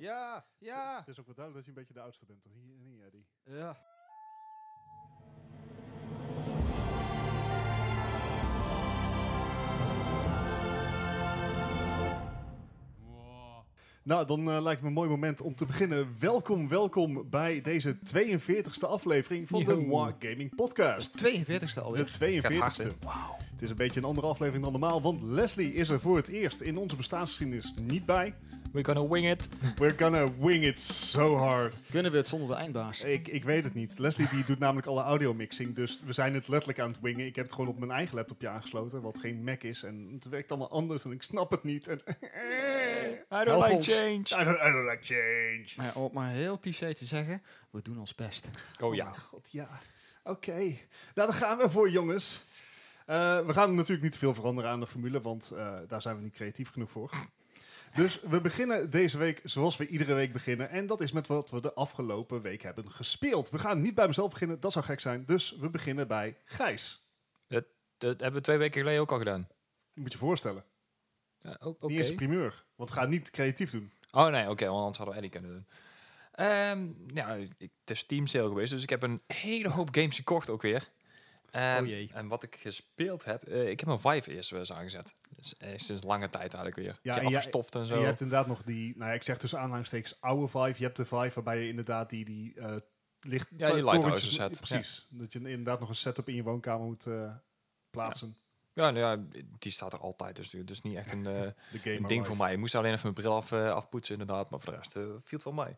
Ja, ja. Het is ook wel duidelijk dat je een beetje de oudste bent. toch? Niet, niet Eddie. Ja. Nou, dan eh, lijkt me een mooi moment om te beginnen. Welkom, welkom bij deze 42e aflevering van de Yo. Moi Gaming Podcast. 42e De alweer. Gaat hard, 42e. Het is een beetje een andere aflevering dan normaal, want Leslie is er voor het eerst in onze bestaansgeschiedenis niet bij. We're gonna wing it. We're gonna wing it so hard. Kunnen we het zonder de eindbaas? Ik, ik weet het niet. Leslie die doet namelijk alle audiomixing, dus we zijn het letterlijk aan het wingen. Ik heb het gewoon op mijn eigen laptopje aangesloten, wat geen Mac is. En het werkt allemaal anders en ik snap het niet. En I Help don't like ons. change. I don't, I don't like change. Maar ja, om het maar heel cliché te zeggen, we doen ons best. Oh Oh ja. mijn god, ja. Oké. Nou, daar gaan we voor, jongens. Eh, we gaan natuurlijk niet veel veranderen aan de formule, want eh, daar zijn we niet creatief genoeg voor. Dus we beginnen deze week zoals we iedere week beginnen. En dat is met wat we de afgelopen week hebben gespeeld. We gaan niet bij mezelf beginnen, dat zou gek zijn. Dus we beginnen bij Gijs. Dat, dat hebben we twee weken geleden ook al gedaan. Moet je voorstellen. Ja, ook- Die is oké. primeur. Want ga niet creatief doen. Oh nee, oké, want anders hadden we Ellie kunnen doen. Ehm nou, ik- het is Team Sale geweest, dus ik heb een hele hoop games gekocht ook weer. Ehm, Oh jee. En wat ik gespeeld heb, eh, ik heb mijn Vive eerst weer eens aangezet. Dus, eh, sinds lange tijd eigenlijk weer. Ja, Ja, en jij- afgestoft en zo. En je hebt inderdaad nog die, nou ja, ik zeg tussen aanhalingstekens oude Vive. Je hebt de Vive waarbij je inderdaad die, die eh, licht... Ja, die to- lighthouses torentjes- hebt. Precies. Dat je inderdaad nog een setup in je woonkamer moet eh, plaatsen. Ja, nou ja, die staat er altijd, dus het is niet echt een, eh, De game een ding voor mij. Ik moest alleen even mijn bril af, eh, afpoetsen inderdaad, maar voor de rest eh, viel het wel mee.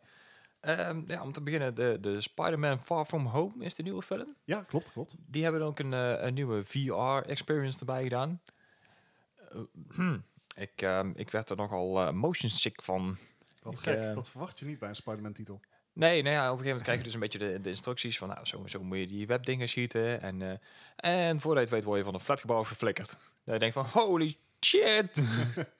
Ehm, ja, om te beginnen, de, de Spider-Man Far From Home is de nieuwe film. Ja, klopt, klopt. Die hebben dan ook een, eh, een nieuwe VR-experience erbij gedaan. Eh, ik, ehm, ik werd er nogal eh, motion sick van. Wat Ik, gek. eh, dat verwacht je niet bij een Spider-Man titel. Nee, nou ja, op een gegeven moment krijg je dus een beetje de, de instructies van... Nou, zo, zo moet je die webdingen schieten. En, eh, en voordat je het weet word je van een flatgebouw geflikkerd. Dan je denkt van, holy shit!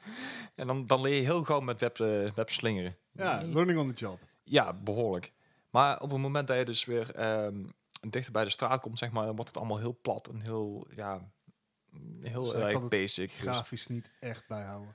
en dan, dan leer je heel gauw met web, eh, web slingeren. Ja, learning on the job. Ja, behoorlijk. Maar op het moment dat je dus weer ehm, dichter bij de straat komt, zeg maar, dan wordt het allemaal heel plat en heel, ja, heel Dus hij erg kan het basic. Dus- Grafisch niet echt bijhouden.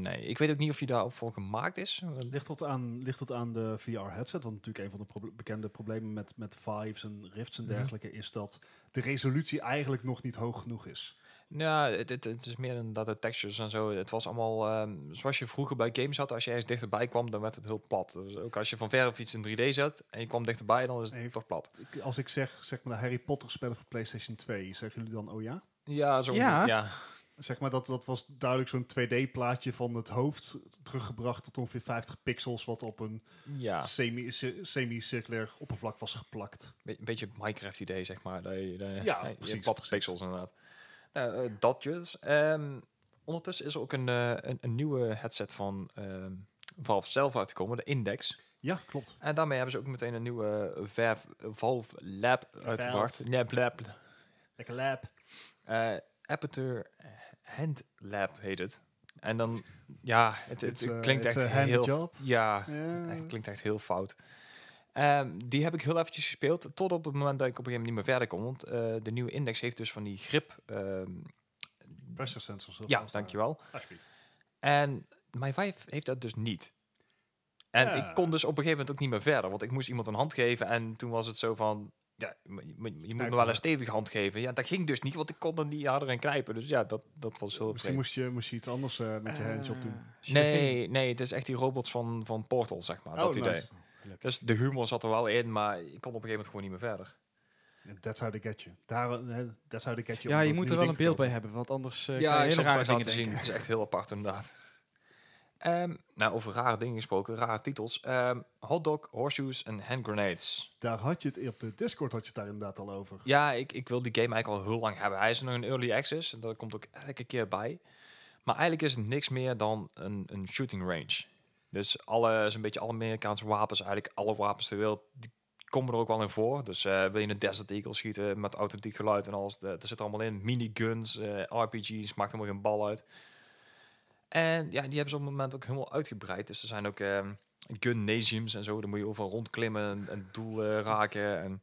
nee, ik weet ook niet of je daarop voor gemaakt is. Ligt dat aan, ligt dat aan de VR-headset? Want natuurlijk een van de proble- bekende problemen met, met Vives en Rifts en Mhm. dergelijke... is dat de resolutie eigenlijk nog niet hoog genoeg is. Nou, het, het, het is meer dan dat de textures en zo. Het was allemaal ehm, zoals je vroeger bij games had. Als je ergens dichterbij kwam, dan werd het heel plat. Dus ook als je van ver of iets in 3D zet en je kwam dichterbij, dan is het Heeft- toch plat. Ik- Als ik zeg, zeg maar de Harry Potter spellen voor PlayStation 2... zeggen jullie dan, oh ja? Ja, zo. Ja. Zeg maar, dat, dat was duidelijk zo'n 2D-plaatje van het hoofd teruggebracht tot ongeveer 50 pixels, wat op een ja. semi ci- semicirculair oppervlak was geplakt. Be- een beetje het Minecraft-idee, zeg maar. Dat je, dat je- Ja, je precies, plat precies. pixels inderdaad. Nou, eh, dat dus. Ehm, ondertussen is er ook een, eh, een, een nieuwe headset van ehm Valve zelf uitgekomen, de Index. Ja, klopt. En daarmee hebben ze ook meteen een nieuwe eh, Valve, Valve Lab uitgebracht. Lab, lab. Lekker lab. Eh, Aperture Hand Lab heet het. En dan, ja, het, het, It's a- klinkt it's echt a hand heel... job. Ja, Ja. Echt, klinkt echt heel fout. Ehm, die heb ik heel eventjes gespeeld, tot op het moment dat ik op een gegeven moment niet meer verder kon. Want eh, de nieuwe index heeft dus van die grip. ehm, Pressure sensors. of ja, zoals dankjewel. daar. Alsjeblieft. En mijn vijf heeft dat dus niet. En Ja. ik kon dus op een gegeven moment ook niet meer verder, want ik moest iemand een hand geven. En toen was het zo van, ja, je, moet- je moet me wel een eruit. stevige hand geven. Ja, dat ging dus niet, want ik kon er niet harder in knijpen. Dus ja, dat, dat was heel Misschien vreemd. moest je, moest je iets anders eh, met je handje op doen. Nee, nee, het is echt die robots van, van Portal, zeg maar. Ah, dat idee. Oh, nice. Dus de humor zat er wel in, maar ik kon op een gegeven moment gewoon niet meer verder. That's how they get you. Daar, eh, that's how they get you. Ja, om je dat moet er nieuwe wel een ding te beeld bij kopen. hebben, want anders eh ja, kan ik je hele zal rare het straks dingen laten denken. zien. Het is echt heel apart, inderdaad. Ehm, nou, over rare dingen gesproken, rare titels. Ehm hotdog, horseshoes en hand grenades. Daar had je het op de Discord had je het daar inderdaad al over. Ja, ik, ik wil die game eigenlijk al heel lang hebben. Hij is nog een early access en dat komt ook elke keer bij. Maar eigenlijk is het niks meer dan een, een shooting range. Dus alle, zo'n beetje alle Amerikaanse wapens, eigenlijk alle wapens ter wereld, die komen er ook wel in voor. Dus eh, wil je een Desert Eagle schieten met authentiek geluid en alles, dat dat zit er allemaal in. Miniguns, eh, RPG's, maakt helemaal geen bal uit. En ja, die hebben ze op het moment ook helemaal uitgebreid. Dus er zijn ook ehm gunnasiums en zo. Daar moet je overal rondklimmen en, en doelen raken. En,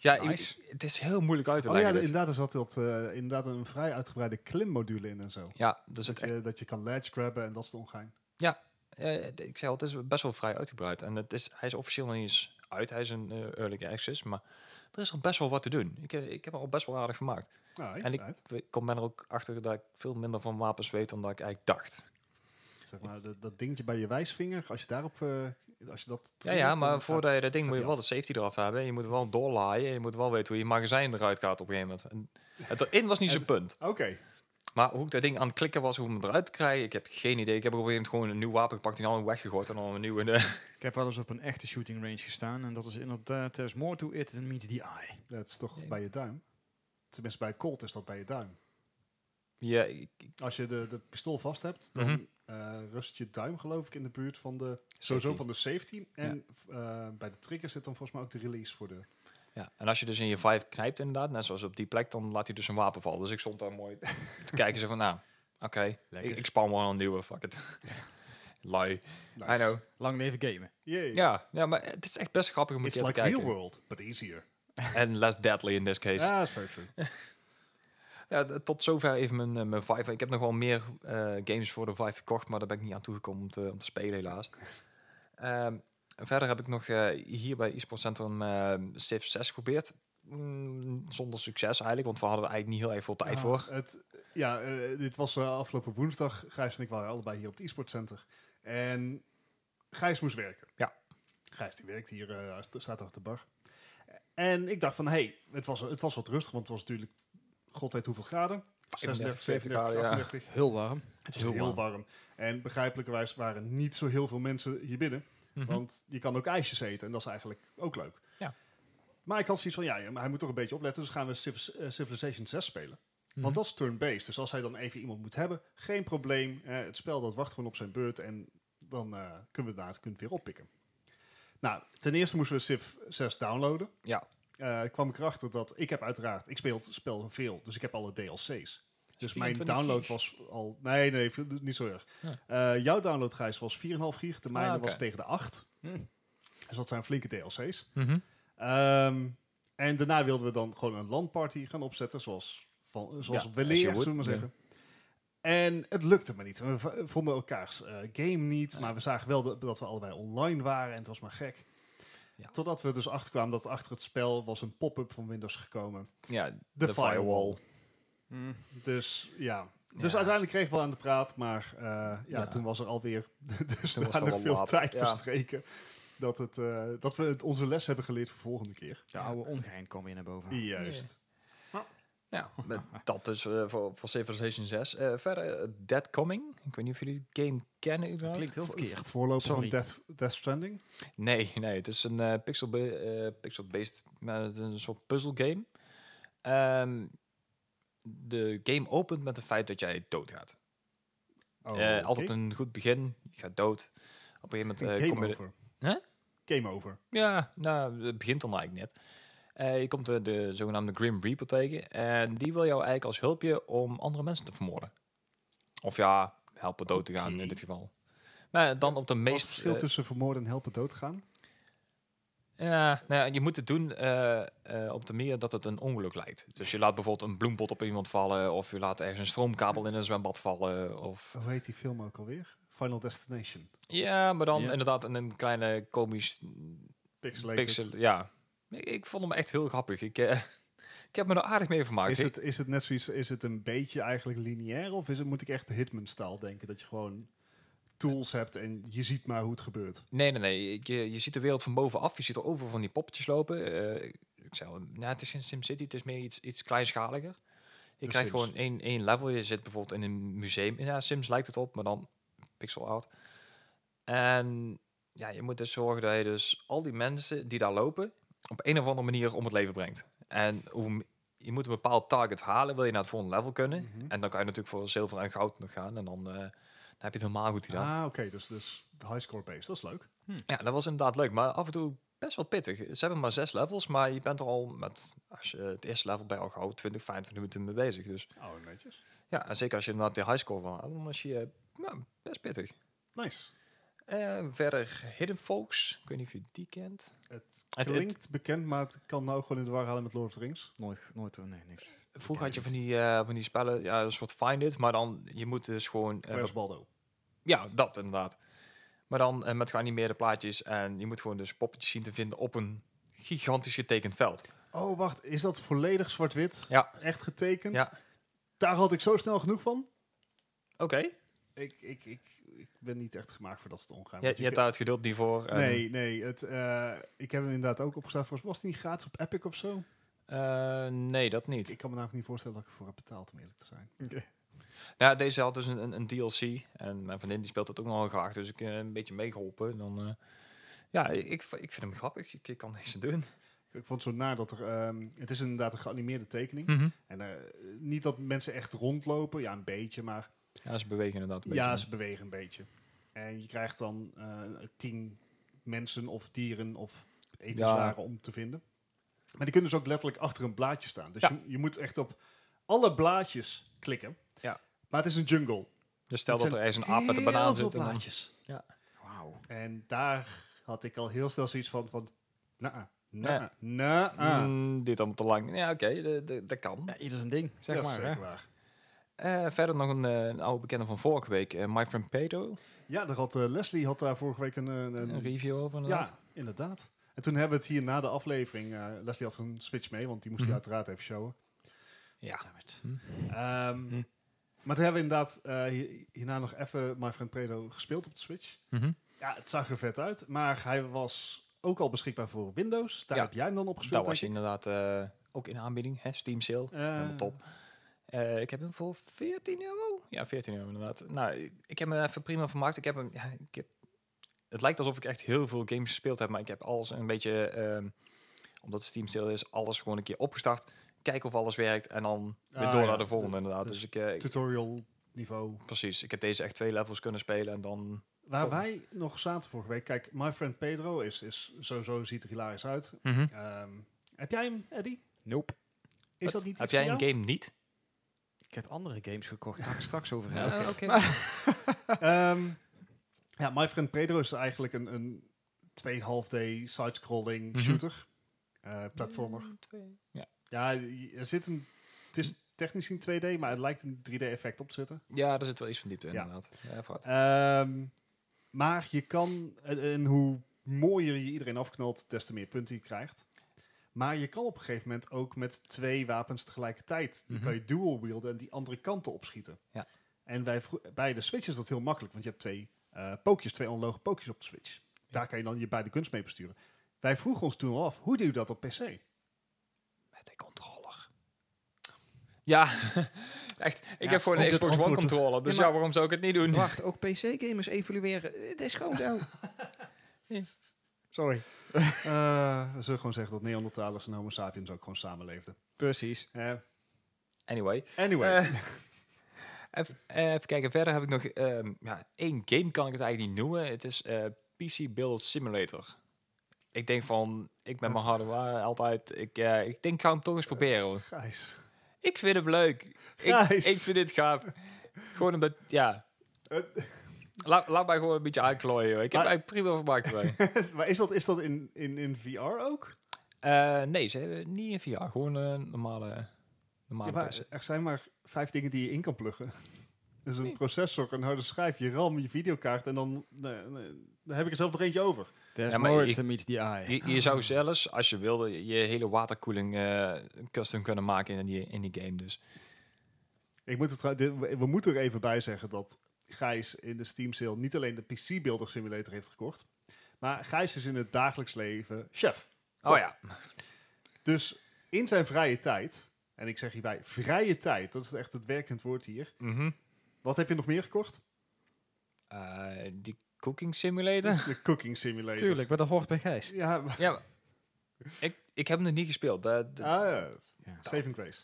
ja, ik- Nice. het is heel moeilijk uit te Oh ja, leggen. dit. inderdaad, er zat dat, eh, inderdaad een vrij uitgebreide klimmodule in en zo. ja, dus het Dat echt, je, dat je kan ledge grabben en dat soort ongein. eh, d- ik zei al, het is best wel vrij uitgebreid. En het is, hij is officieel nog niet eens uit, hij is een eh, early access. Maar er is al best wel wat te doen. Ik, eh, ik heb er al best wel aardig gemaakt. Nou, En ik, ik kom ben er ook achter dat ik veel minder van wapens weet dan dat ik eigenlijk dacht. Zeg maar, dat, dat dingetje bij je wijsvinger, als je daarop... eh, als je dat Ja, triggert, ja, dan maar gaat- voordat je dat ding gaat moet je hij wel de safety eraf hebben. Je moet wel doorlaaien. Je moet wel weten hoe je magazijn eruit gaat op een gegeven moment. En het erin was niet En- zo'n punt. Oké, Maar hoe ik dat ding aan het klikken was, hoe ik hem eruit te krijgen, ik heb geen idee. Ik heb op een gegeven moment gewoon een nieuw wapen gepakt, die al weggegooid en dan een eh, nieuw in de... Ik heb wel eens op een echte shooting range gestaan. En dat is inderdaad, there's more to it than meets the eye. dat is toch Ja. bij je duim. Tenminste, bij Colt is dat bij je duim. Ja, ik- ik- Als je de, de pistool vast hebt, dan Mhm. eh, rust je duim geloof ik in de buurt van de... Sowieso Safety. van de safety. En eh, bij de trigger zit dan volgens mij ook de release voor de... ja. En als je dus in je vibe knijpt inderdaad, net zoals op die plek, dan laat hij dus een wapen vallen. Dus ik stond daar mooi te kijken, zo van, nou, oké, Lekker. ik, ik spawn wel een nieuwe, fuck it. Lui, Nice. I know. Lang leven gamen. Yay. Ja, ja, maar het is echt best grappig om een It's keer like te real kijken. world, but easier. En less deadly in this case. Ja. Ja, that's very true. t- tot zover even mijn, eh, mijn Vive. Ik heb nog wel meer eh, games voor de Vive gekocht, maar daar ben ik niet aan toegekomen om te, om te spelen helaas. Ehm, en verder heb ik nog eh, hier bij eSports Centrum eh Civ 6 geprobeerd. Mm, zonder succes eigenlijk, want we hadden er eigenlijk niet heel erg veel tijd Ah, voor. Het, ja, eh, dit was eh, afgelopen woensdag. Gijs en ik waren allebei hier op het e-sport center. En Gijs moest werken. Ja. Gijs die werkt hier, eh, hij st- staat achter de bar. En ik dacht van, hé, hey, het, was, het was wat rustig, want het was natuurlijk god weet hoeveel graden. 36, 37, graden, ja. 38. Heel warm. Het is heel, warm. En begrijpelijkerwijs waren niet zo heel veel mensen hier binnen. Mhm. Want je kan ook ijsjes eten en dat is eigenlijk ook leuk. Ja. Maar ik had zoiets van, ja, ja, maar hij moet toch een beetje opletten. Dus gaan we Civ- eh, Civilization 6 spelen. Mhm. Want dat is turn-based. Dus als hij dan even iemand moet hebben, geen probleem. Eh, het spel dat wacht gewoon op zijn beurt en dan eh, kunnen we het kunnen we het weer oppikken. Nou, ten eerste moesten we Civ 6 downloaden. Ja. Eh, kwam ik erachter dat ik heb uiteraard, ik speel het spel veel, dus ik heb alle DLC's. Dus mijn 24 download gig. was al. Nee, nee, v- niet zo erg. Ja. Eh, jouw download, Gijs, was 4,5 gig. De mijne Ah, oké. was tegen de 8. Hm. Dus dat zijn flinke DLC's. Mhm. Ehm, en daarna wilden we dan gewoon een landparty gaan opzetten, zoals, van, zoals Ja, weleer, as you zullen would, we ja. maar zeggen. En het lukte me niet. We v- vonden elkaars eh, game niet, maar we zagen wel dat- dat we allebei online waren en het was maar gek. Ja. Totdat we dus achterkwamen dat achter het spel was een pop-up van Windows gekomen. Ja, De, de firewall. firewall. Hm. Dus ja. Dus Ja. uiteindelijk kregen we wel aan de praat, maar eh, ja, Ja. toen was er alweer dus Toen was het al veel laat, tijd ja. verstreken dat, het, eh, dat we het, onze les hebben geleerd voor volgende keer. eh, De oude ongein kwam weer naar Ah. boven. Juist. Ja, dat is eh, voor, voor Civilization 6. Eh, verder, eh, Dead Coming. Ik weet niet of jullie die game kennen. überhaupt. Klinkt heel V- verkeerd. Het voorloper Sorry. van Death, Death Stranding. Nee, nee, het is een eh, pixel ba- eh, pixel-based, maar het is een soort puzzelgame. Ehm de game opent met het feit dat jij doodgaat. Oh, Eh, oké. Altijd een goed begin, je gaat dood. Op een gegeven moment eh, kom game je... de- over. Hè? Game over. ja, nou, het begint dan eigenlijk net. Eh, je komt de, de zogenaamde Grim Reaper tegen. En die wil jou eigenlijk als hulpje om andere mensen te vermoorden. Of ja, helpen dood te gaan in dit geval. Maar dan op de Wat is het meest... verschil eh, tussen vermoorden en helpen doodgaan? Ja, nou ja, je moet het doen eh, eh, op de manier dat het een ongeluk lijkt. Dus je laat bijvoorbeeld een bloempot op iemand vallen, of je laat ergens een stroomkabel in een zwembad vallen. Of... Hoe heet die film ook alweer? Final Destination. Ja, maar dan Ja. inderdaad in een kleine komisch Pixelated. pixel. Ja, ik, ik vond hem echt heel grappig. Ik, eh, ik heb me er aardig mee vermaakt. Is het, is het net zoiets, is het een beetje eigenlijk lineair? Of is het, moet ik echt Hitman-staal denken? Dat je gewoon tools hebt en je ziet maar hoe het gebeurt. Nee, nee, nee. Je, je ziet de wereld van bovenaf. Je ziet er overal van die poppetjes lopen. Eh, ik zei, al, nou, het is geen SimCity. Het is meer iets, iets kleinschaliger. Je De krijgt Sims. gewoon één, één level. Je zit bijvoorbeeld in een museum. Ja, Sims lijkt het op, maar dan pixel art. En ja, je moet dus zorgen dat je dus al die mensen die daar lopen... op een of andere manier om het leven brengt. En hoe, m- je moet een bepaald target halen. Wil je naar het volgende level kunnen. Mhm. En dan kan je natuurlijk voor zilver en goud nog gaan. En dan, eh, dan heb je het helemaal goed gedaan. Ah, oké. dus, dus de highscore-based. Dat is leuk. Ja, dat was inderdaad leuk, maar af en toe best wel pittig. Ze hebben maar zes levels, maar je bent er al met, als je het eerste level bij al gauw 20, 25 minuten mee bezig. Dus Oh, netjes. ja, en zeker als je inderdaad die highscore wil halen, dan is je eh, nou, best pittig. Nice. Eh, verder Hidden Folks, ik weet niet of je die kent. Het Het- klinkt bekend, maar het kan nou gewoon in de war halen met Lord of the Rings. Nooit, nooit, eh, nee, niks. Vroeger had je van die, eh, van die spellen, ja, een soort find it, maar dan je moet dus gewoon... eh, Where's Baldo? Ja, dat inderdaad. Maar dan eh, met geanimeerde plaatjes. En je moet gewoon dus poppetjes zien te vinden op een gigantisch getekend veld. Oh, wacht. Is dat volledig zwart-wit? Ja. Echt getekend? Ja. Daar had ik zo snel genoeg van. Oké. Ik, ik, ik, ik ben niet echt gemaakt voor dat soort ongaan. Je, je hebt daar het geduld niet voor. en, Nee, nee. Het, eh, ik heb hem inderdaad ook opgestaan. Volgens mij was het niet gratis op Epic of zo. eh, nee, dat niet. Ik kan me namelijk niet voorstellen dat ik ervoor heb betaald, om eerlijk te zijn. Nou, deze had dus een, een, een DLC. En mijn vriendin die speelt dat ook nogal graag. Dus ik heb een beetje meegeholpen. En Dan, eh, ja, ik, ik vind hem grappig. Ik, ik kan niks aan doen. Ik vond het zo naar dat er... ehm, het is inderdaad een geanimeerde tekening. Hm. En eh, niet dat mensen echt rondlopen. Ja, een beetje, maar... Ja, ze bewegen inderdaad een Ja, beetje. ze bewegen een beetje. En je krijgt dan eh, tien mensen of dieren of etenswaren om te vinden. Maar die kunnen dus ook letterlijk achter een blaadje staan. Dus Ja. je, je moet echt op alle blaadjes klikken. Ja. Maar het is een jungle. Dus stel Het dat er zijn ergens een aap met een Heel banaan veel zit. En dan, blaadjes. Ja. Wauw. En daar had ik al heel snel zoiets van, van na, Ja. na, na, Ah. Mm, dit allemaal te lang. Ja, oké, de- de- dat kan. Ja, ieder zijn ding, zeg dat is maar. hè. zeker waar. Eh, verder nog een, eh, een oude bekende van vorige week. eh, My Friend Pedro. Ja, daar had, eh, Leslie had daar vorige week een, eh, een, Een review over inderdaad. Ja, inderdaad. En toen hebben we het hier na de aflevering. eh, Leslie had zijn Switch mee, want die moest Mhm. hij uiteraard even showen. Ja. Mhm. Ehm, Hm. Maar toen hebben we inderdaad eh, hier- hierna nog even My Friend Predo gespeeld op de Switch. Mhm. Ja, het zag er vet uit, maar hij was ook al beschikbaar voor Windows. Daar Ja. heb jij hem dan op Daar gespeeld. was je denk inderdaad eh, ook in de aanbieding. Hè? Steam sale. ik. Eh, Helemaal top. Eh, ik heb hem voor 14 euro. Ja, 14 euro inderdaad. Nou, ik- ik heb me even prima vermaakt. Ik heb hem, ja, ik heb, het lijkt alsof ik echt heel veel games gespeeld heb, maar ik heb alles een beetje, ehm, omdat Steam stil is, alles gewoon een keer opgestart. Kijken of alles werkt en dan weer Ah, door ja. naar de volgende Dat- inderdaad. dat Dus ik, eh, ik- Tutorial niveau. precies, ik heb deze echt twee levels kunnen spelen en dan... Waar Top. wij nog zaten vorige week. Kijk, My Friend Pedro is, is sowieso ziet er hilarisch uit. Mhm. Ehm, heb jij hem, Eddie? Nope. Is Wat? dat niet Heb iets voor jij een jou? game niet? Ik heb andere games gekocht, daar ga ik het straks over Ja, hebben. Ah, oké. Ehm, ja, My Friend Pedro is eigenlijk een, een 2,5D side-scrolling Mhm. shooter. Eh, platformer. Ja. Ja, je- er zit een... Het is technisch in 2D, maar het lijkt een 3D-effect op te zitten. ja, daar zit wel iets van diepte in Ja. inderdaad. Ja, vooruit. Ehm, maar je kan... En, en hoe mooier je iedereen afknalt, des te meer punten je krijgt. Maar je kan op een gegeven moment ook met twee wapens tegelijkertijd... Mhm. kan je dual wielden en die andere kanten opschieten. Ja. En bij, vro- bij de Switch is dat heel makkelijk, want je hebt twee eh, pookjes, twee analoge pookjes op de Switch. Daar kan je dan je beide kunst mee besturen. Wij vroegen ons toen al af, hoe doe je dat op PC? Met een controller. Ja, echt. Ik Ja, heb gewoon een ook dit Xbox One antwoord toch- controller. Dus Ja, ja, maar- waarom zou ik het niet doen? Wacht, ook PC-gamers evolueren. Het is gewoon zo. Sorry. Eh, we zullen gewoon zeggen dat Neandertalers en Homo sapiens ook gewoon samenleefden. Precies. Eh, Anyway. anyway, Eh, even, eh, even kijken. Verder heb ik nog ehm, ja, één game kan ik het eigenlijk niet noemen. Het is eh, PC Build Simulator. Ik denk van, ik ben mijn hardware altijd. Ik, eh, ik denk, ik ga hem toch eens proberen. hoor. Gijs. Eh. Ik vind hem leuk. Ik, Gijs. ik vind dit gaaf. Gewoon omdat, ja. Eh, Laat, laat mij gewoon een beetje aanklooien. hoor. Ik heb Maar- eigenlijk prima vermaakt erbij. maar is dat, is dat in, in, in VR ook? Eh, nee, ze hebben niet in VR. Gewoon een normale, normale Ja, maar PC. er zijn maar vijf dingen die je in kan pluggen. Dus een Nee. processor, een harde schijf, je RAM, je videokaart en dan, nee, nee, dan heb ik er zelf nog eentje over. There's Ja, maar more ik- than meets the eye. Je, je zou zelfs, als je wilde, je hele waterkoeling eh, custom kunnen maken in die, in die game. Dus Ik moet het, trouw- dit- we we moeten er even bij zeggen dat Gijs in de Steam sale niet alleen de PC Builder Simulator heeft gekocht, maar Gijs is in het dagelijks leven chef. Oh ja. Dus in zijn vrije tijd, en ik zeg hierbij vrije tijd, dat is echt het werkend woord hier. Mhm. Wat heb je nog meer gekocht? Eh, die cooking simulator. De Cooking Simulator. Tuurlijk, maar dat hoort bij Gijs. Ja, maar- ja, maar ik, ik heb hem nog niet gespeeld. Dat- dat- ah, ja. Ja. Saving Grace.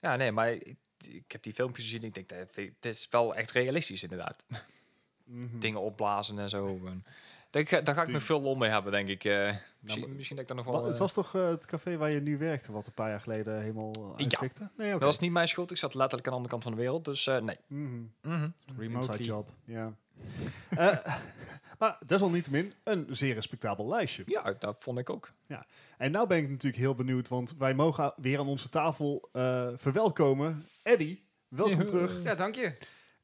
Ja, nee, maar ik, ik heb die filmpjes gezien. Ik denk, dat vind- dit is wel echt realistisch inderdaad. Hmm. Mhm. Dingen opblazen en zo. En Daar ga, daar ga ik Die- Nou, nog veel lol mee hebben, denk ik. eh. maar- misschien, misschien dat ik daar nog Wa- wel... het eh, was toch eh, het café waar je nu werkte, wat een paar jaar geleden helemaal eh, Ja. uitvikte? Nee, oké. Dat was niet mijn schuld. Ik zat letterlijk aan de andere kant van de wereld. Dus eh, nee. Mhm. Mhm. Inside Remotely. job. Ja. Eh, maar desalniettemin een zeer respectabel lijstje. Ja, dat vond ik ook. En nou ben ik natuurlijk heel benieuwd, want wij mogen a- weer aan onze tafel eh, verwelkomen Eddie. Welkom Ja. terug. Ja, dank je.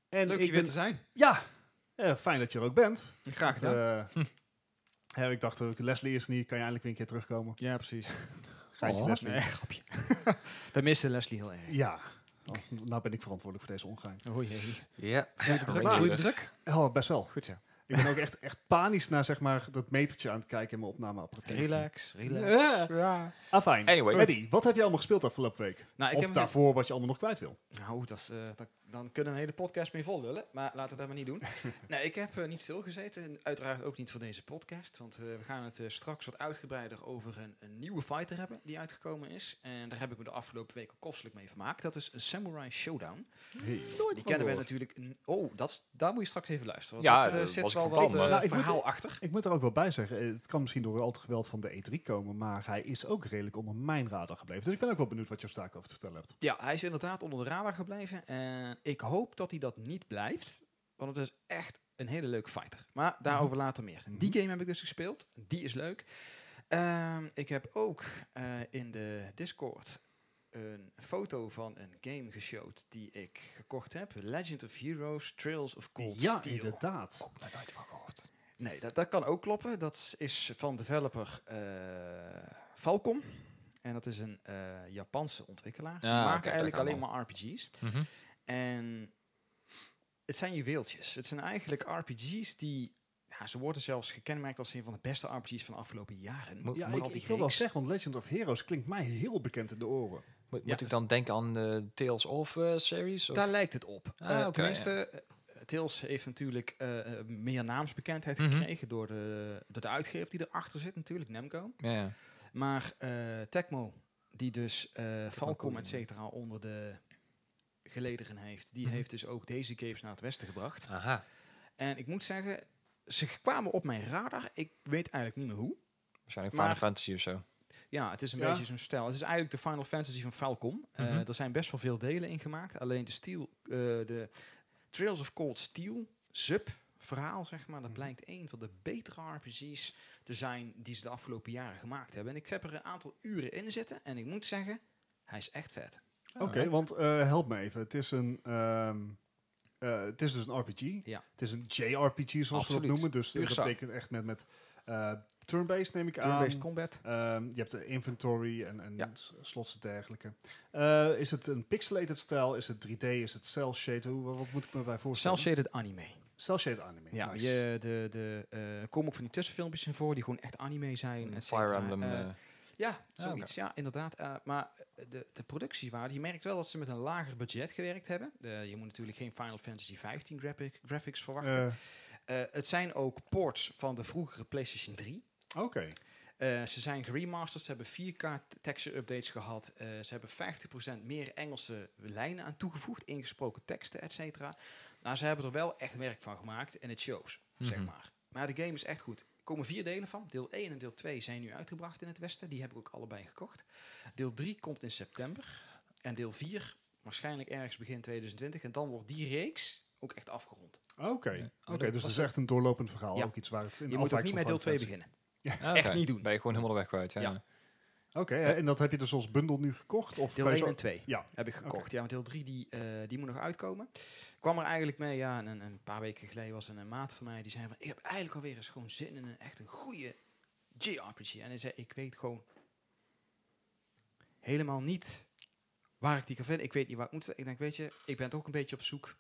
En ik Leuk je ben- weer te zijn. Ja, Eh, fijn dat je er ook bent. Graag gedaan. Eh, Hm. hè, ik dacht, ook, Leslie is er niet, kan je eindelijk weer een keer terugkomen. ja, precies. Geintje Oh. Leslie. Nee, grapje. We missen Leslie heel erg. Ja, Want nou ben ik verantwoordelijk voor deze ongein. Oh jee. Ja. Voel je de druk? Maar- Voel je de druk? Oh, best wel. Goed zo. Ik ben ook echt, echt panisch naar zeg maar, dat metertje aan het kijken in mijn opnameapparatuur. Relax, relax. Ja. Ja. Ah, fijn. Anyway. Eddie, wat heb je allemaal gespeeld afgelopen week? Nou, ik of heb hem- daarvoor wat je allemaal nog kwijt wil. Nou, dat is, eh, dat- dan kunnen we een hele podcast mee vol lullen, maar laten we dat maar niet doen. nee, ik heb eh, niet stilgezeten en uiteraard ook niet voor deze podcast, want eh, we gaan het eh, straks wat uitgebreider over een, een nieuwe fighter hebben die uitgekomen is. En daar heb ik me de afgelopen weken kostelijk mee vermaakt. Dat is Samurai Showdown. Die kennen wij natuurlijk. n- Oh, dat, is- daar moet je straks even luisteren. Want Ja, dat, eh, dat zit was ik wel van wat plan, eh, maar- Nou, ik moet- verhaal achter. Ik moet er ook wel bij zeggen, eh, het kan misschien door al het geweld van de E3 komen, maar hij is ook redelijk onder mijn radar gebleven. Dus ik ben ook wel benieuwd wat je daar over te vertellen hebt. Ja, hij is inderdaad onder de radar gebleven. En ik hoop dat hij dat niet blijft. Want het is echt een hele leuke fighter. Maar daarover Mhm. later meer. Die game heb ik dus gespeeld. Die is leuk. Ehm, ik heb ook eh, in de Discord een foto van een game geshowt die ik gekocht heb. Legend of Heroes Trails of Cold ja, Steel. inderdaad. Nooit van gehoord. Nee, dat, dat kan ook kloppen. Dat is van developer eh Falcom. En dat is een eh, Japanse ontwikkelaar. Die Ah, maken oké, daar eigenlijk gaan we alleen maar RPG's. Mhm. En het zijn juweeltjes. Het zijn eigenlijk RPG's die... Ja, ze worden zelfs gekenmerkt als een van de beste RPG's van de afgelopen jaren. Moet- Ja, Met ik, al die ik wil dat reeks. zeggen, want Legend of Heroes klinkt mij heel bekend in de oren. Moet, Ja. moet ik dan denken aan de Tales of eh, series? Of? Daar lijkt het op. Ah, Eh, oké, tenminste, eh, Tails heeft natuurlijk eh, eh, meer naamsbekendheid Mhm. gekregen... Door de, door de uitgever die erachter zit natuurlijk, Namco. ja, ja. Maar eh, Tecmo, die dus eh Falcom, Koei, et ja. cetera, onder de gelederen heeft, die Mhm. heeft dus ook deze games naar het westen gebracht. Aha. En ik moet zeggen, ze kwamen op mijn radar. Ik weet eigenlijk niet meer hoe. Waarschijnlijk Maar- Final Fantasy of zo. Ja, het is een Ja. beetje zo'n stijl. Het is eigenlijk de Final Fantasy van Falcom. Eh, Mhm. er zijn best wel veel delen in gemaakt. Alleen de, steel, eh, de Trails of Cold Steel sub-verhaal, zeg maar, dat Mhm. blijkt een van de betere RPG's te zijn die ze de afgelopen jaren gemaakt hebben. En ik heb er een aantal uren in zitten en ik moet zeggen, hij is echt vet. Oké, want eh, help me even. Het is een... ehm, eh, het is dus een RPG. Ja. Het is een JRPG, zoals we Absoluut. dat noemen. Dus Puur dat zo. betekent echt met, met eh, turn-based, neem ik aan. Turn-based combat. Ehm, je hebt de inventory en, en Ja. s- slots en dergelijke. Eh, is het een pixelated stijl? Is het 3D? Is het cel-shaded? Hoe- Wat, wat moet ik me bij voorstellen? Cel-shaded anime. Cel-shaded anime. Ja, nice. je, de, de, eh, er komen ook van die tussenfilmpjes in voor die gewoon echt anime zijn. et Fire cetera. Emblem. Eh, eh, Ja, Ah, oké. zoiets. Ja, inderdaad. Eh, maar de, de productiewaarde, je merkt wel dat ze met een lager budget gewerkt hebben. Eh, je moet natuurlijk geen Final Fantasy 15 graphic, graphics verwachten. Eh, Eh, het zijn ook ports van de vroegere PlayStation 3. Oké. Eh, ze zijn geremasterd, ze hebben 4K texture updates gehad. eh, ze hebben 50% meer Engelse lijnen aan toegevoegd, ingesproken teksten, et cetera. Nou, ze hebben er wel echt werk van gemaakt en het shows, zeg Mhm. maar. Maar de game is echt goed. Er komen vier delen van. Deel 1 en deel 2 zijn nu uitgebracht in het Westen. Die heb ik ook allebei gekocht. Deel 3 komt in september. En deel 4 waarschijnlijk ergens begin 2020. En dan wordt die reeks ook echt afgerond. Oké, Ja. Oké, dus het is echt een doorlopend verhaal. Ja. Ook iets waar het in Je moet ook afwijkt niet van met deel Final 2 Fantasy. beginnen. ah, echt oké. niet doen. Ben je gewoon helemaal de weg kwijt. Ja. Ja. Oké, hè, en dat heb je dus als bundel nu gekocht? Of Deel kan je 1 zo- en 2 Ja. heb ik gekocht. Ja, want deel 3 die, eh, die moet nog uitkomen. Ik kwam er eigenlijk mee, ja, een, een paar weken geleden was er een maat van mij die zei van, ik heb eigenlijk alweer eens gewoon zin in een echt een goede JRPG. En hij zei, ik weet gewoon helemaal niet waar ik die kan vinden. Ik weet niet waar ik moet. Ik denk, weet je, ik ben toch ook een beetje op zoek.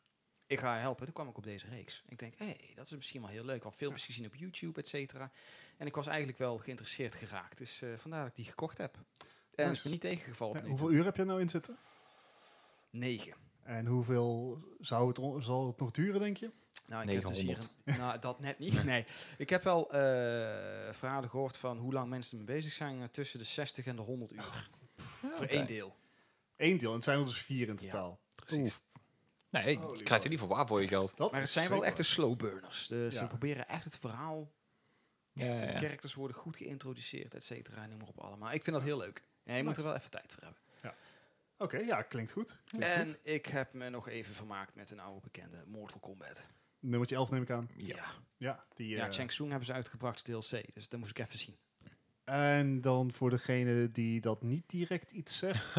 Ik ga je helpen. Toen kwam ik op deze reeks. Ik denk, hé, hey, dat is misschien wel heel leuk. Al filmpjes gezien op YouTube, et cetera. En ik was eigenlijk wel geïnteresseerd geraakt. Dus eh, vandaar dat ik die gekocht heb. En het is Nice. me niet tegengevallen. Ja, tot nu toe. hoeveel uur heb je er nou in zitten? Negen. En hoeveel zou het, on- zal het nog duren, denk je? Nou, ik heb dus hier 900. een- nou, dat net niet. Nee. Ik heb wel eh, verhalen gehoord van hoe lang mensen ermee bezig zijn. eh, tussen de 60 en de 100 Oh, uur. Voor oké. één deel. Eén deel, en het zijn er dus vier in Ja. totaal. Precies. Oef. Nee, je Holy krijgt er in ieder geval waar voor je geld. Dat Maar het is zijn wel zeker echte slow burners. Dus Ja. Ze proberen echt het verhaal. Ja, echt, ja, De ja. characters worden goed geïntroduceerd, et cetera. en Noem maar op allemaal. Ik vind dat heel leuk. Ja, je moet er wel even tijd voor hebben. Oké, ja, klinkt goed. Klinkt goed. En ik heb me nog even vermaakt met een oude bekende Mortal Kombat. Nummertje 11 neem ik aan. Ja, Ja. ja. Ja, die... eh, Shang Tsung hebben ze uitgebracht, DLC. Dus dat moest ik even zien. En dan voor degene die dat niet direct iets zegt.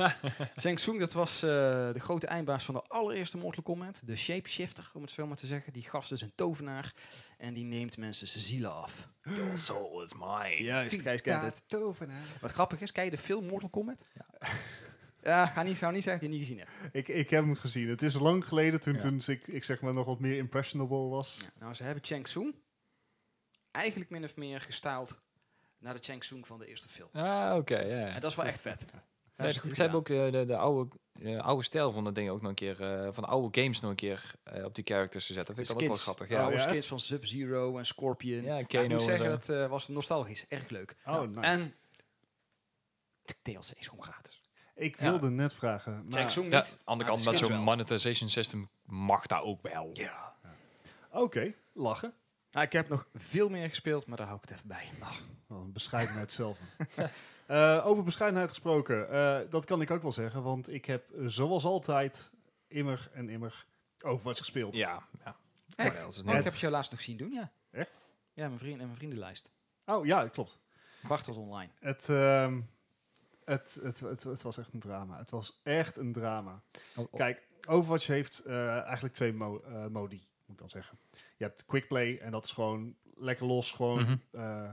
Zhang Tsung, dat was eh, de grote eindbaas van de allereerste Mortal Kombat. De Shapeshifter, om het zo maar te zeggen. Die gast is een tovenaar en die neemt mensen zijn zielen af. Your soul is mine. Juist, Gijs kent het. tovenaar. Wat grappig is, kijk je de film Mortal Kombat? Ja, ga niet, zou niet zeggen dat je die niet gezien hebt. Ik, ik heb hem gezien. Het is lang geleden toen, Ja. toen ik, ik zeg maar nog wat meer impressionable was. Ja, Nou, ze hebben Shang Tsung eigenlijk min of meer gestaald naar de Shang Tsung van de eerste film. Ah, oké, ja. En dat is wel echt vet. Oh, Ja, ze ze hebben ook eh, de, de oude, eh, oude stijl van dat ding ook nog een keer, eh, van de oude games nog een keer eh, op die characters gezet. Dat vind ik De altijd wel skins. grappig. Ja, Ja, Oh, oude ja. skits van Sub-Zero en Scorpion. ja, Ja, Kano ik moet en zeggen, zo. dat eh, was nostalgisch. Erg leuk. Oh, nice. En DLC is gewoon gratis. ik ja. wilde net vragen. Shang Maar, Tsung Ja, niet. aan de maar kant, de met skins zo'n wel. monetization system mag dat ook wel. Ja. Oké, lachen. Nou, ik heb nog veel meer gespeeld, maar daar hou ik het even bij. Wat een bescheidenheid zelf. Eh, over bescheidenheid gesproken, eh, dat kan ik ook wel zeggen, want ik heb eh, zoals altijd immer en immer Overwatch gespeeld. Ja, ja. Echt? Maar dat is Maar ik net- heb het jou laatst nog zien doen, ja. Echt? Ja, mijn vriend en mijn vriendenlijst. Oh ja, klopt. Bart was online. Het, ehm, het, het, het, het was echt een drama. Het was echt een drama. Oh, oh. Kijk, Overwatch heeft eh, eigenlijk twee mo- eh, modi, moet ik dan zeggen. Je hebt quick play en dat is gewoon lekker los, gewoon, Mhm. eh,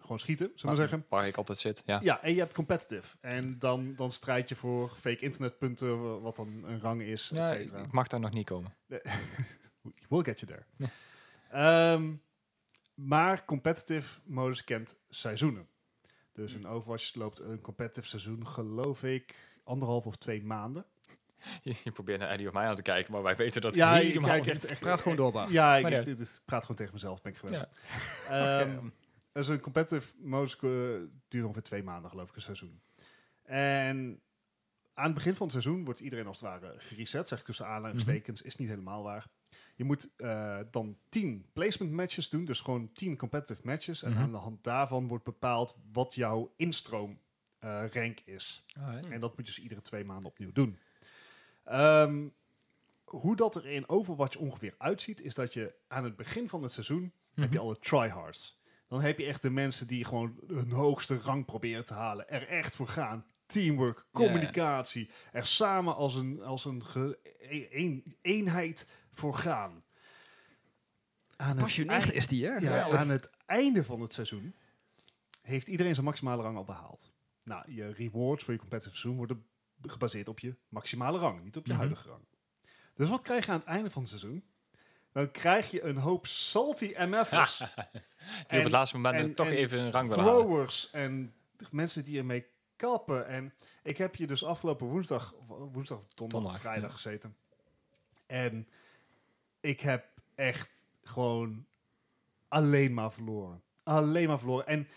gewoon schieten, zullen we zeggen. Waar ik altijd zit, ja. Ja, en je hebt competitive. En dan, dan strijd je voor fake internetpunten, wa- wat dan een rang is, et Ja, ik cetera. Eh, ik mag daar nog niet komen. We'll get you there. Ehm, maar competitive modus kent seizoenen. Dus Hmm. Hm. een Overwatch loopt een competitive seizoen, geloof ik, anderhalf of twee maanden. Je, je probeert naar Eddie of mij aan te kijken, maar wij weten dat ja, ik helemaal kijk niet. echt, echt, Praat gewoon door, Bart. Ja, ik, Maar niet ik, ik praat gewoon tegen mezelf, ben ik gewend. Ehm, Oké. dus een competitive modus eh, duurt ongeveer twee maanden, geloof ik, een seizoen. En aan het begin van het seizoen wordt iedereen als het ware gereset, zeg ik tussen aanhalingstekens, is niet helemaal waar. Je moet eh, dan tien placement matches doen, dus gewoon tien competitive matches. En Mhm. aan de hand daarvan wordt bepaald wat jouw instroom eh, rank is. Alright. En dat moet je dus iedere twee maanden opnieuw doen. Ehm, hoe dat er in Overwatch ongeveer uitziet, is dat je aan het begin van het seizoen heb je alle tryhards. Dan heb je echt de mensen die gewoon hun hoogste rang proberen te halen. Er echt voor gaan. Teamwork, Ja, ja. communicatie. Er samen als een, als een ge- e- een- eenheid voor gaan. Aan het, Passioneerd eind- is die, hè? ja, Geweldig. aan het einde van het seizoen heeft iedereen zijn maximale rang al behaald. Nou, je rewards voor je competitive seizoen worden b- gebaseerd op je maximale rang, niet op je Mhm. huidige rang. Dus wat krijg je aan het einde van het seizoen? Dan krijg je een hoop salty MF'ers. Die op het En- laatste moment en- toch en even een rang willen halen. throwers en d- mensen die ermee kappen. En ik heb hier dus afgelopen woensdag, of woensdag, of donderdag, Donderdag, of vrijdag ja. gezeten. En ik heb echt gewoon alleen maar verloren. Alleen maar verloren. En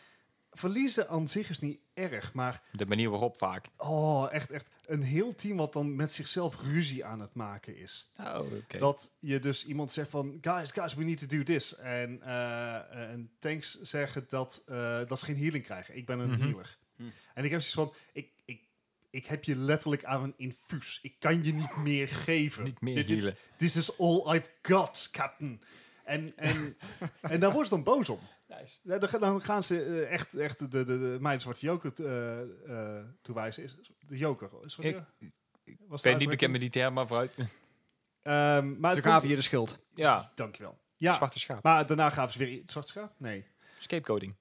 verliezen aan zich is niet erg, maar De manier waarop vaak. oh, echt, echt een heel team wat dan met zichzelf ruzie aan het maken is. Oh, oké. Dat je dus iemand zegt van, guys, guys, we need to do this. En, eh, en tanks zeggen dat, eh, dat ze geen healing krijgen. Ik ben een Mhm. healer. Hm. En ik heb zoiets van, ik, ik, ik heb je letterlijk aan een infuus. Ik kan je niet meer geven. Niet meer Dit- dit- healen. This is all I've got, captain. En, en, en daar worden ze dan boos om. Nice. Ja, Dan, ga- dan gaan ze eh, echt, echt de, de, de mijn zwarte joker eh, eh, toewijzen. Is, de joker. Is wat Ik- was Ik ben niet bekend met die term, maar vooruit. Ehm, maar Ze het komt- gaven je de schuld. ja, Dankjewel. Ja, zwarte schaap. maar daarna gaven ze weer... i- Zwarte schaap? Nee. Scapegoating.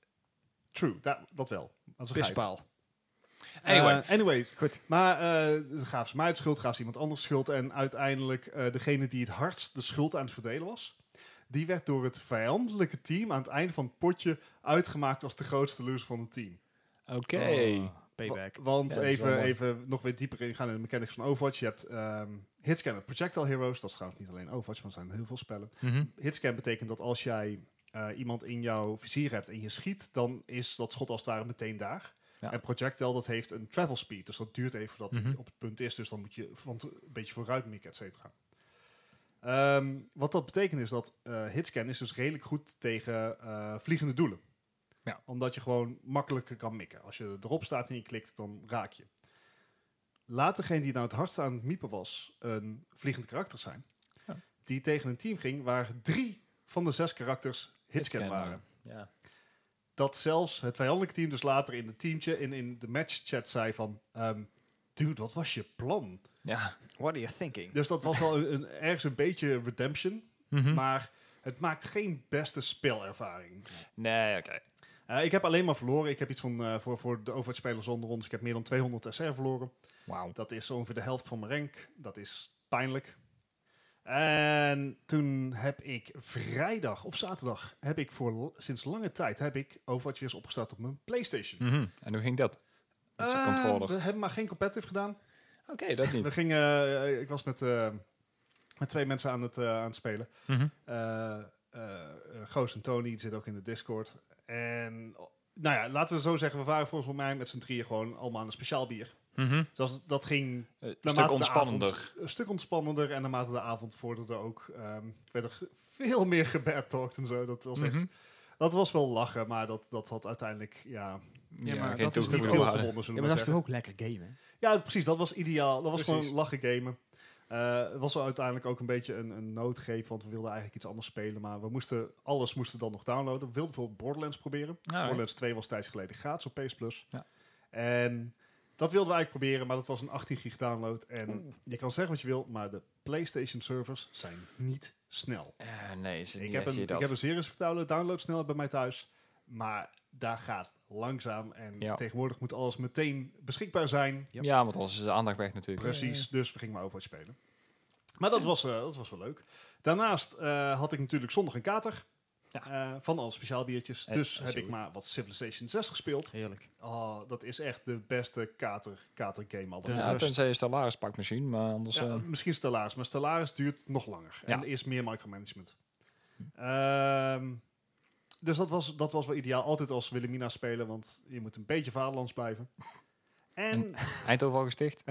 True, dat, dat wel. Dat is een geit. Pispaal. Anyway. Eh, anyway, Goed. maar eh gaven ze mij het schuld, gaven ze iemand anders schuld. En uiteindelijk eh, degene die het hardst de schuld aan het verdelen was... die werd door het vijandelijke team aan het einde van het potje... uitgemaakt als de grootste loser van het team. Oké. Oh, payback. Wa- want Ja, dat is wel even, mooi. even nog weer dieper ingaan in de mechanics van Overwatch. Je hebt ehm Hitscanner, Projectile Heroes. Dat is trouwens niet alleen Overwatch, maar er zijn heel veel spellen. Mhm. Hitscan betekent dat als jij eh, iemand in jouw vizier hebt en je schiet, dan is dat schot als het ware meteen daar. Ja. En projectile, dat heeft een travel speed, dus dat duurt even voordat Mhm. het op het punt is. Dus dan moet je van t- een beetje vooruit mikken, et cetera. Ehm, wat dat betekent is dat eh, hitscan is dus redelijk goed tegen eh, vliegende doelen. Ja. Omdat je gewoon makkelijker kan mikken. Als je erop staat en je klikt, dan raak je. Laat degene die nou het hardst aan het miepen was, een vliegend karakter zijn. Ja. Die tegen een team ging waar drie van de zes karakters hitscan waren. Ja. dat zelfs het vijandelijke team dus later in het teamtje, in, in de matchchat zei van... ehm, Dude, wat was je plan? Ja. What are you thinking? Dus dat was wel een, een- ergens een beetje redemption. Hm. Maar het maakt geen beste spelervaring. Nee, oké. Eh, ik heb alleen maar verloren. Ik heb iets van, eh, voor, voor de overheidspelers onder ons, ik heb meer dan 200 SR verloren. Wauw. Dat is ongeveer de helft van mijn rank. Dat is pijnlijk. En toen heb ik vrijdag of zaterdag, heb ik voor l- sinds lange tijd, heb ik Overwatch weer eens opgestart op mijn Playstation. En hoe ging Hm, dat? Met je Eh, controller. we hebben maar geen competitive gedaan. Oké, dat We niet. gingen, eh, ik was met, eh, met twee mensen aan het, eh, aan het spelen. Mhm. eh eh, Goos en Tony die zit ook in de Discord. En oh, nou ja, laten we zo zeggen, we waren volgens mij met z'n drieën gewoon allemaal aan een speciaal bier. Mhm. Dus dat, dat ging Een naarmate stuk de ontspannender. avond- een stuk ontspannender en naarmate de avond vorderde ook, ehm, werd er ge- veel meer gebadtalkt en zo. Dat was, echt, Mhm. dat was wel lachen, maar dat, dat had uiteindelijk ja, Ja, maar geen dat is niet niet toevoeging veel veel hadden. gewonnen, Ja, zullen maar we dat is zeggen. toch ook lekker gamen? Ja, precies, dat was ideaal. Dat was Precies. gewoon lachen gamen. Eh, Het was wel uiteindelijk ook een beetje een, een noodgreep, want we wilden eigenlijk iets anders spelen, maar we moesten, alles moesten we dan nog downloaden. We wilden bijvoorbeeld Borderlands proberen. Alright. Borderlands 2 was tijds geleden gratis op PS Plus. Ja. En dat wilden we eigenlijk proberen, maar dat was een 18 gig download. En je kan zeggen wat je wil, maar de PlayStation servers zijn niet snel. Eh, nee, ze Ik niet heb, echt een, je ik dat. heb een zeer respectabele download snel bij mij thuis, maar daar gaat langzaam. En Ja. tegenwoordig moet alles meteen beschikbaar zijn. Yep. Ja, want anders is de aandacht weg natuurlijk. Precies, dus we gingen maar Overwatch spelen. Maar dat was, eh, dat was wel leuk. Daarnaast eh, had ik natuurlijk zondag een kater. Eh, van alle speciaal biertjes. Eh, dus eh, heb ik sorry. maar wat Civilization 6 gespeeld. Heerlijk. Oh, dat is echt de beste kater, kater game altijd. Ja, Ja, rust. tenzij je Stellaris pakt misschien, maar anders... Ja, eh, misschien Stellaris, maar Stellaris duurt nog langer. En Ja. is meer micromanagement. Ehm, dus dat was, dat was wel ideaal. Altijd als Wilhelmina spelen, want je moet een beetje vaderlands blijven. Mm. En Eindhoven al gesticht.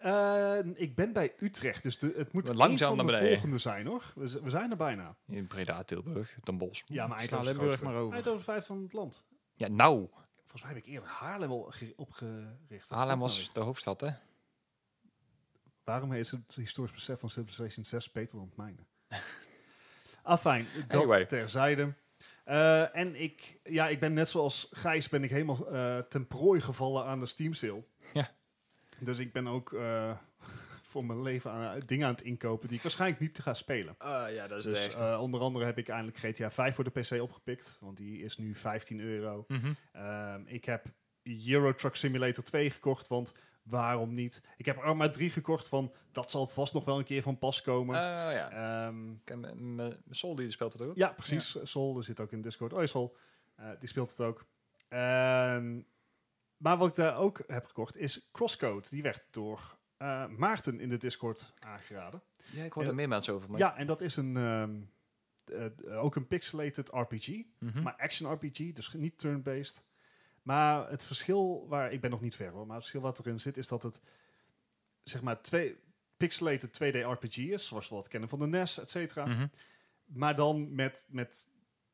eh, ik ben bij Utrecht, dus de, het moet Wat langzaam een van naar de beneden. Mm. volgende zijn, hoor. We, z- we zijn er bijna. In Breda, Tilburg, Den Bosch. Ja, maar Sla Eindhoven is Limburg grootste. maar over. Eindhoven is vijfde van het land. Ja, nou. Volgens mij heb ik eerder Haarlem al ge- opgericht. Haarlem Wat is dat nou was de hoofdstad, hè? weer? Waarom is het historisch besef van Civilization 6 beter dan het mijne? Afijn, dat Anyway. terzijde. Eh, en ik, ja, ik ben net zoals Gijs, ben ik helemaal eh, ten prooi gevallen aan de Steam sale. Ja. Dus ik ben ook eh, voor mijn leven aan, dingen aan het inkopen die ik waarschijnlijk niet ga spelen. ja, dat Dus eh, onder andere heb ik eindelijk GTA 5 voor de PC opgepikt, want die is nu 15 euro. eh, Mhm. Ehm, ik heb Euro Truck Simulator 2 gekocht, want waarom niet? Ik heb Arma 3 gekocht, van dat zal vast nog wel een keer van pas komen. Oh, ja. Ehm, Ik ken m- m- Sol die speelt het ook. ja, precies. Sol er zit ook in Discord. Oh, Sol, eh, die speelt het ook. Ehm, maar wat ik daar ook heb gekocht is Crosscode. Die werd door eh, Maarten in de Discord aangeraden. Ja, ik hoor er meer mensen over. Maar Ja, en dat is een, ehm, eh, ook een pixelated RPG. Mhm. maar action RPG, dus niet turn-based. Maar het verschil waar, ik ben nog niet ver hoor, maar het verschil wat erin zit is dat het zeg maar twee, pixelated 2D RPG is, zoals we dat kennen van de NES, et cetera. Mhm. Maar dan met, met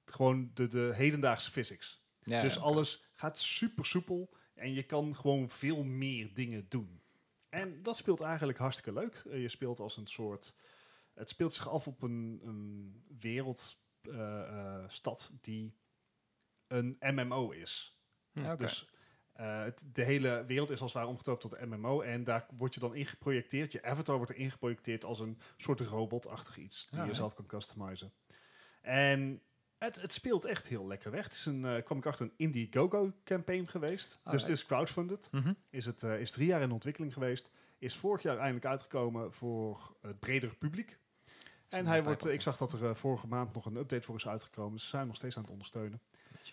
gewoon de, de hedendaagse physics. Ja, dus ja. alles gaat super soepel en je kan gewoon veel meer dingen doen. En dat speelt eigenlijk hartstikke leuk. Eh, je speelt als een soort. Het speelt zich af op een, een wereldstad die een MMO is. Ja, oké. Dus eh, het, de hele wereld is als het ware omgetoond tot een MMO. En daar word je dan in geprojecteerd. Je avatar wordt erin geprojecteerd als een soort robotachtig iets. Die Ja, je Ah, ja. zelf kan customizen. En het, het speelt echt heel lekker weg. Het is een, eh, kwam ik achter, een Indiegogo-campaign geweest. dus het Alright. is crowdfunded. Mhm. Is, het, eh, is drie jaar in ontwikkeling geweest. Is vorig jaar eindelijk uitgekomen voor het bredere publiek. En hij wordt, eh, ik zag dat er eh, vorige maand nog een update voor is uitgekomen. Dus ze zijn hem nog steeds aan het ondersteunen.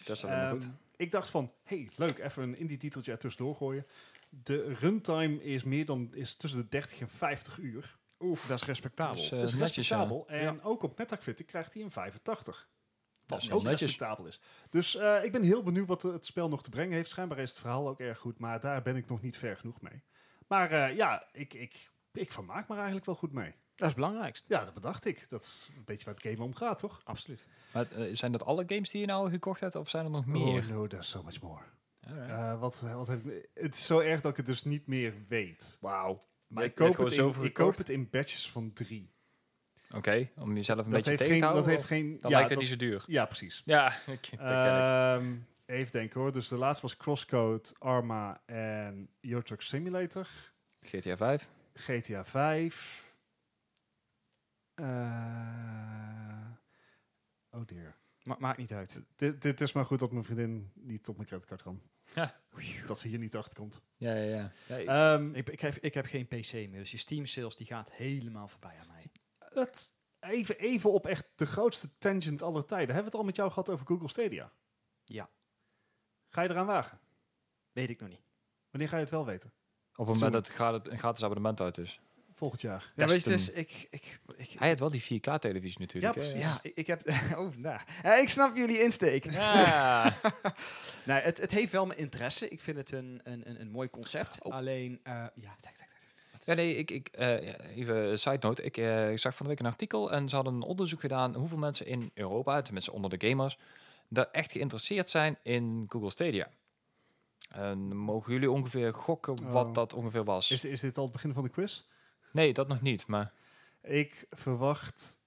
Dat is alleen maar Ehm, goed. Ik dacht van, hey, leuk, even een indie titeltje er tussendoor gooien. De runtime is meer dan is tussen de 30 en 50 uur. Oef, dat is respectabel. Dus, eh, Dat is netjes, ja. respectabel. En ook op Metacritic krijgt hij een 85. Dat Wat is ook heel netjes. respectabel is. Dus eh, ik ben heel benieuwd wat eh, het spel nog te brengen heeft. Schijnbaar is het verhaal ook erg goed, maar daar ben ik nog niet ver genoeg mee. Maar eh, ja, ik, ik, ik vermaak me er eigenlijk wel goed mee. Dat is het belangrijkste. Ja, dat bedacht ik. Dat is een beetje waar het game om gaat, toch? Absoluut. Maar, eh, zijn dat alle games die je nou gekocht hebt, of zijn er nog meer? Oh no, there's so much more. Alright. Eh, wat, wat heb ik, het is zo erg dat ik het dus niet meer weet. Wauw. Maar Je hebt ik koop, gewoon het zoveel in, ik gekocht. koop het in batches van drie. Oké, om jezelf een dat beetje heeft tegen geen, te houden. dat heeft of- geen. Dan ja, lijkt het dat- niet zo duur. ja, precies. Ja, ik- dat ken ik. Ehm, even denken hoor. Dus de laatste was Crosscode, Arma en Euro Truck Simulator. GTA 5. GTA 5. Eh, oh dear. Ma- maakt niet uit. Dit, dit is maar goed dat mijn vriendin niet op mijn creditcard kan. Ja. Dat ze hier niet achter komt. Ja, ja, ja. Ehm, Ik, ik, heb, ik heb geen PC meer, dus je Steam sales die gaat helemaal voorbij aan mij. het, even, even op echt de grootste tangent aller tijden. Hebben we het al met jou gehad over Google Stadia? Ja. Ga je eraan wagen? Weet ik nog niet. Wanneer ga je het wel weten? Op het moment dat het gra- een gratis abonnement uit is. Volgend jaar. Ja, weet je, Testen. dus ik... ik, ik Hij had wel die 4K-televisie natuurlijk. Ja, hè? precies. ja, ik, ik heb... Oh, nou. Eh, ik snap jullie insteek. Ja. Nee, het, het heeft wel mijn interesse. Ik vind het een, een, een, een mooi concept. Alleen, eh, ja, tak, tak, tak. Ja, nee, ik, ik, eh, ja, even een side note. Ik, eh, ik zag van de week een artikel en ze hadden een onderzoek gedaan hoeveel mensen in Europa, tenminste onder de gamers, daar echt geïnteresseerd zijn in Google Stadia. En mogen jullie ongeveer gokken wat Oh. dat ongeveer was? Is, is dit al het begin van de quiz? Nee, dat nog niet, maar Ik verwacht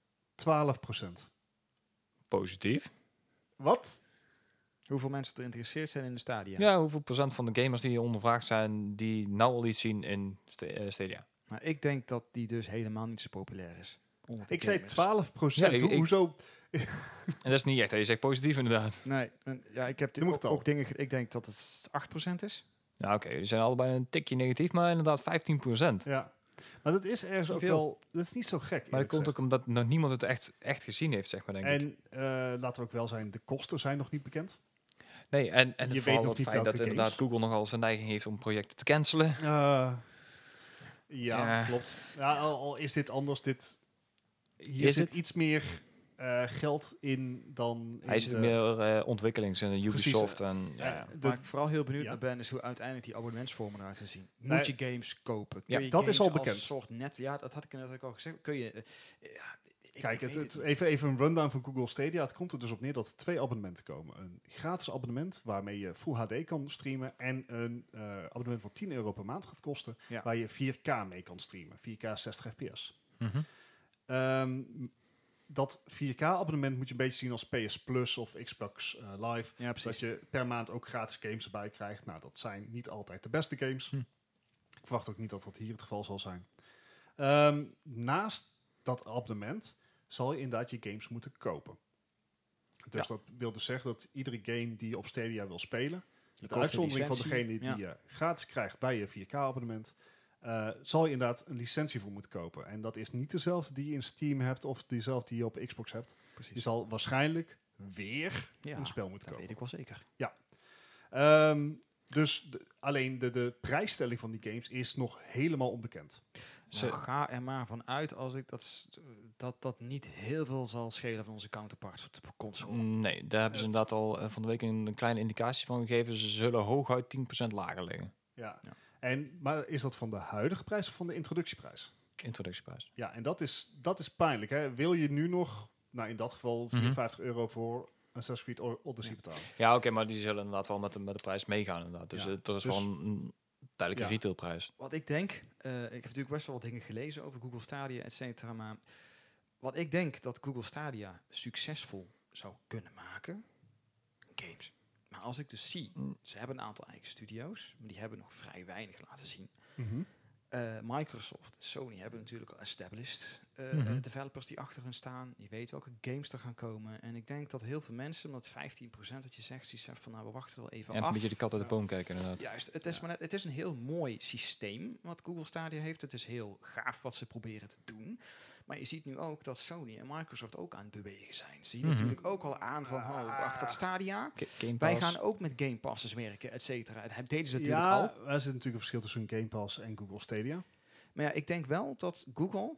12%. positief. Wat? Hoeveel mensen er geïnteresseerd zijn in de stadia? Ja. hoeveel procent van de gamers die ondervraagd zijn, die nou al iets zien in Sta- eh, Stadia? Maar ik denk dat die dus helemaal niet zo populair is. onder de Ik zei 12%. gamers. Ja, ik- Ho- ik- hoezo? En dat is niet echt, hè? je zegt positief inderdaad. Nee, en ja, ik heb dit Noem ook, het al. ook dingen... ge- Ik denk dat het 8% is. Nou oké, die zijn allebei een tikje negatief, maar inderdaad 15 Ja. Maar dat is ergens Zo ook veel. wel... Dat is niet zo gek. Maar dat eerlijk komt ook gezegd. omdat nog niemand het echt, echt gezien heeft, zeg maar, denk ik. En eh, laten we ook wel zijn, de kosten zijn nog niet bekend. Nee, en, en je Je weet weet nog het niet feit dat welke inderdaad games. Google nogal zijn neiging heeft om projecten te cancelen. Eh, ja, Ja. klopt. Ja, al, al is dit anders, dit... Hier Is zit het? iets meer eh, geld in dan... in Hij zit de- meer eh, ontwikkelings en Ubisoft Precies, en ja. eh, Waar de- ik vooral heel benieuwd Ja. naar ben, is hoe uiteindelijk die abonnementsvormen eruit gaan zien. Moet Nee. je games kopen? Ja, Kun je dat is games al als bekend. een soort net, ja, dat had ik net al gezegd. Kun je... eh, ja, ik- Kijk, ik het, weet het- niet. even, even een rundown van Google Stadia. Het komt er dus op neer dat er twee abonnementen komen. Een gratis abonnement waarmee je Full HD kan streamen. En een eh, abonnement wat 10 euro per maand gaat kosten. Ja. Waar je 4K mee kan streamen. 4K 60 fps. Mhm. Ehm, dat 4K abonnement moet je een beetje zien als PS Plus of Xbox eh, Live. Ja, Dat precies. je per maand ook gratis games erbij krijgt. Nou, dat zijn niet altijd de beste games. Hm. Ik verwacht ook niet dat dat hier het geval zal zijn. Ehm, naast dat abonnement zal je inderdaad je games moeten kopen. Dus dat wil dus zeggen dat iedere game die je op Stadia wil spelen, met koopt een uitzondering van licentie, degene die ja. je gratis krijgt bij je 4K-abonnement, eh, zal je inderdaad een licentie voor moeten kopen. En dat is niet dezelfde die je in Steam hebt of diezelfde die je op Xbox hebt. Je Precies. zal waarschijnlijk weer Dus Ja, eh, een spel moeten dat kopen. weet ik wel zeker. Ehm, dus de- alleen de, de prijsstelling van die games is nog helemaal onbekend. Ze- Nou, ga er maar van uit als ik dat, s- dat dat niet heel veel zal schelen van onze counterparts op de console. Nee, daar hebben ze Het- inderdaad al eh, van de week een, een kleine indicatie van gegeven. Ze zullen hooguit 10% lager liggen. Ja. Ja. En, maar is dat van de huidige prijs of van de introductieprijs? Introductieprijs. Ja, en dat is, dat is pijnlijk. Hè? Wil je nu nog, nou in dat geval, Mhm. 54 euro voor Assassin's Creed O- Odyssey betalen? Ja, oké, maar die zullen inderdaad wel met de, met de prijs meegaan inderdaad. Dus Ja. het- er is Dus- wel een, een tijdelijke Ja. retailprijs. Wat ik denk, eh, ik heb natuurlijk best wel wat dingen gelezen over Google Stadia, et cetera. Maar wat ik denk dat Google Stadia succesvol zou kunnen maken, games. Maar als ik dus zie, Mm. ze hebben een aantal eigen studio's, maar die hebben nog vrij weinig laten zien. Eh, Microsoft, Sony hebben natuurlijk al established eh, Mhm. eh, developers die achter hun staan. Je weet welke games er gaan komen. En ik denk dat heel veel mensen, omdat 15% wat je zegt, die zegt van nou we wachten wel even En een af. beetje de kat uit de Ja. boom kijken inderdaad. Juist, het is, maar net, het is een heel mooi systeem wat Google Stadia heeft. Het is heel gaaf wat ze proberen te doen. Maar je ziet nu ook dat Sony en Microsoft ook aan het bewegen zijn. Ze zien Mhm. natuurlijk ook al aan van, oh, wacht, dat Stadia. Ga- Game Wij Pass. gaan ook met Game Passes werken, et cetera. Dat deden ze natuurlijk Ja, al. er zit natuurlijk een verschil tussen Game Pass en Google Stadia. Maar ja, ik denk wel dat Google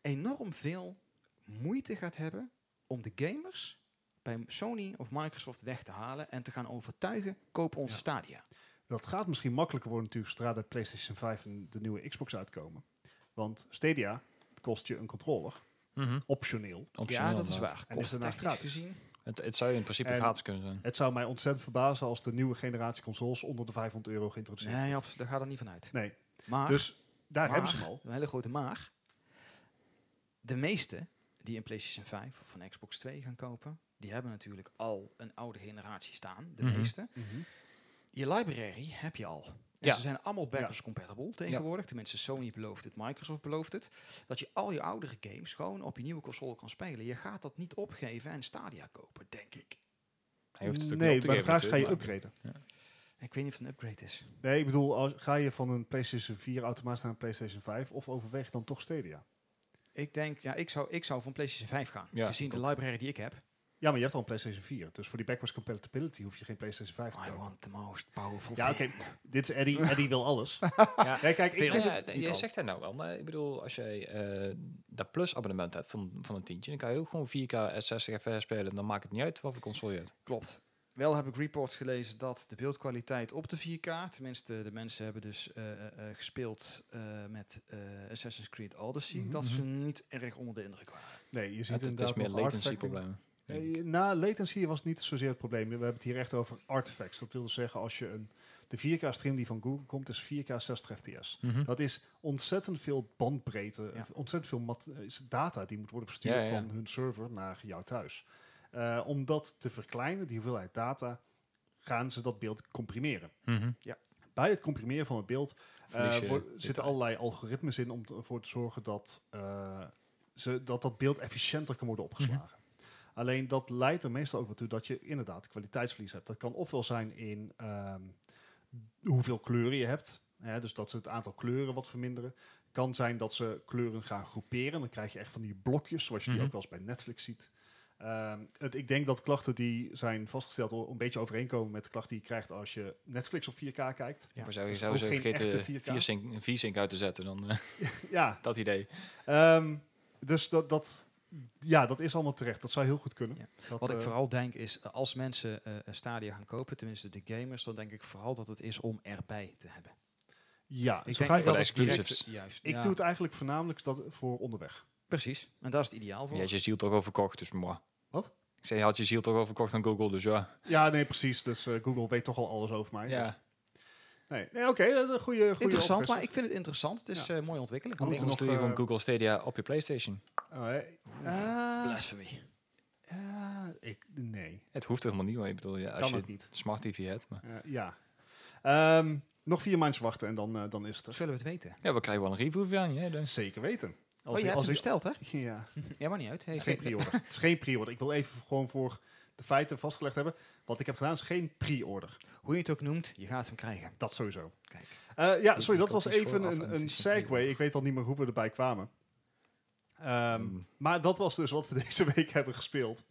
enorm veel moeite gaat hebben om de gamers bij Sony of Microsoft weg te halen en te gaan overtuigen, koop onze Ja. Stadia. Dat gaat misschien makkelijker worden natuurlijk zodra de PlayStation 5 en de nieuwe Xbox uitkomen. Want Stadia kost je een controller, Mhm. optioneel. Optioneel ja, dat is inderdaad. waar. En Kost is daarnaast gratis. gezien. Het, het zou je in principe En- gratis kunnen zijn. Het zou mij ontzettend verbazen als de nieuwe generatie consoles onder de 500 euro geïntroduceerd Nee, wordt. absoluut. Daar gaat er niet van uit. Nee, Maar, dus daar maar- hebben ze hem al. een hele grote maar, de meeste die een PlayStation 5 of een Xbox 2 gaan kopen, die hebben natuurlijk al een oude generatie staan, de Mhm. meeste. Je library heb je al. En Ja. ze zijn allemaal backwards compatible tegenwoordig. Tenminste, Sony belooft het, Microsoft belooft het. Dat je al je oudere games gewoon op je nieuwe console kan spelen. Je gaat dat niet opgeven en Stadia kopen, denk ik. Hij hoeft het ook nee, niet op te maar de geven vraag is, ga je natuurlijk, upgraden? Ik weet niet of het een upgrade is. Nee, ik bedoel, als, ga je van een PlayStation 4 automatisch naar een PlayStation 5? Of overweeg dan toch Stadia? Ik denk, ja, ik zou, ik zou van PlayStation 5 gaan. Ja, gezien de library die ik heb. Ja, maar je hebt al een PlayStation 4. Dus voor die backwards compatibility hoef je geen PlayStation 5 te I kopen. want the most powerful Ja, oké. thing. Dit is Eddie. Eddie wil alles. maar- Ja. Ja, kijk, ik Ja, vind het ja, niet jij al. zegt dat nou wel, maar ik bedoel, als jij eh dat plus abonnement hebt van, van een tientje, dan kan je ook gewoon eh, 4K en 60 FPS spelen. Dan maakt het niet uit wat voor console je hebt. Klopt. Wel heb ik reports gelezen dat de beeldkwaliteit op de 4K, tenminste de mensen hebben dus eh, eh, eh, gespeeld eh, met eh, Assassin's Creed Odyssey, Mhm, dat ze mhm. niet erg onder de indruk waren. Nee, je ziet Het, het inderdaad is meer nog latency artifacting. probleem. denk Eh, na latency was niet zozeer het probleem. We hebben het hier echt over artifacts. Dat wil dus zeggen, als je een, de 4K-stream die van Google komt, is 4K 60 fps. Mhm. Dat is ontzettend veel bandbreedte, Ja. ontzettend veel mat- eh, is data die moet worden verstuurd Ja, ja, ja. van hun server naar jou thuis. Eh, om dat te verkleinen, die hoeveelheid data, gaan ze dat beeld comprimeren. Mhm. Bij het comprimeren van het beeld eh, Verlies je wordt- detail. zitten allerlei algoritmes in om te- ervoor te zorgen dat, eh, ze, dat dat beeld efficiënter kan worden opgeslagen. Alleen dat leidt er meestal ook wel toe dat je inderdaad kwaliteitsverlies hebt. Dat kan ofwel zijn in ehm, hoeveel kleuren je hebt. Hè, dus dat ze het aantal kleuren wat verminderen. Kan zijn dat ze kleuren gaan groeperen. Dan krijg je echt van die blokjes, zoals je Mhm. die ook wel eens bij Netflix ziet. Ehm, het, ik denk dat klachten die zijn vastgesteld o- een beetje overeenkomen met de klachten die je krijgt als je Netflix op 4K kijkt. Ja, Maar zou je dus zou ook ze geen vergeten echte 4K? V-sync een V-sync uit te zetten, dan eh, Ja, dat idee. Ehm, dus dat, dat, ja, dat is allemaal terecht. Dat zou heel goed kunnen. Ja. Dat, Wat ik eh, vooral denk is, eh, als mensen eh, een Stadia gaan kopen, tenminste de gamers, dan denk ik vooral dat het is om erbij te hebben. ja, ik, Ik denk ga ik, wel wel dat de het direct- exclusives. Juist, ik ja, doe het eigenlijk voornamelijk dat voor onderweg. Precies, en daar is het ideaal voor. Je had je ziel toch overkocht, dus moi. Wat? Ik zei, je had je ziel toch overkocht aan Google, dus ja. Ja, nee, precies. Dus eh, Google weet toch al alles over mij. Dus, Nee, nee oké, dat is een goede, goede interessant, oplossing. maar ik vind het interessant. Het is Ja. eh, mooi ontwikkeld. We Anders moeten nog, doe je gewoon eh, Google Stadia op je Playstation. Oh, eh, eh, Blasphemy. eh, ik, nee, Het hoeft helemaal niet, maar ik bedoel, ja, als kan je ook niet. smart TV hebt. Maar. Eh, ja. Ehm, nog vier maanden wachten en dan, eh, dan is het er. Zullen we het weten? Ja, we krijgen wel een review van je, dus. Zeker weten. Als oh, ik- je als hebt het ik, besteld, hè? ja. Ja, maar niet uit. Hey, Het is geen ge- pre-order. het is geen pre-order. Ik wil even gewoon voor de feiten vastgelegd hebben. Wat ik heb gedaan is geen pre-order. hoe je het ook noemt, je gaat hem krijgen. Dat sowieso. Kijk. Eh, ja, Ik- sorry, dat ik was had iets even vooraf en het een, is een een segue. Ik weet al niet meer hoe we erbij kwamen. Ehm, Hmm. Maar dat was dus wat we deze week hebben gespeeld.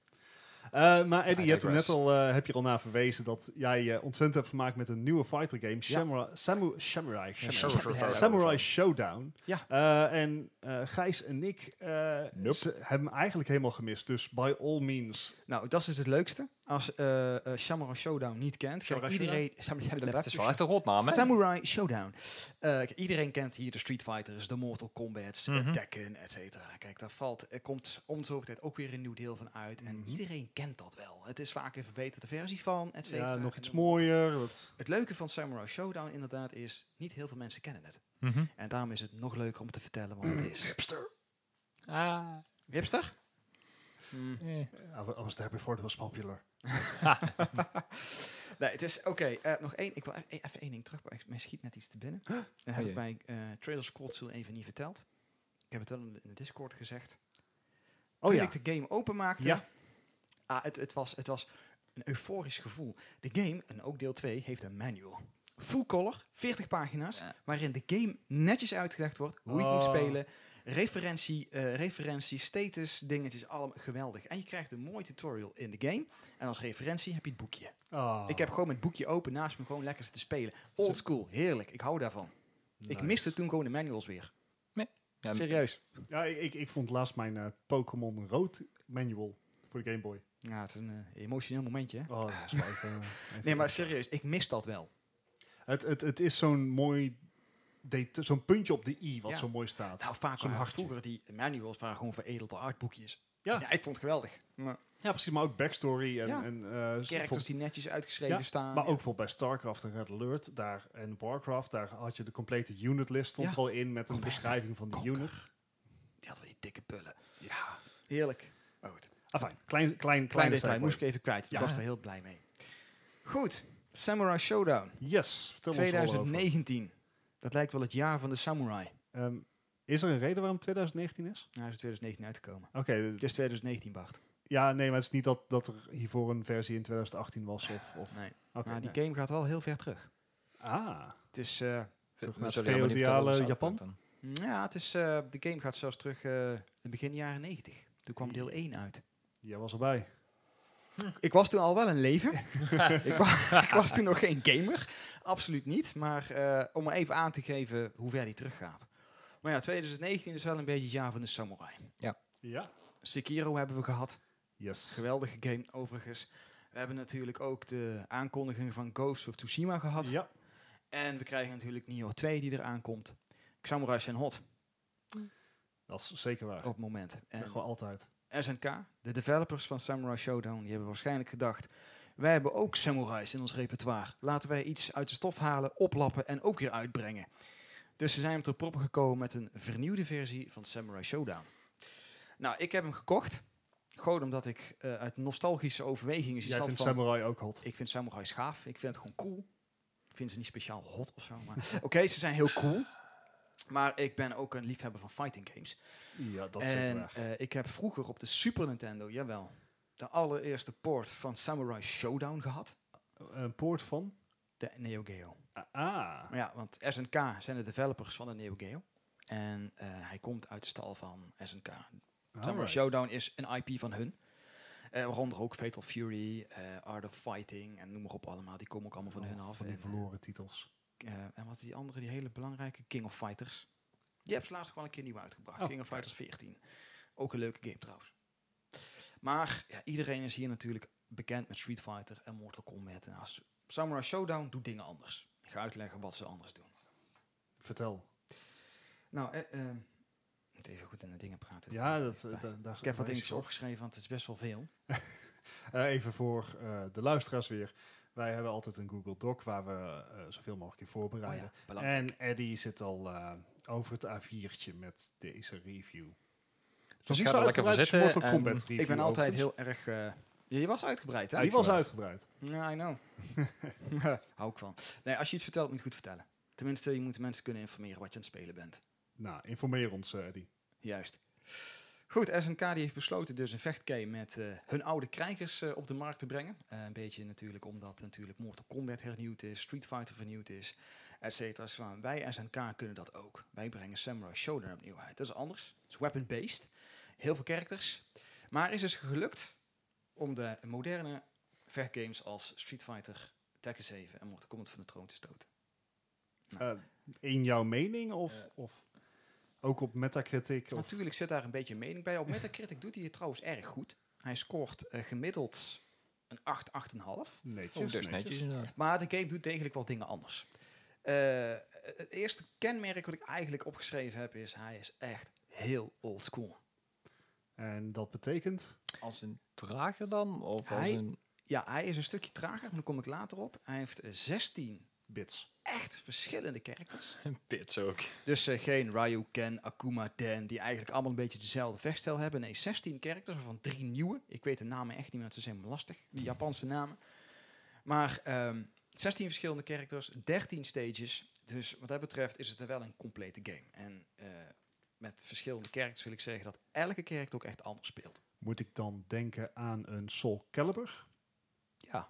Eh, maar Eddie, je hebt er net Ah, digress. al, eh, heb je er al naar verwezen dat jij je ontzettend hebt vermaakt met een nieuwe fighter game, Shamura- Samu- Samurai, Ja, Samurai, Samurai. Samurai Showdown. Ja. Eh, en eh, Gijs en ik eh, Nope. ze hebben hem eigenlijk helemaal gemist. Dus by all means, Nou, dat is dus het leukste. Als eh eh Samurai Showdown niet kent, Samurai kijk, iedereen... Samurai, Het is wel echt een rotnaam, hè? Samurai Showdown. Eh, kijk, iedereen kent hier de Street Fighters, de Mortal Kombat's, eh, Mhm. Tekken, et cetera. Kijk, daar valt, er komt om de zoveel tijd ook weer een nieuw deel van uit. En Mhm. iedereen kent dat wel. Het is vaak een verbeterde versie van, et cetera. ja, nog iets En mooier. Wat, Het leuke van Samurai Showdown inderdaad is, niet heel veel mensen kennen het. Mhm. En daarom is het nog leuker om te vertellen wat Mm. het is. Ah, Hipster? Mm. eh. I wa- I was there before it was popular. Nee, het is oké. eh, nog één. Ik wil e- even één ding terug. maar Mij schiet net iets te binnen. Dat Oh heb jee. ik bij eh Trailers Cold Steel even niet verteld. Ik heb het wel in de- in de Discord gezegd. Oh Toen ja. ik de game openmaakte. Ja. Ah, het, het, was, het was een euforisch gevoel. De game, en ook deel 2, heeft een manual. Full color, 40 pagina's, Ja. waarin de game netjes uitgelegd wordt. Hoe je het Oh. moet spelen. Referentie, eh, referentie, status, dingetjes, allemaal geweldig. En je krijgt een mooi tutorial in de game. En als referentie heb je het boekje. Ah, Ik heb gewoon het boekje open naast me gewoon lekker zitten spelen. Old school, heerlijk. Ik hou daarvan. Ik nice. miste toen gewoon de manuals weer. Ja, Serieus. Ja, ik, ik, ik vond laatst mijn eh, Pokémon Rood manual voor de Game Boy. Ja, het is een eh, emotioneel momentje. hè? Oh, dat is wel even, eh, even- Nee, maar serieus, ik mis dat wel. Het, het, het is zo'n mooi... deta- Zo'n puntje op de i wat Ja. zo mooi staat. Nou, vaak Zo'n waren hartje. vroeger die manuals waren gewoon veredelde artboekjes. Ja. Ja. ik vond het geweldig. Maar Ja, precies. Maar ook backstory en... Ja. en eh, s- characters bijvoorbeeld- die netjes uitgeschreven Ja, staan. maar ook bijvoorbeeld bij StarCraft en Red Alert daar, en Warcraft, daar had je de complete unit list stond Ja. er al in met een Combat. beschrijving van die Conquer. unit. Die hadden we die dikke pullen. Ja. Heerlijk. Maar goed. Afijn, klein, klein, klein, Klein detail, detail. moest ik even kwijt. Ja. Ik was daar heel blij mee. Goed, Samurai Showdown Yes, vertel ons er allemaal over. 2019. Dat lijkt wel het jaar van de samurai. Ehm, is er een reden waarom 2019 is? Nou, is het 2019 uitgekomen. Oké, Het is 2019, Bart. ja, nee, maar het is niet dat, dat er hiervoor een versie in 2018 was. Of, of, Nee. Oké, maar die nee. game gaat wel heel ver terug. Ah, Het is, eh, Toch Dat met zullen we helemaal niet vertellen, feodale dus dat Japan? komt dan. ja, het is, eh, de game gaat zelfs terug eh, in het begin jaren 90. Toen kwam deel 1 uit. jij was erbij. Ik was toen al wel een leven. ik, wa- ik was toen nog geen gamer. Absoluut niet. Maar eh, om maar even aan te geven hoe ver die teruggaat. Maar ja, 2019 is wel een beetje het jaar van de samurai. Ja. Sekiro hebben we gehad. Yes. Geweldige game overigens. We hebben natuurlijk ook de aankondiging van Ghost of Tsushima gehad. Ja. En we krijgen natuurlijk Nioh 2 die eraan komt. Samurai zijn hot Dat is zeker waar. op eh, het moment. En Gewoon altijd. SNK, de developers van Samurai Showdown, die hebben waarschijnlijk gedacht... wij hebben ook samurais in ons repertoire. Laten wij iets uit de stof halen, oplappen en ook weer uitbrengen. Dus ze zijn hem ter proppen gekomen met een vernieuwde versie van Samurai Showdown. Nou, ik heb hem gekocht. Gewoon omdat ik eh, uit nostalgische overwegingen... Jij zat vindt van, Samurai ook hot. Ik vind samurai gaaf. Ik vind het gewoon cool. Ik vind ze niet speciaal hot of zo. Maar oké, ze zijn heel cool. Maar ik ben ook een liefhebber van fighting games. Ja, dat is zeker en waar. eh, ik heb vroeger op de Super Nintendo, jawel, de allereerste port van Samurai Showdown gehad. Een poort van? De Neo Geo. Ah. Maar ja, want SNK zijn de developers van de Neo Geo. En eh, hij komt uit de stal van SNK. Samurai alright. Showdown is een IP van hun. Eh, waaronder ook Fatal Fury, eh, Art of Fighting en noem maar op allemaal. Die komen ook allemaal van hun Oh, af. Van die En, eh, verloren titels. Eh, en wat is die andere, die hele belangrijke, King of Fighters. Die hebben ze laatst gewoon een keer nieuw uitgebracht. Oh, King of Fighters 14. Ook een leuke game trouwens. Maar ja, iedereen is hier natuurlijk bekend met Street Fighter en Mortal Kombat. En als Samurai Showdown doet dingen anders. Ik ga uitleggen wat ze anders doen. Vertel. Nou, eh, ehm, ik moet even goed in de dingen praten. Ja, Doet er dat, even eh, pijn. da- daar ik heb wat daar is dingetjes het op. opgeschreven, want het is best wel veel. Eh, even voor eh, de luisteraars weer. Wij hebben altijd een Google Doc waar we eh, zoveel mogelijk in Oh voorbereiden. ja, belangrijk. En Eddie zit al eh, over het A4'tje met deze review. Dus ik ga er lekker voor zitten. en- Eh, Ik ben altijd heel erg... eh, ja, je was uitgebreid, hè? Die was uitgebreid. Ja, I know. Hou ik van. Nee, als je iets vertelt, moet je het goed vertellen. Tenminste, je moet de mensen kunnen informeren wat je aan het spelen bent. Nou, informeer ons, eh, Eddie. Juist. Goed, SNK die heeft besloten dus een vechtgame met eh, hun oude krijgers eh, op de markt te brengen. Eh, een beetje natuurlijk omdat natuurlijk Mortal Kombat hernieuwd is, Street Fighter vernieuwd is, et cetera. Dus van, wij SNK kunnen dat ook. Wij brengen Samurai Showdown opnieuw uit. Dat is anders. Het is weapon-based. Heel veel characters. Maar is dus gelukt om de moderne vechtgames als Street Fighter, Tekken 7 en Mortal Kombat van de troon te stoten. Eh, in jouw mening of, Eh. of ook op Metacritic? Of, Natuurlijk zit daar een beetje mening bij. Op Metacritic doet hij het trouwens erg goed. Hij scoort eh, gemiddeld een 8, 8,5. netjes, Oh, dus netjes inderdaad. Maar de game doet degelijk wel dingen anders. Eh, het eerste kenmerk wat ik eigenlijk opgeschreven heb is... hij is echt heel old school. En dat betekent? Als een trager dan? Of als Hij- een... Ja, hij is een stukje trager, maar daar kom ik later op. Hij heeft eh, 16 Bits. echt verschillende characters. Een pits ook. Dus eh, geen Ryu, Ken, Akuma, Dan, die eigenlijk allemaal een beetje dezelfde vechtstijl hebben. Nee, 16 characters, waarvan drie nieuwe. Ik weet de namen echt niet meer, want ze zijn lastig, die Japanse namen. Maar ehm, 16 verschillende characters, 13 stages. Dus wat dat betreft is het wel een complete game. En eh, met verschillende characters wil ik zeggen dat elke character ook echt anders speelt. Moet ik dan denken aan een Soul Calibur? Ja,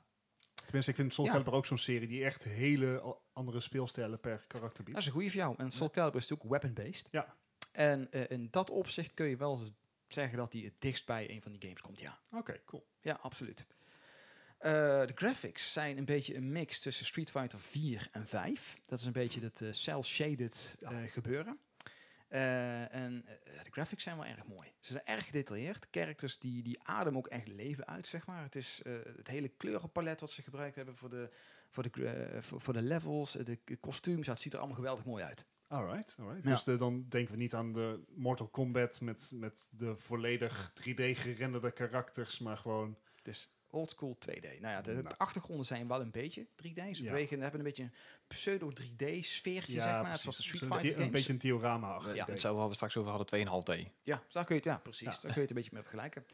Tenminste, ik vind Soul Ja. Calibur ook zo'n serie die echt hele al- andere speelstijlen per karakter dat is biedt. een goede voor jou. En Soul Calibur is natuurlijk weapon-based. Ja. En eh, in dat opzicht kun je wel z- zeggen dat hij het dichtst bij een van die games komt, ja. Oké, cool. Ja, absoluut. Eh, de graphics zijn een beetje een mix tussen Street Fighter 4 en 5. Dat is een beetje het eh, cel-shaded Ja. eh, gebeuren. Eh, en eh, de graphics zijn wel erg mooi. Ze zijn erg gedetailleerd. Characters die, die adem ook echt leven uit, zeg maar. Het is eh, het hele kleurenpalet wat ze gebruikt hebben voor de, voor de, gra- eh, voor, voor de levels, eh, de k- kostuums. Ja, het ziet er allemaal geweldig mooi uit. Alright, alright. Ja. Dus de- dan denken we niet aan de Mortal Kombat met, met de volledig 3D gerenderde karakters, maar gewoon... Dus oldschool 2D. Nou ja, de, de Nou. achtergronden zijn wel een beetje 3D. Ze Ja. bewegen, hebben een beetje een pseudo-3D-sfeertje, zeg maar. Net precies. Zoals de Street Zo'n di- Fighter games. Een beetje een diorama achter. Ja. Hetzelfde waar we straks over hadden, 2,5D. Ja, dus daar kun je het, ja precies. Ja. Daar kun je het een beetje mee vergelijken.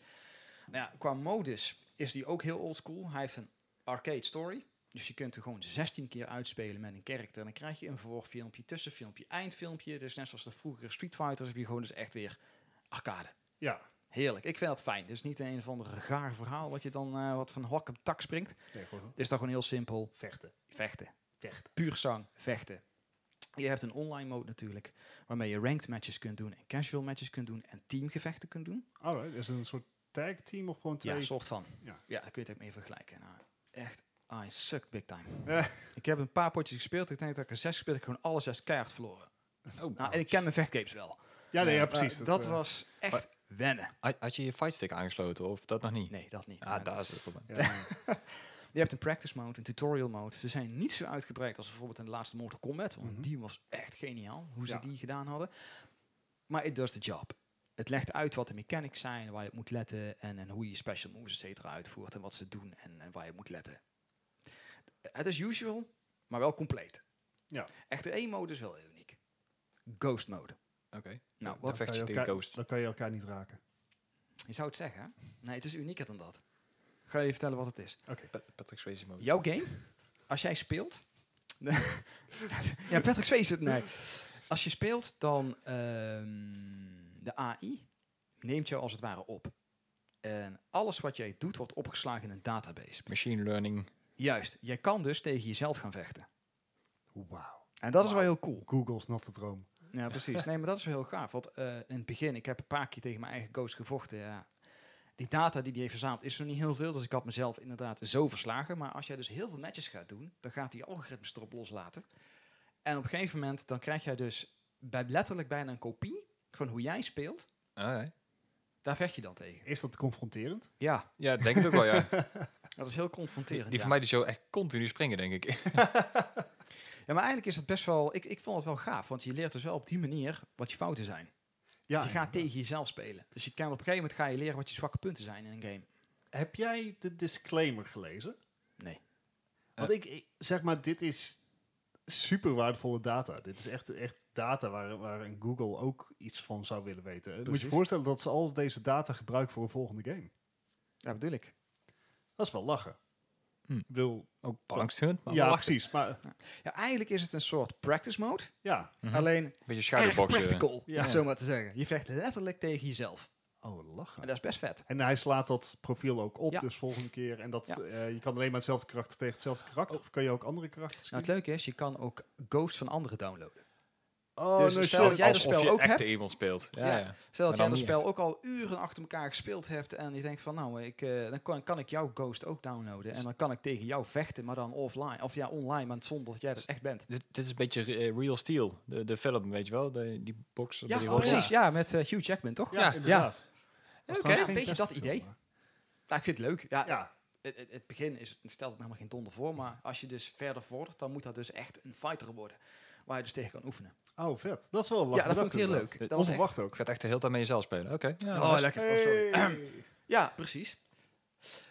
Nou ja, qua modus is die ook heel oldschool. Hij heeft een arcade story. Dus je kunt er gewoon 16 keer uitspelen met een character. En dan krijg je een vervolgfilmpje, tussenfilmpje, eindfilmpje. Dus net zoals de vroegere Street Fighters heb je gewoon dus echt weer arcade. Ja, Heerlijk. Ik vind dat fijn. Dus niet een of ander gaar verhaal wat je dan eh, wat van hok op tak springt. nee, gewoon Het is dan gewoon heel simpel. vechten. Vechten. Vechten. Puur zang. Vechten. Je hebt een online mode natuurlijk. Waarmee je ranked matches kunt doen. En casual matches kunt doen. En teamgevechten kunt doen. Alright, is het een soort tag team of gewoon twee? Ja, soort van. Ja. Ja, daar kun je het ook mee vergelijken. Nou, echt, I suck big time. Eh. Ik heb een paar potjes gespeeld. Ik denk dat ik er zes gespeeld heb. Ik heb gewoon alle zes keihard verloren. nou, en ik ken mijn vechtgames wel. ja, nee, ja, Maar precies. Dat, eh, was echt wennen. Had, had je je fightstick aangesloten of dat nog niet? Nee, dat niet. Ah, Maar daar is het probleem. ja. Je hebt een practice mode, een tutorial mode. Ze zijn niet zo uitgebreid als bijvoorbeeld in de laatste Mortal Kombat. Want Mhm. die was echt geniaal, hoe ze Ja. die gedaan hadden. Maar it does the job. Het legt uit wat de mechanics zijn, waar je op moet letten... en, en hoe je special moves et cetera uitvoert en wat ze doen en, en waar je op moet letten. Het is usual, maar wel compleet. Ja. Echter één mode is wel heel uniek. Ghost mode. Oké. Nou, Dan wat vecht kan je je tegen elkaar- Ghost. Dan kan je elkaar niet raken. je zou het zeggen, hè? Nee, het is unieker dan dat. Ik ga je vertellen wat het is. Pat- Patrick Swayze mode. Jouw game, als jij speelt. ja, Patrick Zwees het. Nee. Als je speelt, dan. ehm, de AI neemt jou als het ware op. En alles wat jij doet, wordt opgeslagen in een database. Machine learning. Juist, jij kan dus tegen jezelf gaan vechten. Wauw. En dat is wel Wauw. heel cool. Google's not the droom. Ja, precies. Nee, maar dat is wel heel gaaf. Want eh, in het begin, ik heb een paar keer tegen mijn eigen coach gevochten. Ja. Die data die die heeft verzameld is nog niet heel veel. Dus ik had mezelf inderdaad zo verslagen. Maar als jij dus heel veel matches gaat doen, dan gaat die algoritmes erop loslaten. En op een gegeven moment, dan krijg jij dus bij letterlijk bijna een kopie van hoe jij speelt. Alright. Daar vecht je dan tegen. Is dat confronterend? Ja, Ja, ik denk het ook wel, ja. dat is heel confronterend. Die ja. Oh, van mij die zo echt continu springen, denk ik. ja, maar eigenlijk is het best wel... Ik, ik vond het wel gaaf, want je leert dus wel op die manier wat je fouten zijn. Ja. je gaat tegen jezelf spelen. Dus je kan op een gegeven moment ga je leren wat je zwakke punten zijn in een game. Heb jij de disclaimer gelezen? Nee. Eh. Want ik, ik- zeg maar, dit is super waardevolle data. Dit is echt, echt data waar, waar een Google ook iets van zou willen weten. Eh, Moet je Precies. je voorstellen dat ze al deze data gebruiken voor een volgende game. Ja, bedoel ik. Dat is wel lachen. Hm. Ik bedoel, Ook angsthunt, maar ja, wel precies. Maar Ja, eigenlijk is het een soort practice mode. ja. Mhm. Alleen Beetje erg schaduwboxen. practical, Ja. om zo maar te zeggen. Je vecht letterlijk tegen jezelf. Oh, En lachen. dat is best vet. Nou, En hij slaat dat profiel ook op, Ja. dus volgende keer. En dat, Ja. Oh. eh, je kan alleen maar hetzelfde karakter tegen hetzelfde karakter. Of kan je ook andere karakters Nou, het kiezen? leuke is, je kan ook ghosts van anderen downloaden. Oh, dus no stel shit. dat jij- dat Alsof spel je ook echt hebt. tegen iemand speelt. Ja, ja. Ja. Stel dat Maar jij dan dat niet spel echt. ook al uren achter elkaar gespeeld hebt en je denkt van nou, ik, eh, dan kan, kan ik jouw ghost ook downloaden. En dan kan ik tegen jou vechten, maar dan offline. Of ja, online, maar zonder dat jij dat echt bent. Dit, dit is een beetje eh, Real Steel, de, de film, weet je wel? De, die boxer. Ja, die oh, robot. precies. Ja, met eh, Hugh Jackman, toch? Ja, Ja. inderdaad. Ja, oké. trouwens een geen beetje beste film, Nou, ik vind het leuk. Ja, Ja, Het, het, het begin is, het stelt het helemaal geen donder voor. Maar als je dus verder vordert, dan moet dat dus echt een fighter worden. Waar je dus tegen kan oefenen. oh vet. Dat is wel Ja, dat vond ik heel leuk. Dat was echt- Onverwacht ook. Ik werd echt de hele tijd met jezelf spelen. Oké. Ja, Oh, nice. lekker. Oh, sorry. Ja, precies.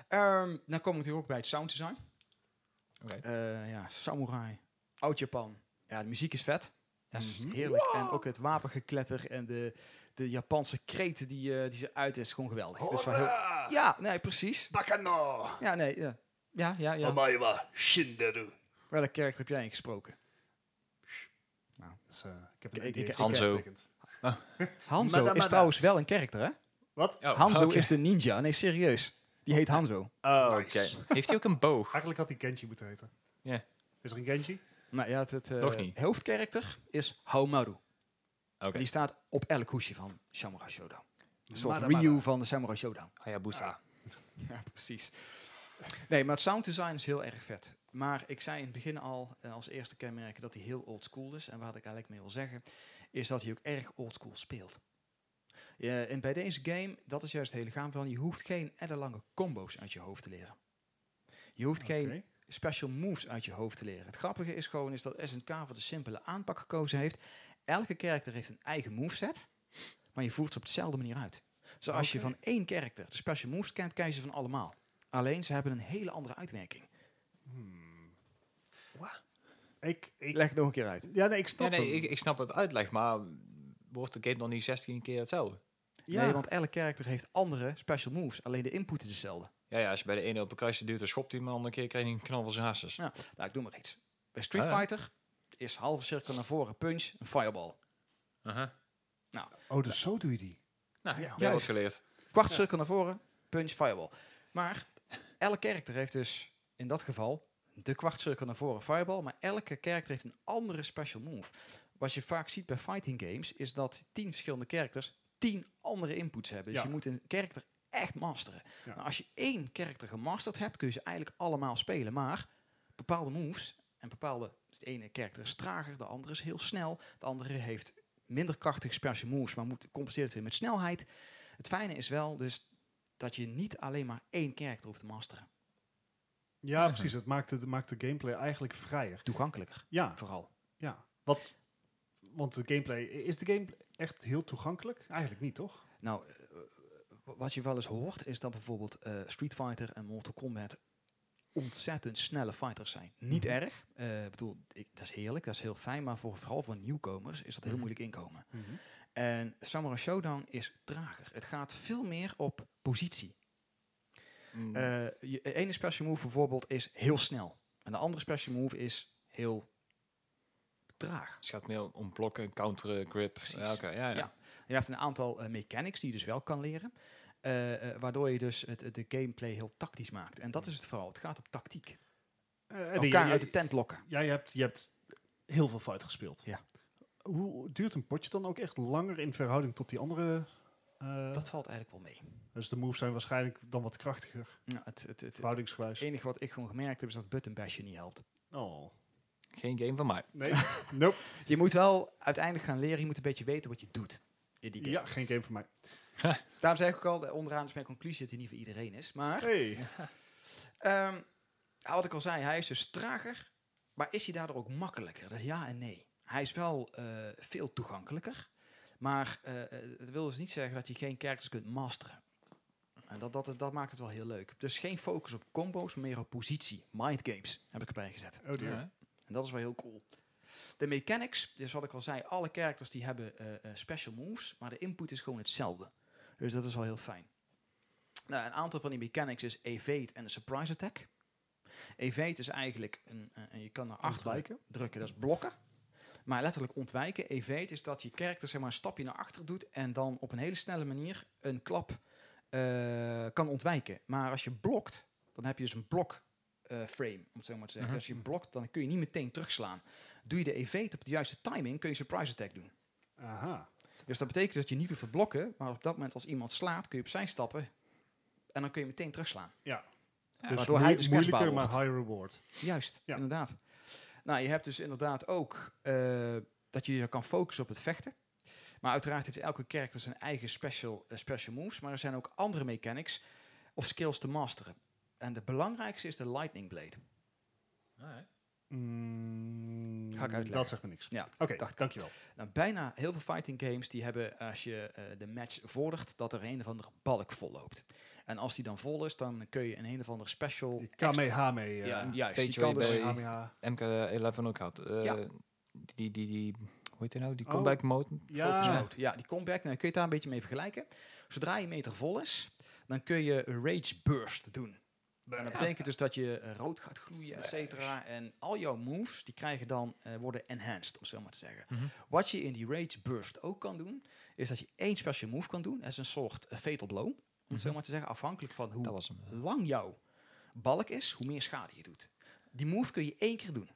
Ehm, dan komen we natuurlijk ook bij het sounddesign. Oké. Eh, ja, samurai, oud-Japan. Ja, de muziek is vet. Ja, is Mhm. heerlijk. En ook het wapengekletter en de, de Japanse kreten die, eh, die ze uit is gewoon geweldig. Dat is wel heel- Hola! Ja, nee, precies. Bakano! Ja, nee, ja. Ja, ja, ja. Omae wa Shinderu. Welke karakter heb jij ingesproken? Dus, eh, ik heb Ik- een ik- NDA ik- Hanzo. getekend. Hanzo Mada, is mada. trouwens wel een karakter, hè? Wat? Oh, Hanzo oké. is de ninja. Nee, serieus. Die heet Hanzo. Oh, oké. Nice. Heeft hij ook een boog? Eigenlijk had hij Kenji moeten heten. Ja. Is er een Kenji? Nou ja, het, het eh, Nog niet. hoofdkarakter is Haumaru. Oké. Die staat op elk hoesje van Samurai Shodown. Een soort Mada, Ryu mada. van de Samurai Shodown. Ah, Ah, Hayabusa. Ja, precies. Nee, maar het sounddesign is heel erg vet. Maar ik zei in het begin al eh, als eerste kenmerken dat hij heel oldschool is. En waar ik eigenlijk mee wil zeggen, is dat hij ook erg oldschool speelt. Ja, en bij deze game, dat is juist het hele gaan van, je hoeft geen ellenlange combo's uit je hoofd te leren. Je hoeft geen Oké. special moves uit je hoofd te leren. Het grappige is gewoon is dat SNK voor de simpele aanpak gekozen heeft. Elke character heeft een eigen moveset, maar je voert ze op dezelfde manier uit. Dus als je Oké. van één character de special moves kent, ken je ze van allemaal. Alleen ze hebben een hele andere uitwerking. Hmm. Ik, ik, leg het nog een keer uit. ja, nee, ik snap Ja, nee, hem. ik, ik snap het uitleg, maar wordt de game dan niet 16 keer hetzelfde? Ja. Nee, want elk character heeft andere special moves. Alleen de input is hetzelfde. Ja, ja, als je bij de ene op een kruisje duwt, dan schopt hij hem. En de andere keer kreeg hij een knal van zijn hasses. Ja. Nou, ik doe maar iets. Bij Street Ah, ja. Fighter is halve cirkel naar voren, punch, een fireball. Aha. Oh, dus zo doe je die. Uh-huh. Nou, Ja, ja, ben je wat juist. geleerd. Kwart cirkel naar voren, punch, fireball. Maar elk character heeft dus in dat geval de kwart cirkel naar voren, fireball. Maar elke character heeft een andere special move. Wat je vaak ziet bij fighting games is dat tien verschillende characters tien andere inputs hebben. Dus Ja. je moet een character echt masteren. Ja. Nou, als je één character gemasterd hebt, kun je ze eigenlijk allemaal spelen. Maar bepaalde moves en bepaalde... dus De ene character is trager, de andere is heel snel. De andere heeft minder krachtig special moves, maar moet compenseert het weer met snelheid. Het fijne is wel dus dat je niet alleen maar één character hoeft te masteren. Ja, precies. Het maakt, het maakt de gameplay eigenlijk vrijer. Toegankelijker, Ja, vooral. ja. Wat, want de gameplay... Is de game echt heel toegankelijk? Eigenlijk niet, toch? Nou, eh, eh, wat je wel eens hoort is dat bijvoorbeeld eh, Street Fighter en Mortal Kombat ontzettend snelle fighters zijn. Niet erg. eh, ik bedoel, ik, dat is heerlijk, dat is heel fijn, maar voor, vooral voor nieuwkomers is dat heel Mhm. moeilijk inkomen. En Samurai Showdown is trager. Het gaat veel meer op positie. Mm. Eh, je de ene special move bijvoorbeeld is heel snel. En de andere special move is heel traag. het gaat meer om blokken, counteren, grip. Precies. Ja, oké, ja, ja. Ja. Je hebt een aantal eh, mechanics die je dus wel kan leren. eh, eh, waardoor je dus het, het- de gameplay heel tactisch maakt. En dat is het vooral. Het gaat op tactiek. Eh, en je- Elkaar je- uit de tent lokken. Ja, je hebt, je hebt heel veel fight gespeeld. Ja. Hoe duurt een potje dan ook echt langer in verhouding tot die andere? eh, Dat valt eigenlijk wel mee. Dus de moves zijn waarschijnlijk dan wat krachtiger, Ja, het, het, het, het verhoudingsgewijs. enige wat ik gewoon gemerkt heb is dat button bashje niet helpt. Oh, Geen game van mij. nee. nope. Je moet wel uiteindelijk gaan leren. Je moet een beetje weten wat je doet. In die game. Ja, geen game voor mij. Daarom zeg ik ook al, eh, onderaan is mijn conclusie dat hij niet voor iedereen is. Maar Hey. Oh, Ehm, ja, wat ik al zei, hij is dus trager, maar is hij daardoor ook makkelijker? Dat is ja en nee. Hij is wel eh, veel toegankelijker, maar eh, eh, het wil dus niet zeggen dat je geen characters kunt masteren. En dat, dat, dat maakt het wel heel leuk. Dus geen focus op combo's, maar meer op positie. Mind games heb ik erbij gezet. Oh dear. Ja. En dat is wel heel cool. De mechanics, dus wat ik al zei, alle characters die hebben eh, eh, special moves, maar de input is gewoon hetzelfde. Dus dat is wel heel fijn. Nou, een aantal van die mechanics is evade en een surprise attack. Evade is eigenlijk, een, eh, en je kan naar achteren Ontwijken. drukken, dat is blokken. Maar letterlijk ontwijken, evade is dat je character zeg maar, een stapje naar achter doet en dan op een hele snelle manier een klap eh, kan ontwijken. Maar als je blokt, dan heb je dus een blok eh, frame, om het zo maar te zeggen. Mhm. Als je blokt, dan kun je niet meteen terugslaan. Doe je de evade op de juiste timing, kun je surprise attack doen. Aha. Dus dat betekent dat je niet hoeft te blokken, maar op dat moment als iemand slaat, kun je opzij stappen en dan kun je meteen terugslaan. Ja. Ja, dus waardoor hij moe- dus moeilijker, kwetsbaar maar wordt. high reward. Juist, Ja. inderdaad. Nou, je hebt dus inderdaad ook eh, dat je je kan focussen op het vechten. Maar uiteraard heeft elke character zijn eigen special, eh, special moves. Maar er zijn ook andere mechanics of skills te masteren. En de belangrijkste is de Lightning Blade. Alright. Mm, Ga ik uitleggen. Dat zegt me niks. Ja, Oké, dacht ik. dankjewel. Nou, bijna heel veel fighting games die hebben, als je eh, de match vordert, dat er een of andere balk vol loopt. En als die dan vol is, dan kun je een, een of andere special... Die extra- Kamehame. eh, Ja, juist. Weet Die je kan wat je dus, bij- Kameha- MK11 ook had. eh, Ja. Die, die, die, hoe heet die nou? Die Oh. comeback mode. focus Ja, mode. Ja, die comeback, nou, kun je het daar een beetje mee vergelijken. Zodra je meter vol is, dan kun je Rage Burst doen. En dat betekent dus dat je eh, rood gaat gloeien, et cetera. En al jouw moves, die krijgen dan, eh, worden enhanced, om zo maar te zeggen. Mhm. Wat je in die Rage Burst ook kan doen, is dat je één special move kan doen. Dat is een soort eh, fatal blow, om het zo Mhm. maar te zeggen. Afhankelijk van hoe Dat was hem. lang jouw balk is, hoe meer schade je doet. Die move kun je één keer doen.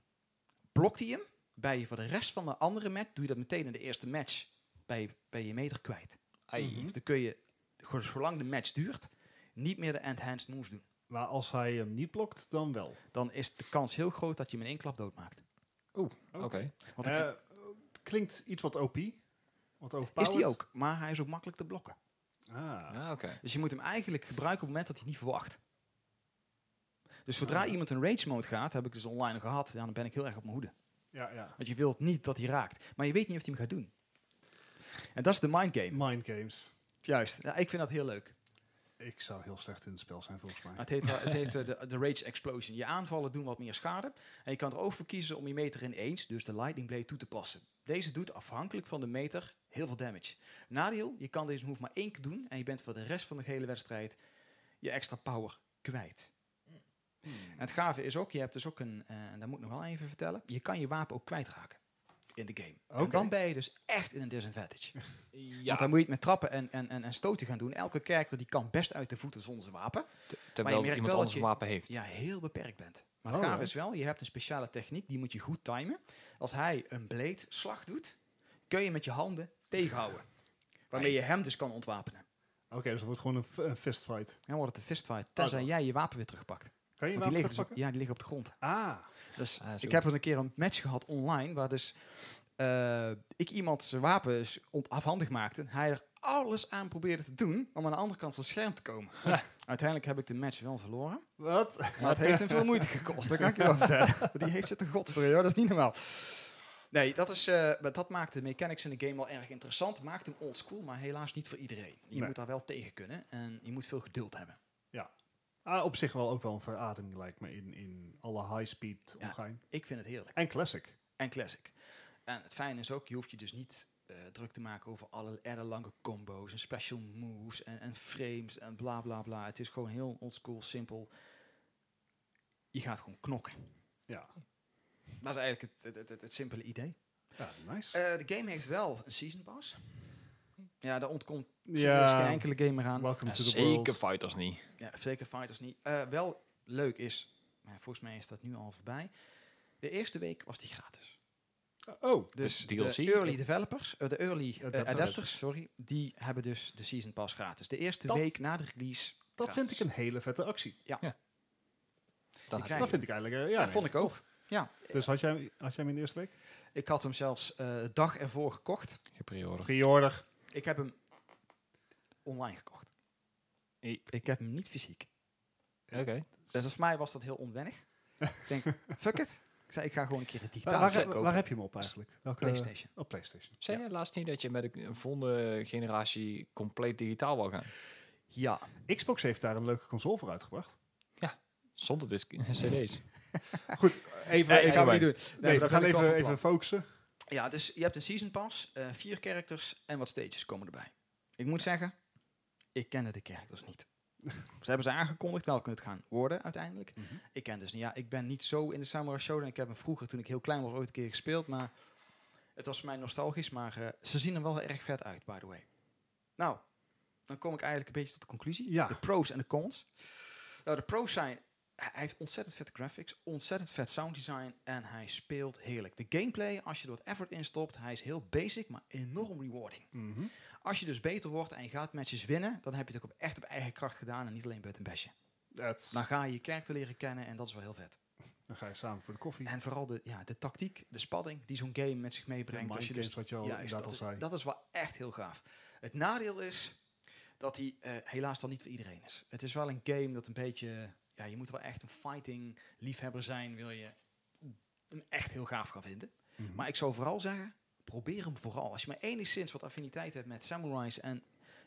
Blokt hij hem, bij je voor de rest van de andere match, doe je dat meteen in de eerste match bij, bij je meter kwijt. Ai. Mhm. Dus dan kun je, gewoon zolang de match duurt, niet meer de enhanced moves doen. maar als hij hem niet blokt, dan wel. Dan is de kans heel groot dat je hem in één klap doodmaakt. Oké. Want dan- Eh, klinkt iets wat OP. Wat is overpowered. die ook, maar hij is ook makkelijk te blokken. Ah. Ah, oké. Dus je moet hem eigenlijk gebruiken op het moment dat hij het niet verwacht. Dus zodra Ah. iemand in rage mode gaat, heb ik dus online gehad, ja, dan ben ik heel erg op mijn hoede. Ja, ja. Want je wilt niet dat hij raakt. Maar je weet niet of hij hem gaat doen. En dat is de mind game. Mind games. Juist. Ja, ik vind dat heel leuk. Ik zou heel slecht in het spel zijn, volgens mij. Het heeft, het heeft eh, de, de Rage Explosion. Je aanvallen doen wat meer schade. En je kan er ook voor kiezen om je meter in eens, dus de Lightning Blade, toe te passen. Deze doet afhankelijk van de meter heel veel damage. Nadeel, je kan deze move maar één keer doen en je bent voor de rest van de hele wedstrijd je extra power kwijt. En Hmm. het gave is ook, je hebt dus ook een, eh, en dat moet ik nog wel even vertellen, je kan je wapen ook kwijtraken in de game. En Oké. dan ben je dus echt in een disadvantage. Ja, Want dan moet je het met trappen en, en, en, en stoten gaan doen. Elke character die kan best uit de voeten zonder zijn wapen. terwijl merkt iemand wel anders dat een je- wapen heeft. Ja, heel beperkt bent. Maar het Oh, gave ja. is wel, je hebt een speciale techniek, die moet je goed timen. Als hij een blade slag doet, kun je met je handen tegenhouden. Waarmee je hem dus kan ontwapenen. Oké, dus dat wordt gewoon een, f- een fistfight. Dan wordt het een fistfight, tenzij jij je wapen weer terugpakt. Kan je hem Want die liggen, dus- terugpakken? ja, die liggen op de grond. Ah, Dus Ah, zo. ik heb er een keer een match gehad online, waar dus eh, ik iemand zijn wapens on- afhandig maakte. Hij er alles aan probeerde te doen om aan de andere kant van het scherm te komen. Uiteindelijk heb ik de match wel verloren. wat? Maar het heeft hem veel moeite gekost, dat kan ik je wel vertellen. Die heeft het een god voor, joh. dat is niet normaal. Nee, dat, is, eh, maar dat maakt de mechanics in de game wel erg interessant. Maakt hem oldschool, maar helaas niet voor iedereen. Je Nee. moet daar wel tegen kunnen en je moet veel geduld hebben. Ah, op zich wel ook wel een verademing lijkt me in, in alle high-speed Ja. omgaan. Ik vind het heerlijk. En classic. En classic. En het fijne is ook, je hoeft je dus niet eh, druk te maken over alle ellenlange combo's en special moves en, en frames en bla bla bla. Het is gewoon heel oldschool, simpel. Je gaat gewoon knokken. Ja, Dat is eigenlijk het- het- het, het simpele idee. ja nice. Eh, de game heeft wel een season pass. Ja, daar ontkomt serieus geen ja, enkele game meer aan. welcome Ja, to the world. zeker fighters niet. Ja, zeker Fighters niet. Eh, wel leuk is, maar volgens mij is dat nu al voorbij. De eerste week was die gratis. Oh, Dus De DLC? de early developers, eh, de early eh, Adapters. adapters, sorry, die hebben dus de season pass gratis. De eerste Dat- week na de release. dat vind gratis. ik een hele vette actie. Dan Ik had- Dat vind ik eigenlijk... eh, ja, Ja, nee, vond ik ook. tof. Ja, Dus had jij, had jij hem in de eerste week? ik had hem zelfs eh, de dag ervoor gekocht. geprioriteerd. Pre-order. Ik heb hem online gekocht. Hey. Ik heb hem niet fysiek. Oké. Dus volgens mij was dat heel onwennig. ik denk, fuck it. Ik zei, ik ga gewoon een keer het digitaal Waar, waar, kopen. waar, waar heb je hem op eigenlijk? Welke, PlayStation. Op PlayStation. Zei jij laatst niet dat je met een volgende generatie compleet digitaal wil gaan? Ja. Xbox heeft daar een leuke console voor uitgebracht. Zonder disc cd's. Goed, even... Nee, ik even ga het anyway. niet doen. nee, maar we dat gaan ben ik wel even, van even focussen. plan. Ja, dus je hebt een season pass, eh, vier characters en wat stages komen erbij. Ik moet zeggen, ik kende de characters niet. ze hebben ze aangekondigd welke het gaan worden uiteindelijk. Mhm. Ik ken dus niet. Ja, ik ben niet zo in de Samurai Shodown. Ik heb hem vroeger, toen ik heel klein was, ooit een keer gespeeld. Maar het was voor mij nostalgisch. Maar eh, ze zien er wel erg vet uit, by the way. Nou, dan kom ik eigenlijk een beetje tot de conclusie. Ja. De pros en de cons. Nou, de pros zijn... Hij hij heeft ontzettend vette graphics, ontzettend vet sounddesign en hij speelt heerlijk. De gameplay, als je er wat effort in stopt, hij is heel basic, maar enorm rewarding. Mhm. Als je dus beter wordt en je gaat matches winnen, dan heb je het ook op- echt op eigen kracht gedaan en niet alleen met een besje. Dat- Dan ga je je kerk te leren kennen en dat is wel heel vet. Dan ga je samen voor de koffie. En vooral de, ja, de tactiek, de spanning die zo'n game met zich meebrengt. als dat je je dus- games, wat je al, ja, is inderdaad dat, al is- zei. dat is wel echt heel gaaf. Het nadeel is dat hij eh, helaas dan niet voor iedereen is. Het is wel een game dat een beetje... Ja, je moet wel echt een fighting liefhebber zijn, wil je hem echt heel gaaf gaan vinden. Mhm. Maar ik zou vooral zeggen, probeer hem vooral. Als je maar enigszins wat affiniteit hebt met samurais en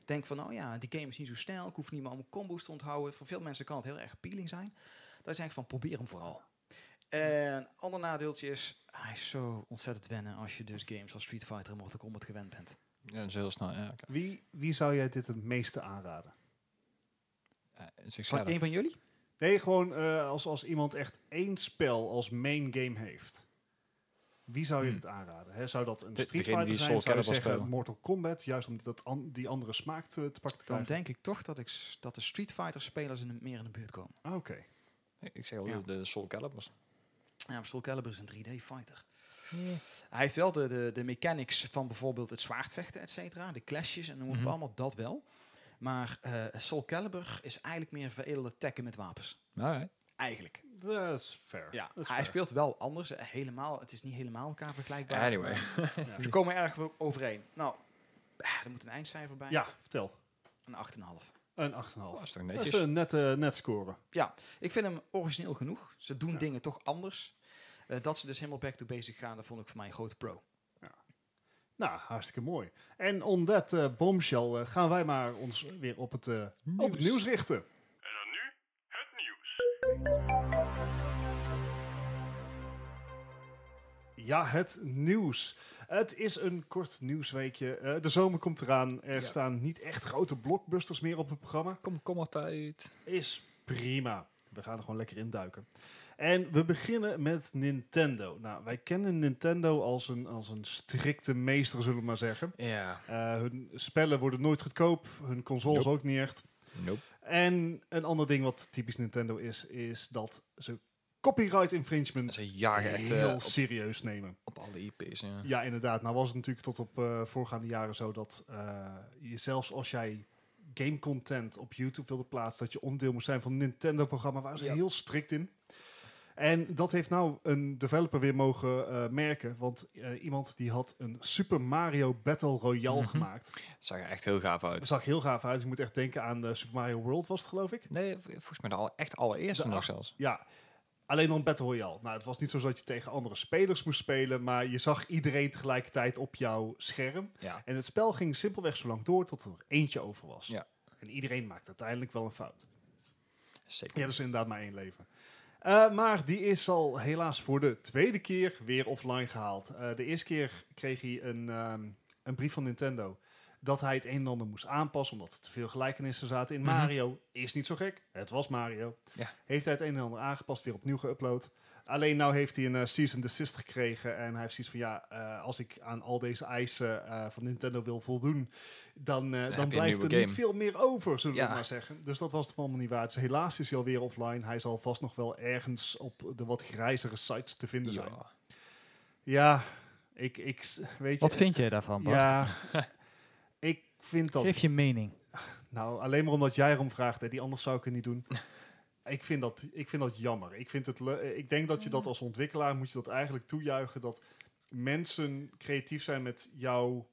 denk van, nou ja, die game is niet zo snel, ik hoef niet meer allemaal combo's te onthouden. Voor veel mensen kan het heel erg appealing zijn. Dan zeg ik van, probeer hem vooral. En ander nadeeltje is, hij is zo ontzettend wennen als je dus games als Street Fighter en Mortal Kombat gewend bent. Ja, dat is heel snel. Ja, oké. wie, wie zou jij dit het meeste aanraden? Eh, zichzelf. Van een van jullie? Nee, gewoon eh, als, als iemand echt één spel als main game heeft. Wie zou je Hmm. dit aanraden? Hè, zou dat een De- Street degene Fighter die zijn? Soul Zou je Calibur zeggen spelen. Mortal Kombat? Juist om dat an- die andere smaak te, te pakken te Dan krijgen. denk ik toch dat, ik, s- dat de Street Fighter spelers in de- meer in de buurt komen. Ah, Oké. Ik ik zeg al, Ja. de Soul Calibers. Ja, maar Soul Calibur is een 3D fighter. Hij heeft wel de, de, de mechanics van bijvoorbeeld het zwaardvechten, et cetera. De clashes en noem het Mhm. allemaal, dat wel. Maar eh, Soul Calibur is eigenlijk meer veredelde tekken met wapens. Alright. Eigenlijk. Dat is fair. Ja, Dat is hij fair. speelt wel anders. eh, Helemaal, het is niet helemaal elkaar vergelijkbaar. Anyway. maar Ze komen erg wel overeen. Nou, eh, er moet een eindcijfer bij. Ja, vertel. Een 8,5. Een 8,5. Oh, Dat is toch is netjes? een net, eh, net score. Ik vind hem origineel genoeg. Ze doen Ja. dingen toch anders. Eh, dat ze dus helemaal back to basic gaan, dat vond ik voor mij een grote pro. Nou, hartstikke mooi. En on that eh, bombshell eh, gaan wij maar ons weer op het, eh, Op het nieuws richten. En dan nu het nieuws. Ja, het nieuws. Het is een kort nieuwsweekje. Eh, de zomer komt eraan. Er Ja. staan niet echt grote blockbusters meer op het programma. Kom, kom maar tijd. Is prima. We gaan er gewoon lekker induiken. En we beginnen met Nintendo. Nou, wij kennen Nintendo als een, als een strikte meester, zullen we maar zeggen. Ja. Eh, hun spellen worden nooit goedkoop. Hun consoles ook niet echt. Nope. En een ander ding wat typisch Nintendo is, is dat ze copyright infringement Ze jagen echt eh, heel op, serieus nemen. op alle IP's. Ja. Ja, inderdaad. Nou was het natuurlijk tot op eh, voorgaande jaren zo dat eh, je zelfs als jij game content op YouTube wilde plaatsen, dat je onderdeel moest zijn van een Nintendo-programma, waren ze Ja. heel strikt in. En dat heeft nou een developer weer mogen eh, merken, want eh, iemand die had een Super Mario Battle Royale Mhm. gemaakt. Zag er echt heel gaaf Dat uit. zag heel gaaf uit. Je moet echt denken aan eh, Super Mario World was het, geloof ik. Nee, v- volgens mij de al, echt allereerste De nog acht- zelfs. Ja, alleen dan Battle Royale. Nou, het was niet zo dat je tegen andere spelers moest spelen, maar je zag iedereen tegelijkertijd op jouw scherm. Ja. En het spel ging simpelweg zo lang door tot er nog eentje over was. Ja. En iedereen maakt uiteindelijk wel een fout. Zeker. Je hebt dus inderdaad maar één leven. Eh, maar die is al helaas voor de tweede keer weer offline gehaald. Eh, de eerste keer kreeg hij een, ehm, een brief van Nintendo dat hij het een en ander moest aanpassen omdat er te veel gelijkenissen zaten in Mhm. Mario. Is niet zo gek, het was Mario. Ja. Heeft hij het een en ander aangepast, weer opnieuw geüpload. Alleen nou heeft hij een eh, cease and desist gekregen en hij heeft zoiets van ja, eh, als ik aan al deze eisen eh, van Nintendo wil voldoen, dan, eh, heb je dan een blijft nieuwe er niet game. veel meer over, zullen we Ja. maar zeggen. Dus dat was het allemaal niet waard. Dus helaas is hij alweer offline. Hij zal vast nog wel ergens op de wat grijzere sites te vinden zijn. Ja. Ja, ik, ik s- weet je... Wat vind jij daarvan, Bart? Ja, ik vind dat... Geef je mening. Nou, alleen maar omdat jij erom vraagt, hè, die anders zou ik het niet doen. ik, vind dat, ik vind dat jammer. Ik, vind het le- ik denk dat je dat als ontwikkelaar moet je dat eigenlijk toejuichen dat mensen creatief zijn met jouw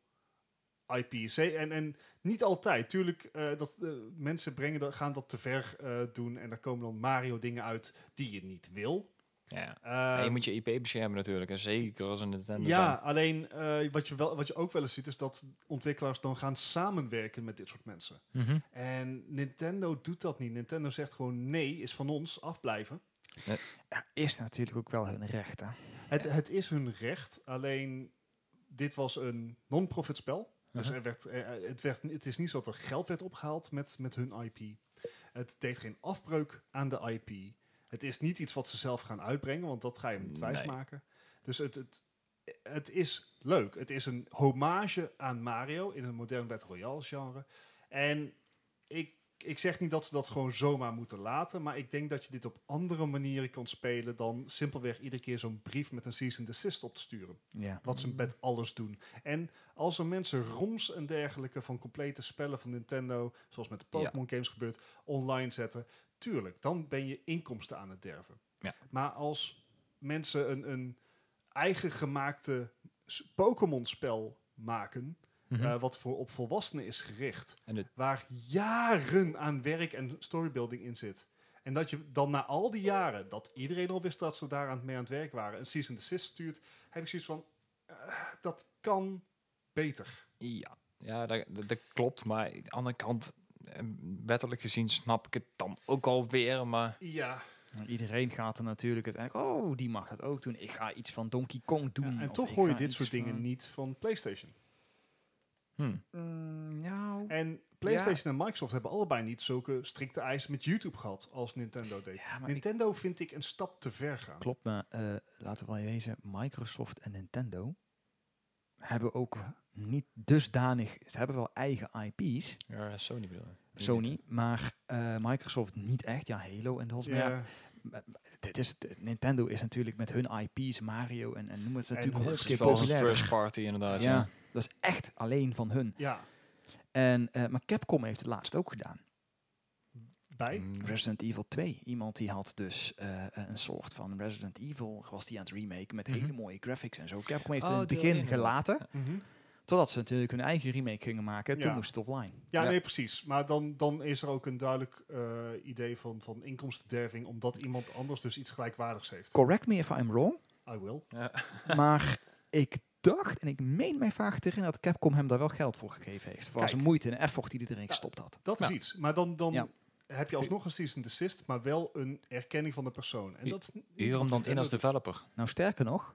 IP. Ze- En, en niet altijd. Tuurlijk, eh, dat, eh, mensen brengen dat, gaan dat te ver eh, doen en daar komen dan Mario dingen uit die je niet wil. Ja. Eh, Ja, je moet je IP beschermen natuurlijk. En zeker als een Nintendo. ja, zijn. alleen eh, wat, je wel, wat je ook wel eens ziet is dat ontwikkelaars dan gaan samenwerken met dit soort mensen. Mhm. En Nintendo doet dat niet. Nintendo zegt gewoon nee, is van ons, afblijven. Ja, is natuurlijk ook wel hun recht, hè. Het, het is hun recht, alleen dit was een non-profit spel. Dus Mhm. er werd, eh, eh, het, werd, het is niet zo dat er geld werd opgehaald met, met hun IP. Het deed geen afbreuk aan de IP. Het is niet iets wat ze zelf gaan uitbrengen, want dat ga je hem niet wijs Nee. maken. Dus het, het, het is leuk. Het is een hommage aan Mario in een modern Battle Royale genre. En ik, ik zeg niet dat ze dat gewoon zomaar moeten laten, maar ik denk dat je dit op andere manieren kan spelen dan simpelweg iedere keer zo'n brief met een cease and desist op te sturen. Ja. Wat ze met alles doen. En als er mensen roms en dergelijke van complete spellen van Nintendo, zoals met de Pokémon games gebeurt, online zetten, tuurlijk, dan ben je inkomsten aan het derven. Ja. Maar als mensen een, een eigen gemaakte s- Pokémon spel maken, Mhm. eh, wat voor op volwassenen is gericht, En de- waar jaren aan werk en storybuilding in zit. En dat je dan na al die jaren, dat iedereen al wist dat ze daar aan het mee aan het werk waren, een cease and desist stuurt, heb ik zoiets van, eh, dat kan beter. Ja, ja dat, dat, dat klopt. Maar aan de andere kant, eh, wettelijk gezien, snap ik het dan ook alweer. Maar Ja, Nou, Iedereen gaat er natuurlijk uiteindelijk... Oh, die mag dat ook doen. Ik ga iets van Donkey Kong doen. en of toch ik hoor je ga dit iets soort dingen van- niet van PlayStation. hm. Mm, nou... En PlayStation en Microsoft hebben allebei niet zulke strikte eisen met YouTube gehad als Nintendo deed. Ja, maar ik- Nintendo vind ik een stap te ver gaan. Klopt, maar eh, laten we wel wezen, Microsoft en Nintendo hebben ook niet dusdanig, ze hebben wel eigen IP's, ja, Sony bedoel ik. Sony, maar eh, Microsoft niet echt. Ja, Halo en dat. Ja, maar Ja. dit is, het- Nintendo is natuurlijk met hun IP's, Mario en, en noem het natuurlijk nog honderd Het keer is wel een populairder. first party inderdaad. Ja. Ja, dat is echt alleen van hun. ja, En, eh, maar Capcom heeft het laatst ook gedaan. bij. Mm, Resident Evil 2. Iemand die had dus eh, een soort van Resident Evil, was die aan het remake met Mhm. hele mooie graphics en zo. Capcom heeft Oh, het in die het begin inderdaad. gelaten. Mhm. Totdat ze natuurlijk hun eigen remake gingen maken. Ja. Toen moest het offline. Ja, Ja. nee, precies. Maar dan, dan is er ook een duidelijk eh, idee van, van inkomstenderving, omdat iemand anders dus iets gelijkwaardigs heeft. Correct me if I'm wrong. I will. maar ik dacht, en ik meen mij vaak te herinneren, dat Capcom hem daar wel geld voor gegeven heeft. Voor Kijk. zijn moeite en effort die hij erin gestopt had. Dat is iets. Maar dan, dan Ja. heb je alsnog een cease and desist, maar wel een erkenning van de persoon. En I- dat is niet Huur hem dan wat in als Nintendo doet. developer. Nou, sterker nog,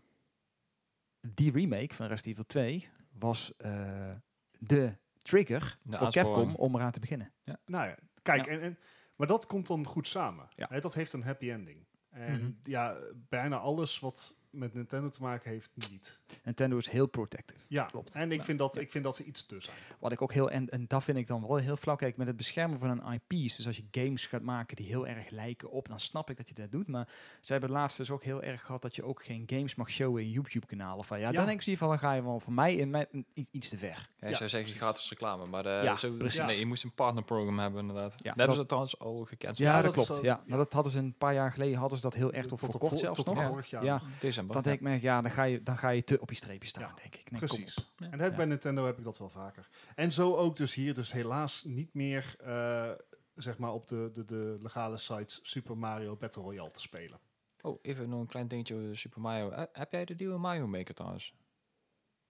die remake van Resident Evil 2 was eh, de trigger De voor aansporing. Capcom om eraan te beginnen. Nou ja, kijk, Ja. En, en, maar dat komt dan goed samen. Ja. Hè, dat heeft een happy ending. En Mhm. ja, bijna alles wat met Nintendo te maken heeft, niet. Nintendo is heel protective. Ja, Klopt. en ik Ja. vind, dat, ik vind dat ze iets tussen. Wat ik ook heel, en, en dat vind ik dan wel heel flauw, kijk, met het beschermen van een IP's, dus als je games gaat maken die heel erg lijken op, dan snap ik dat je dat doet, maar ze hebben het laatst dus ook heel erg gehad dat je ook geen games mag showen in YouTube-kanalen. Van ja, Ja. dan denk ik zie van, dan ga je wel voor mij in mijn, in iets, iets te ver. Ja, je Ja, zou zeggen gratis reclame, maar eh, Ja, zo, precies. nee, je moest een partnerprogramma hebben inderdaad. Ja, dat, hebben dat- is het trouwens al gekend. Ja, dat, dat is klopt. al- ja. Maar dat hadden ze een paar jaar geleden hadden ze dat heel erg tot, Tot voor op kort vo- zelfs tot nog. op vorig jaar Ja, nog. December. dan denk ik, me, ja, dan ga je, dan ga je te op je streepje staan, Ja, denk ik. Nee, kom Precies. op. Ja. En dat heb ik Ja. bij Nintendo heb ik dat wel vaker. En zo ook dus hier dus helaas niet meer eh, zeg maar op de, de, de legale sites Super Mario Battle Royale te spelen. Oh, even nog een klein dingetje over Super Mario. Eh, heb jij de nieuwe Mario Maker trouwens?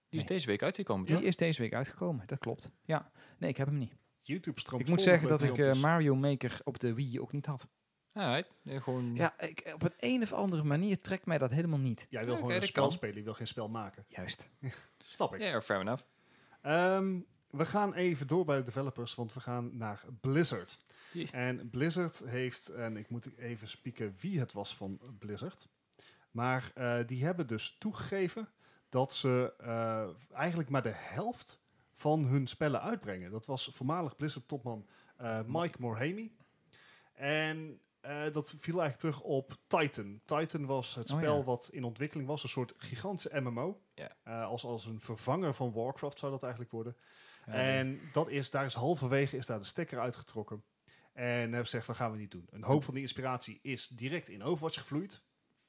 Die is Nee. deze week uitgekomen, Die toch? is deze week uitgekomen, dat klopt. Ja, nee, ik heb hem niet. YouTube stroomt ik moet vol met zeggen dat leuke ik eh, filmpjes. Mario Maker op de Wii ook niet had. Ja, right. Eh, gewoon... Ja, ik, op een een of andere manier trekt mij dat helemaal niet. Jij wil Ja, gewoon oké, een dat spel kan. spelen, je wil geen spel maken. Juist. Snap ik. Ja, fair enough. Ehm, we gaan even door bij de developers, want we gaan naar Blizzard. Jee. En Blizzard heeft, en ik moet even spieken wie het was van Blizzard. Maar eh, die hebben dus toegegeven dat ze eh, eigenlijk maar de helft van hun spellen uitbrengen. Dat was voormalig Blizzard-topman eh, Mike Morhaime. En eh, dat viel eigenlijk terug op Titan. Titan was het Oh spel ja. wat in ontwikkeling was, een soort gigantische MMO. Ja. Eh, als, als een vervanger van Warcraft zou dat eigenlijk worden. Ja, Eh, En dat is, daar is halverwege is daar de stekker uitgetrokken. En hebben ze gezegd, dat gaan we niet doen. Een hoop van die inspiratie is direct in Overwatch gevloeid.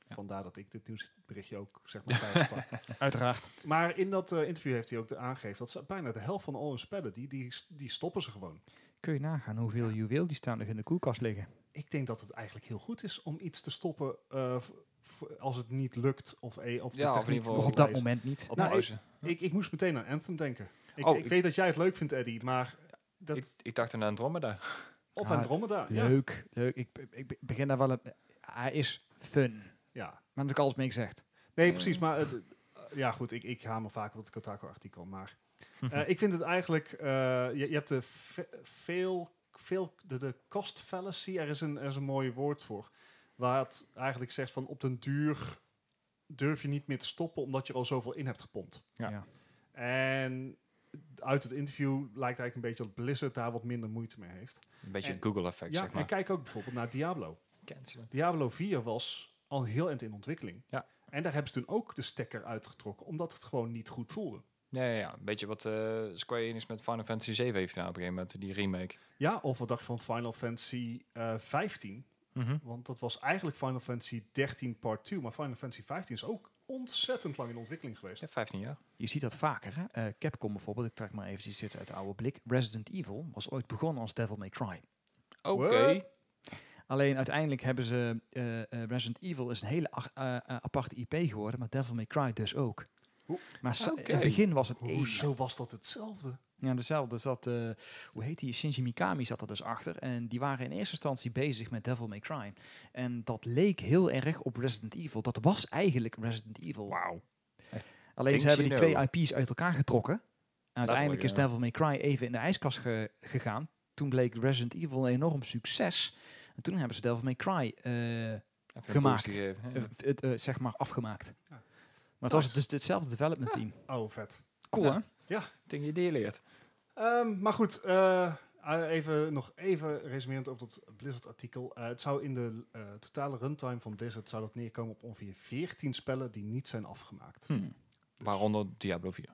Ja. Vandaar dat ik dit nieuwsberichtje ook zeg maar bij heb gepakt. Uiteraard. Maar in dat eh, interview heeft hij ook de aangegeven dat ze bijna de helft van al hun spellen, die, die, die stoppen ze gewoon. Kun je nagaan hoeveel juweel die staan nog in de koelkast liggen. Ik denk dat het eigenlijk heel goed is om iets te stoppen eh, v- v- als het niet lukt of, eh, of de Ja, of in techniek ieder geval Nog erop op dat wijst. moment niet. Op Nou, pauze. Ik, ik moest meteen aan Anthem denken. Ik, Oh, ik ik- weet dat jij het leuk vindt, Eddie, maar dat, ik, ik dacht aan Andromeda. of Ah, Andromeda. Ja. Leuk, leuk. Ik, be- ik be- begin daar wel... Een, hij is fun. ja. Maar daar heb ik alles mee gezegd. Nee, Eh, precies, maar het, eh, ja goed, ik, ik hamer vaak op het Kotaku-artikel, maar Mhm. eh, ik vind het eigenlijk, eh, je, je hebt de ve- veel, veel de, de cost fallacy, er is, een, er is een mooi woord voor, waar het eigenlijk zegt van op den duur durf je niet meer te stoppen omdat je er al zoveel in hebt gepompt. Ja. En uit het interview lijkt eigenlijk een beetje dat Blizzard daar wat minder moeite mee heeft. Een beetje En- het Google-effect, Ja, zeg en maar. kijk ook bijvoorbeeld naar Diablo. Cancelen. Diablo 4 was al heel eind in ontwikkeling. Ja. En daar hebben ze toen ook de stekker uitgetrokken, omdat het gewoon niet goed voelde. Ja, ja, ja. Een beetje wat eh, Square Enix met Final Fantasy 7 heeft gedaan op een gegeven moment, die remake. Ja, of wat dacht je van Final Fantasy eh 15? Mhm. Want dat was eigenlijk Final Fantasy 13 Part 2, maar Final Fantasy 15 is ook ontzettend lang in ontwikkeling geweest. Ja, 15 jaar. Je ziet dat vaker. Hè? Eh, Capcom bijvoorbeeld, ik trek maar eventjes dit uit de oude blik. Resident Evil was ooit begonnen als Devil May Cry. Oké. What? Alleen uiteindelijk hebben ze... eh, eh, Resident Evil is een hele ach- eh, eh, aparte IP geworden, maar Devil May Cry dus ook. Hoe- Maar sa- Oké. in het begin was het één. Hoezo was dat hetzelfde? Ja, dezelfde zat... eh, hoe heet die? Shinji Mikami zat er dus achter. En die waren in eerste instantie bezig met Devil May Cry. En dat leek heel erg op Resident Evil. Dat was eigenlijk Resident Evil. Wauw. Alleen ze Things hebben die you twee know. IP's uit elkaar getrokken. En uiteindelijk is ja. Devil May Cry even in de ijskast ge- gegaan. Toen bleek Resident Evil een enorm succes. En toen hebben ze Devil May Cry eh, Even een Gemaakt. boost gegeven. Ja. eh, het, eh, zeg maar afgemaakt. Ja. Maar het was Nice. dus hetzelfde development team. Oh, vet. Cool, Ja. hè? Ding je die je leert. Ehm, maar goed, eh, eh, even, nog even resumerend op dat Blizzard-artikel. Eh, het zou in de eh, totale runtime van Blizzard zou dat neerkomen op ongeveer 14 spellen die niet zijn afgemaakt. Hmm. Waaronder Diablo 4.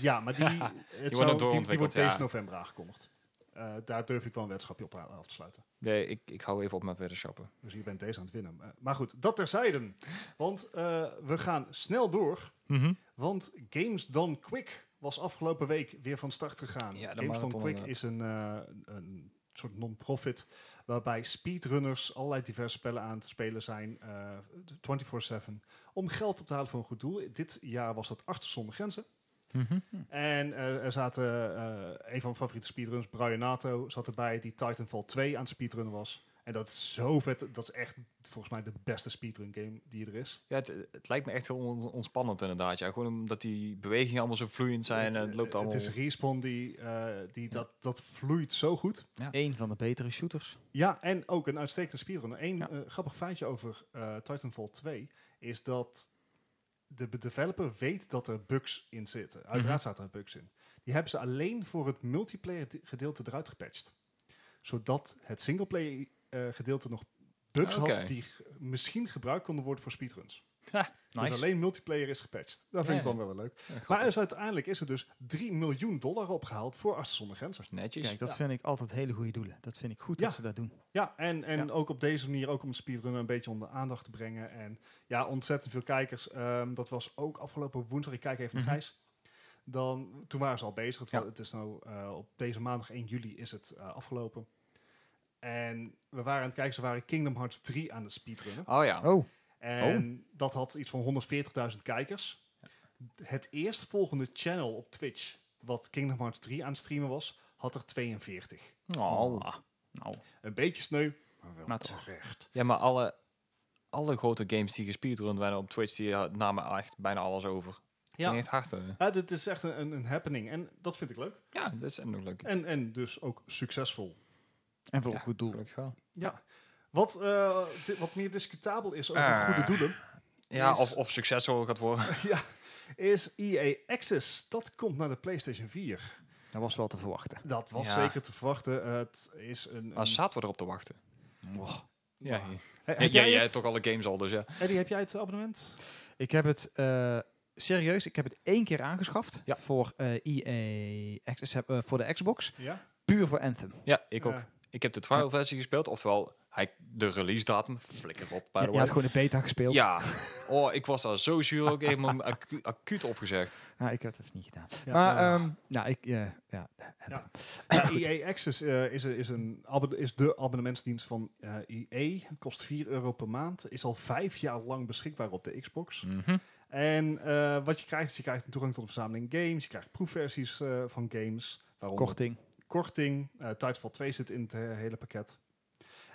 Ja, maar die, het zou, die- die, doorontwikkeld, wordt ja. deze november aangekondigd. Eh, daar durf ik wel een weddenschapje op a- af te sluiten. Nee, ik, ik hou even op met weddenschappen. Dus je bent deze aan het winnen. Eh, maar goed, dat terzijde. Want eh, we gaan snel door. Mhm. Want Games Done Quick was afgelopen week weer van start gegaan. Ja, de Games Done marathon Quick inderdaad. is een, eh, een soort non-profit Waarbij speedrunners allerlei diverse spellen aan het spelen zijn, eh, 24-7, om geld op te halen voor een goed doel. Dit jaar was dat Artsen zonder grenzen. En eh, er zaten eh, een van mijn favoriete speedrunners, Brian Nato, zat erbij die Titanfall 2 aan het speedrunnen was. En dat is zo vet. Dat is echt volgens mij de beste speedrun game die er is. Ja, het, het lijkt me echt heel on- ontspannend inderdaad. Ja. Gewoon omdat die bewegingen allemaal zo vloeiend zijn en het loopt allemaal... Het is Respawn die, eh, die dat, dat vloeit zo goed. Eén van de betere shooters. Ja, en ook een uitstekende speedrunner. Eén Ja. eh, grappig feitje over eh, Titanfall 2 is dat de be- developer weet dat er bugs in zitten. Uiteraard Mhm. zaten er bugs in. Die hebben ze alleen voor het multiplayer de- gedeelte eruit gepatcht. Zodat het singleplayer eh, gedeelte nog bugs Oké. had die g- misschien gebruikt konden worden voor speedruns. Dus Nice. alleen multiplayer is gepatcht. Dat Ja, vind ik dan ja. wel wel leuk. Ja, Maar er grappig. is uiteindelijk is er dus 3 miljoen dollar opgehaald voor Artsen zonder grenzen. Netjes. Kijk, dat Ja. vind ik altijd hele goede doelen. Dat vind ik goed Ja. dat ze dat doen. Ja, en, en Ja. ook op deze manier, ook om het speedrunnen een beetje onder aandacht te brengen. En ja, ontzettend veel kijkers. Ehm, dat was ook afgelopen woensdag, ik kijk even naar Mhm. Gijs. Dan, toen waren ze al bezig. Het, wa- Ja. het is nou eh, op deze maandag 1 juli is het eh, afgelopen. En we waren aan het kijken, ze waren Kingdom Hearts 3 aan het speedrunnen. Oh ja. Oh, En dat had iets van 140.000 kijkers. Het eerstvolgende channel op Twitch, wat Kingdom Hearts 3 aan het streamen was, had er 42. Oh. nou, Een beetje sneu, maar wel Maar toch. terecht. Ja, maar alle, alle grote games die gespeedrund werden op Twitch, die eh, namen echt bijna alles over. Ja. Ging echt hard. hè. Ja, dit is echt een, een- een happening en dat vind ik leuk. Ja, dat is nog leuk. En, en dus ook succesvol. en voor Ja, een goed doel. Gelukkig wel. Ja. Wat, eh, di- wat meer discutabel is over Eh. goede doelen, Ja, Is- of, of succesvol gaat worden. is EA Access. Dat komt naar de PlayStation 4. Dat was wel te verwachten. Dat was Ja. zeker te verwachten. Het is een... een- Maar zaten we erop te wachten. Ja, Ja. ja. He- jij, heb jij, jij hebt het? toch alle games al, dus ja. Eddie, heb jij het abonnement? Ik heb het eh, serieus, ik heb het één keer aangeschaft Ja. voor eh EA Access, eh, voor de Xbox, Ja. puur voor Anthem. Ja, ik ook. Ja. Ik heb de trial versie gespeeld, oftewel hij, de release datum, flikker op, by Ja, the je had way. gewoon de beta gespeeld. Ja, oh, ik was daar zo zuur ook helemaal acu- acuut opgezegd. Nou, ik heb het dus niet gedaan. Ja. maar, Ja. ehm, nou, ik, eh, ja, Anthem. Ja, EA Access eh, is, een- is, een abonne- is de abonnementsdienst van eh EA. Het kost 4 euro per maand. Is al vijf jaar lang beschikbaar op de Xbox. Mhm. En eh, wat je krijgt, is je krijgt een toegang tot een verzameling games. Je krijgt proefversies eh, van games. Waaronder korting. korting. eh Titanfall 2 zit in het eh, hele pakket.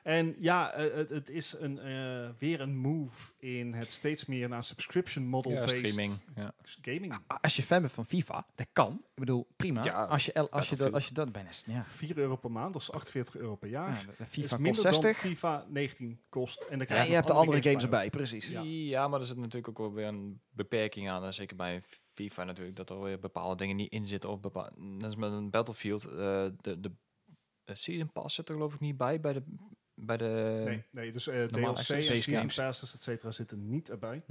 En ja, eh, het, het is een, eh, weer een move in het steeds meer naar subscription model-based Ja, streaming. Ja. gaming. Ah, Als je fan bent van FIFA, dat kan. Ik bedoel, prima. Ja, als, je, el- als, je dat, Battlefield. als je dat bijna... is, Ja. 4 euro per maand, dat is 48 euro per jaar. Ja, de Is FIFA kost minder 60. dan FIFA 19 kost. En, dan Ja, krijg je nog hebt de andere games bij. erbij, precies. Ja. Ja. maar er zit natuurlijk ook wel weer een beperking aan. En zeker bij FIFA natuurlijk, dat er weer bepaalde dingen niet in zitten. Of bepaalde, net als met een Battlefield, eh, de, de eh, Season Pass zit er geloof ik niet bij, bij de... Bij de Nee, nee, dus eh Normaal DLC, en access season games. passes, et cetera, zitten niet erbij.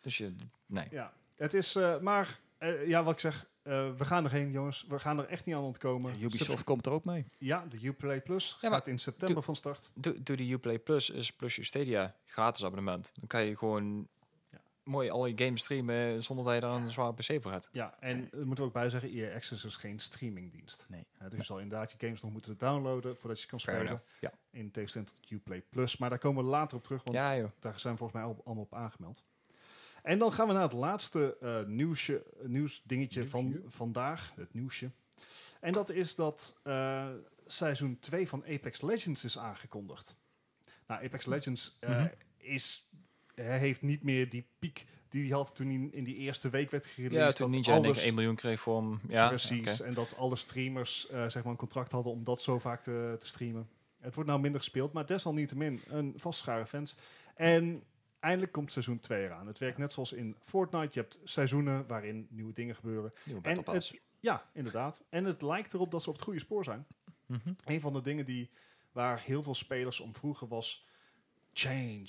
Dus je... Nee. Ja, het is, eh, maar eh, ja, wat ik zeg, eh, we gaan erheen, jongens. We gaan er echt niet aan ontkomen. Ubisoft komt er ook mee. Subs- ja, de Uplay Plus maar- gaat in september van start. Doe, doe de Uplay Plus is plus je Stadia gratis abonnement. Dan kan je gewoon Ja. mooi alle games streamen zonder dat je daar een zware PC voor hebt. Ja, en er moeten we ook bij zeggen, EA Access is geen streamingdienst. Nee. Eh, dus je zal inderdaad je games nog moeten downloaden voordat je ze kan Fair spelen. enough. Ja. In tegenstelling tot Uplay Plus. Maar daar komen we later op terug, want ja, joh. daar zijn we volgens mij al, allemaal op aangemeld. En dan gaan we naar het laatste eh, nieuwsje, nieuwsdingetje van Nieuwsje? vandaag. Het nieuwsje. En dat is dat eh, seizoen 2 van Apex Legends is aangekondigd. Nou, Apex Legends eh, Mhm. is, eh, heeft niet meer die piek die hij had toen hij in die eerste week werd gereleased. Ja, toen dat Ninja en ik alles- 1 miljoen kreeg voor hem. Ja, Precies. oké. En dat alle streamers eh, zeg maar een contract hadden om dat zo vaak te, te streamen. Het wordt nou minder gespeeld, maar desalniettemin een vastschare fans. En eindelijk komt seizoen 2 eraan. Het werkt net zoals in Fortnite. Je hebt seizoenen waarin nieuwe dingen gebeuren. Nieuwe En Battle Pass. het, ja, inderdaad. En het lijkt erop dat ze op het goede spoor zijn. Mhm. Een van de dingen die, waar heel veel spelers om vroegen was... Change,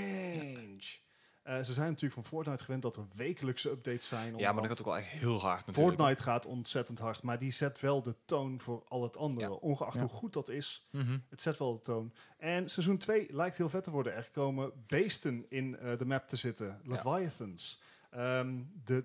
change. Eh, ze zijn natuurlijk van Fortnite gewend dat er wekelijkse updates zijn. Ja, maar dat omdat- gaat ook wel echt heel hard natuurlijk. Fortnite gaat ontzettend hard, maar die zet wel de toon voor al het andere. Ja. Ongeacht Ja. hoe goed dat is, Mhm. het zet wel de toon. En seizoen 2 lijkt heel vet te worden. Er komen beesten in eh, de map te zitten, Leviathans. Ehm, de,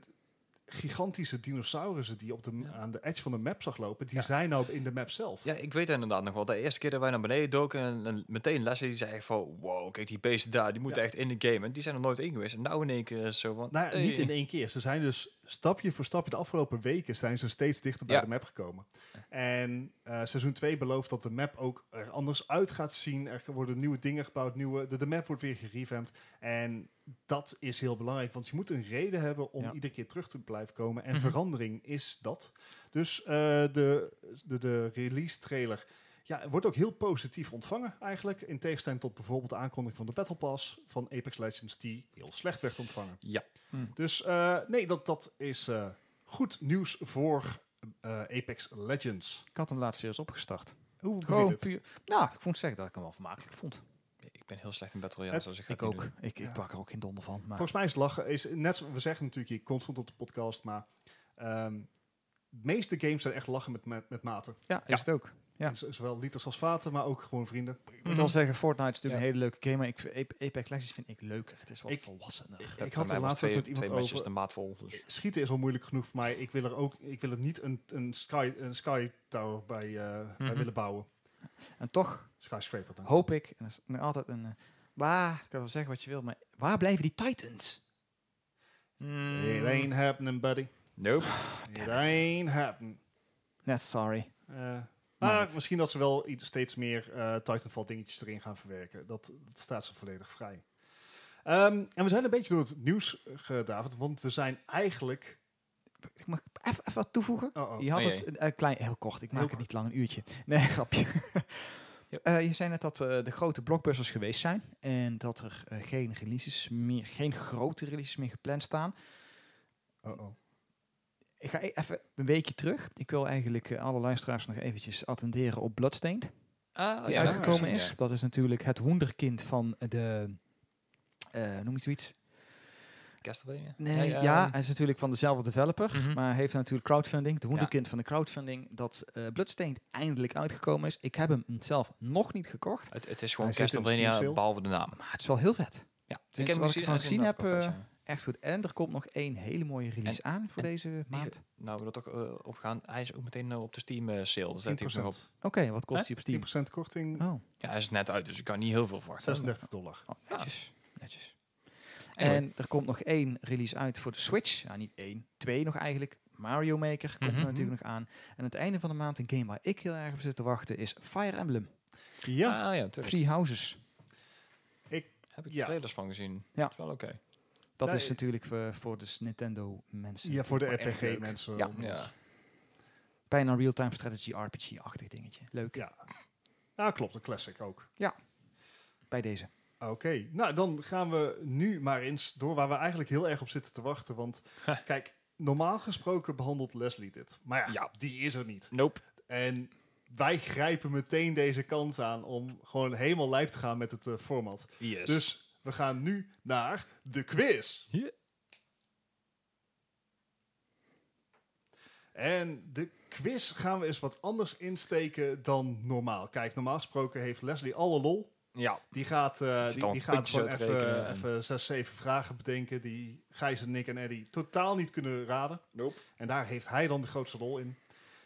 gigantische dinosaurussen die op de, m- Ja. aan de edge van de map zag lopen, die Ja. zijn nou in de map zelf. Ja, ik weet het inderdaad nog wel. De eerste keer dat wij naar beneden doken, en, en meteen Leslie die zei echt van, wow, kijk die beesten daar, die moeten Ja. echt in de game. En die zijn er nooit in geweest. En nou in één keer is het zo van, Nou ja, hey. niet in één keer. Ze zijn dus stapje voor stapje de afgelopen weken zijn ze steeds dichter bij Ja. de map gekomen. En eh, seizoen 2 belooft dat de map ook er anders uit gaat zien. Er worden nieuwe dingen gebouwd, nieuwe, de, de map wordt weer gerevamped. En dat is heel belangrijk, want je moet een reden hebben om Ja. iedere keer terug te blijven komen. En Mhm. verandering is dat. Dus eh, de, de, de release trailer ja, wordt ook heel positief ontvangen eigenlijk. In tegenstelling tot bijvoorbeeld de aankondiging van de Battle Pass van Apex Legends, die heel slecht werd ontvangen. Ja. Hmm. Dus eh, nee, dat, dat is eh, goed nieuws voor eh, Apex Legends. Ik had hem laatst weer eens opgestart. Hoe Gewoon het? puur. Nou, ik moet zeggen dat ik hem wel vermakelijk vond. Ik ben heel slecht in Battle Royale, Het- zoals ik ga Ik het niet ook. doen. Ik, ik Ja. pak er ook geen donder van. Maar Volgens mij is lachen, is net, zo- we zeggen natuurlijk hier constant op de podcast, maar ehm, de meeste games zijn echt lachen met, met, met maten. ja, is Ja. het ook. Ja. Z- Zowel liters als vaten, maar ook gewoon vrienden. Mm. Ik moet wel zeggen, Fortnite is natuurlijk Ja. een hele leuke game, maar ik, vind Ape- Apex Legends vind ik leuker. Het is wat Ik- volwassener. Ik, Ja, ik bij had mij was er laatst ook twee- met iemand twee matches over. de maat vol. Dus. Schieten is al moeilijk genoeg, maar ik wil er ook, ik wil er niet een, een, sky, een sky tower bij, eh, bij Mhm. willen bouwen. En toch Skyscraper dan. hoop ik, en dat is nog altijd een... eh, Waar, ik kan wel zeggen wat je wil, maar waar blijven die Titans? It ain't happening, buddy. Nope. It ain't happening. Net sorry. Eh, Maar maar goed. misschien dat ze wel iets- steeds meer eh, Titanfall dingetjes erin gaan verwerken. Dat, dat staat ze volledig vrij. Ehm, en we zijn een beetje door het nieuws eh, gedaverd, want we zijn eigenlijk... Ik mag even even wat toevoegen. Oh, oh. Je had Oh jee. het eh, klein, heel kort, ik maak Heel het niet lang, een uurtje. Nee, grapje. Eh, je zei net dat eh, de grote blockbusters geweest zijn en dat er eh, geen releases meer, geen grote releases meer gepland staan. Oh, oh. Ik ga e- even een weekje terug. Ik wil eigenlijk eh, alle luisteraars nog eventjes attenderen op Bloodstained. Ah, die ja, dat uitgekomen heb ik is. gezien, Dat is natuurlijk het wonderkind van de... eh noem je zoiets? ja. Castlevania? Nee, eh, ja, hij is natuurlijk van dezelfde developer, Mhm. maar heeft natuurlijk crowdfunding, de wonderkind van de crowdfunding, dat eh Bloodstained eindelijk uitgekomen is. Ik heb hem zelf nog niet gekocht, Het, het is gewoon Hij zit in de Castlevania, Steam sale. behalve de naam. maar het is wel heel vet. Ja, heb hem wat gezien, ik hij van is gezien heb... inderdaad wel eh, vet, Echt goed. En er komt nog één hele mooie release aan voor en- deze maand. nou, we dat ook eh, op gaan. Hij is ook meteen nou op de Steam eh, sale. Dus dat hij ook nog op. 10%, Oké, wat kost die op Steam? 10% korting, Oh, Ja, hij is net uit, dus ik kan niet heel veel verwachten. 36 dollar. oh, netjes. netjes. Ah. Anyway. En er komt nog één release uit voor de Switch. Ja, niet één, twee nog eigenlijk. Mario Maker komt Mhm. er natuurlijk nog aan. En aan het einde van de maand, een game waar ik heel erg op zit te wachten, is Fire Emblem. Ja, Ah, ja, tuurlijk. Three Houses. Heb ik Ja. de trailers van gezien. Ja. Is wel oké. Dat Ja, is ik- natuurlijk voor, voor de Nintendo mensen. ja, voor de natuurlijk wel erg leuk. RPG-mensen. Ja. Ja. Bijna een real-time strategy RPG-achtig dingetje. Leuk. Ja. Ah, klopt, een classic ook. Bij deze. Oké, nou dan gaan we nu maar eens door waar we eigenlijk heel erg op zitten te wachten. Want kijk, normaal gesproken behandelt Leslie dit. Maar ja, Ja. die is er niet. Nope. En wij grijpen meteen deze kans aan om gewoon helemaal lijp te gaan met het eh, format. Yes. Dus we gaan nu naar de quiz. Ja. En de quiz gaan we eens wat anders insteken dan normaal. Kijk, normaal gesproken heeft Leslie alle lol. ja. Die gaat, eh, Zit die, al die een gaat puntje gewoon uit te rekenen even, eh, en- even zes, zeven vragen bedenken die Gijs en Nick en Eddy totaal niet kunnen raden. Nope. En daar heeft hij dan de grootste rol in.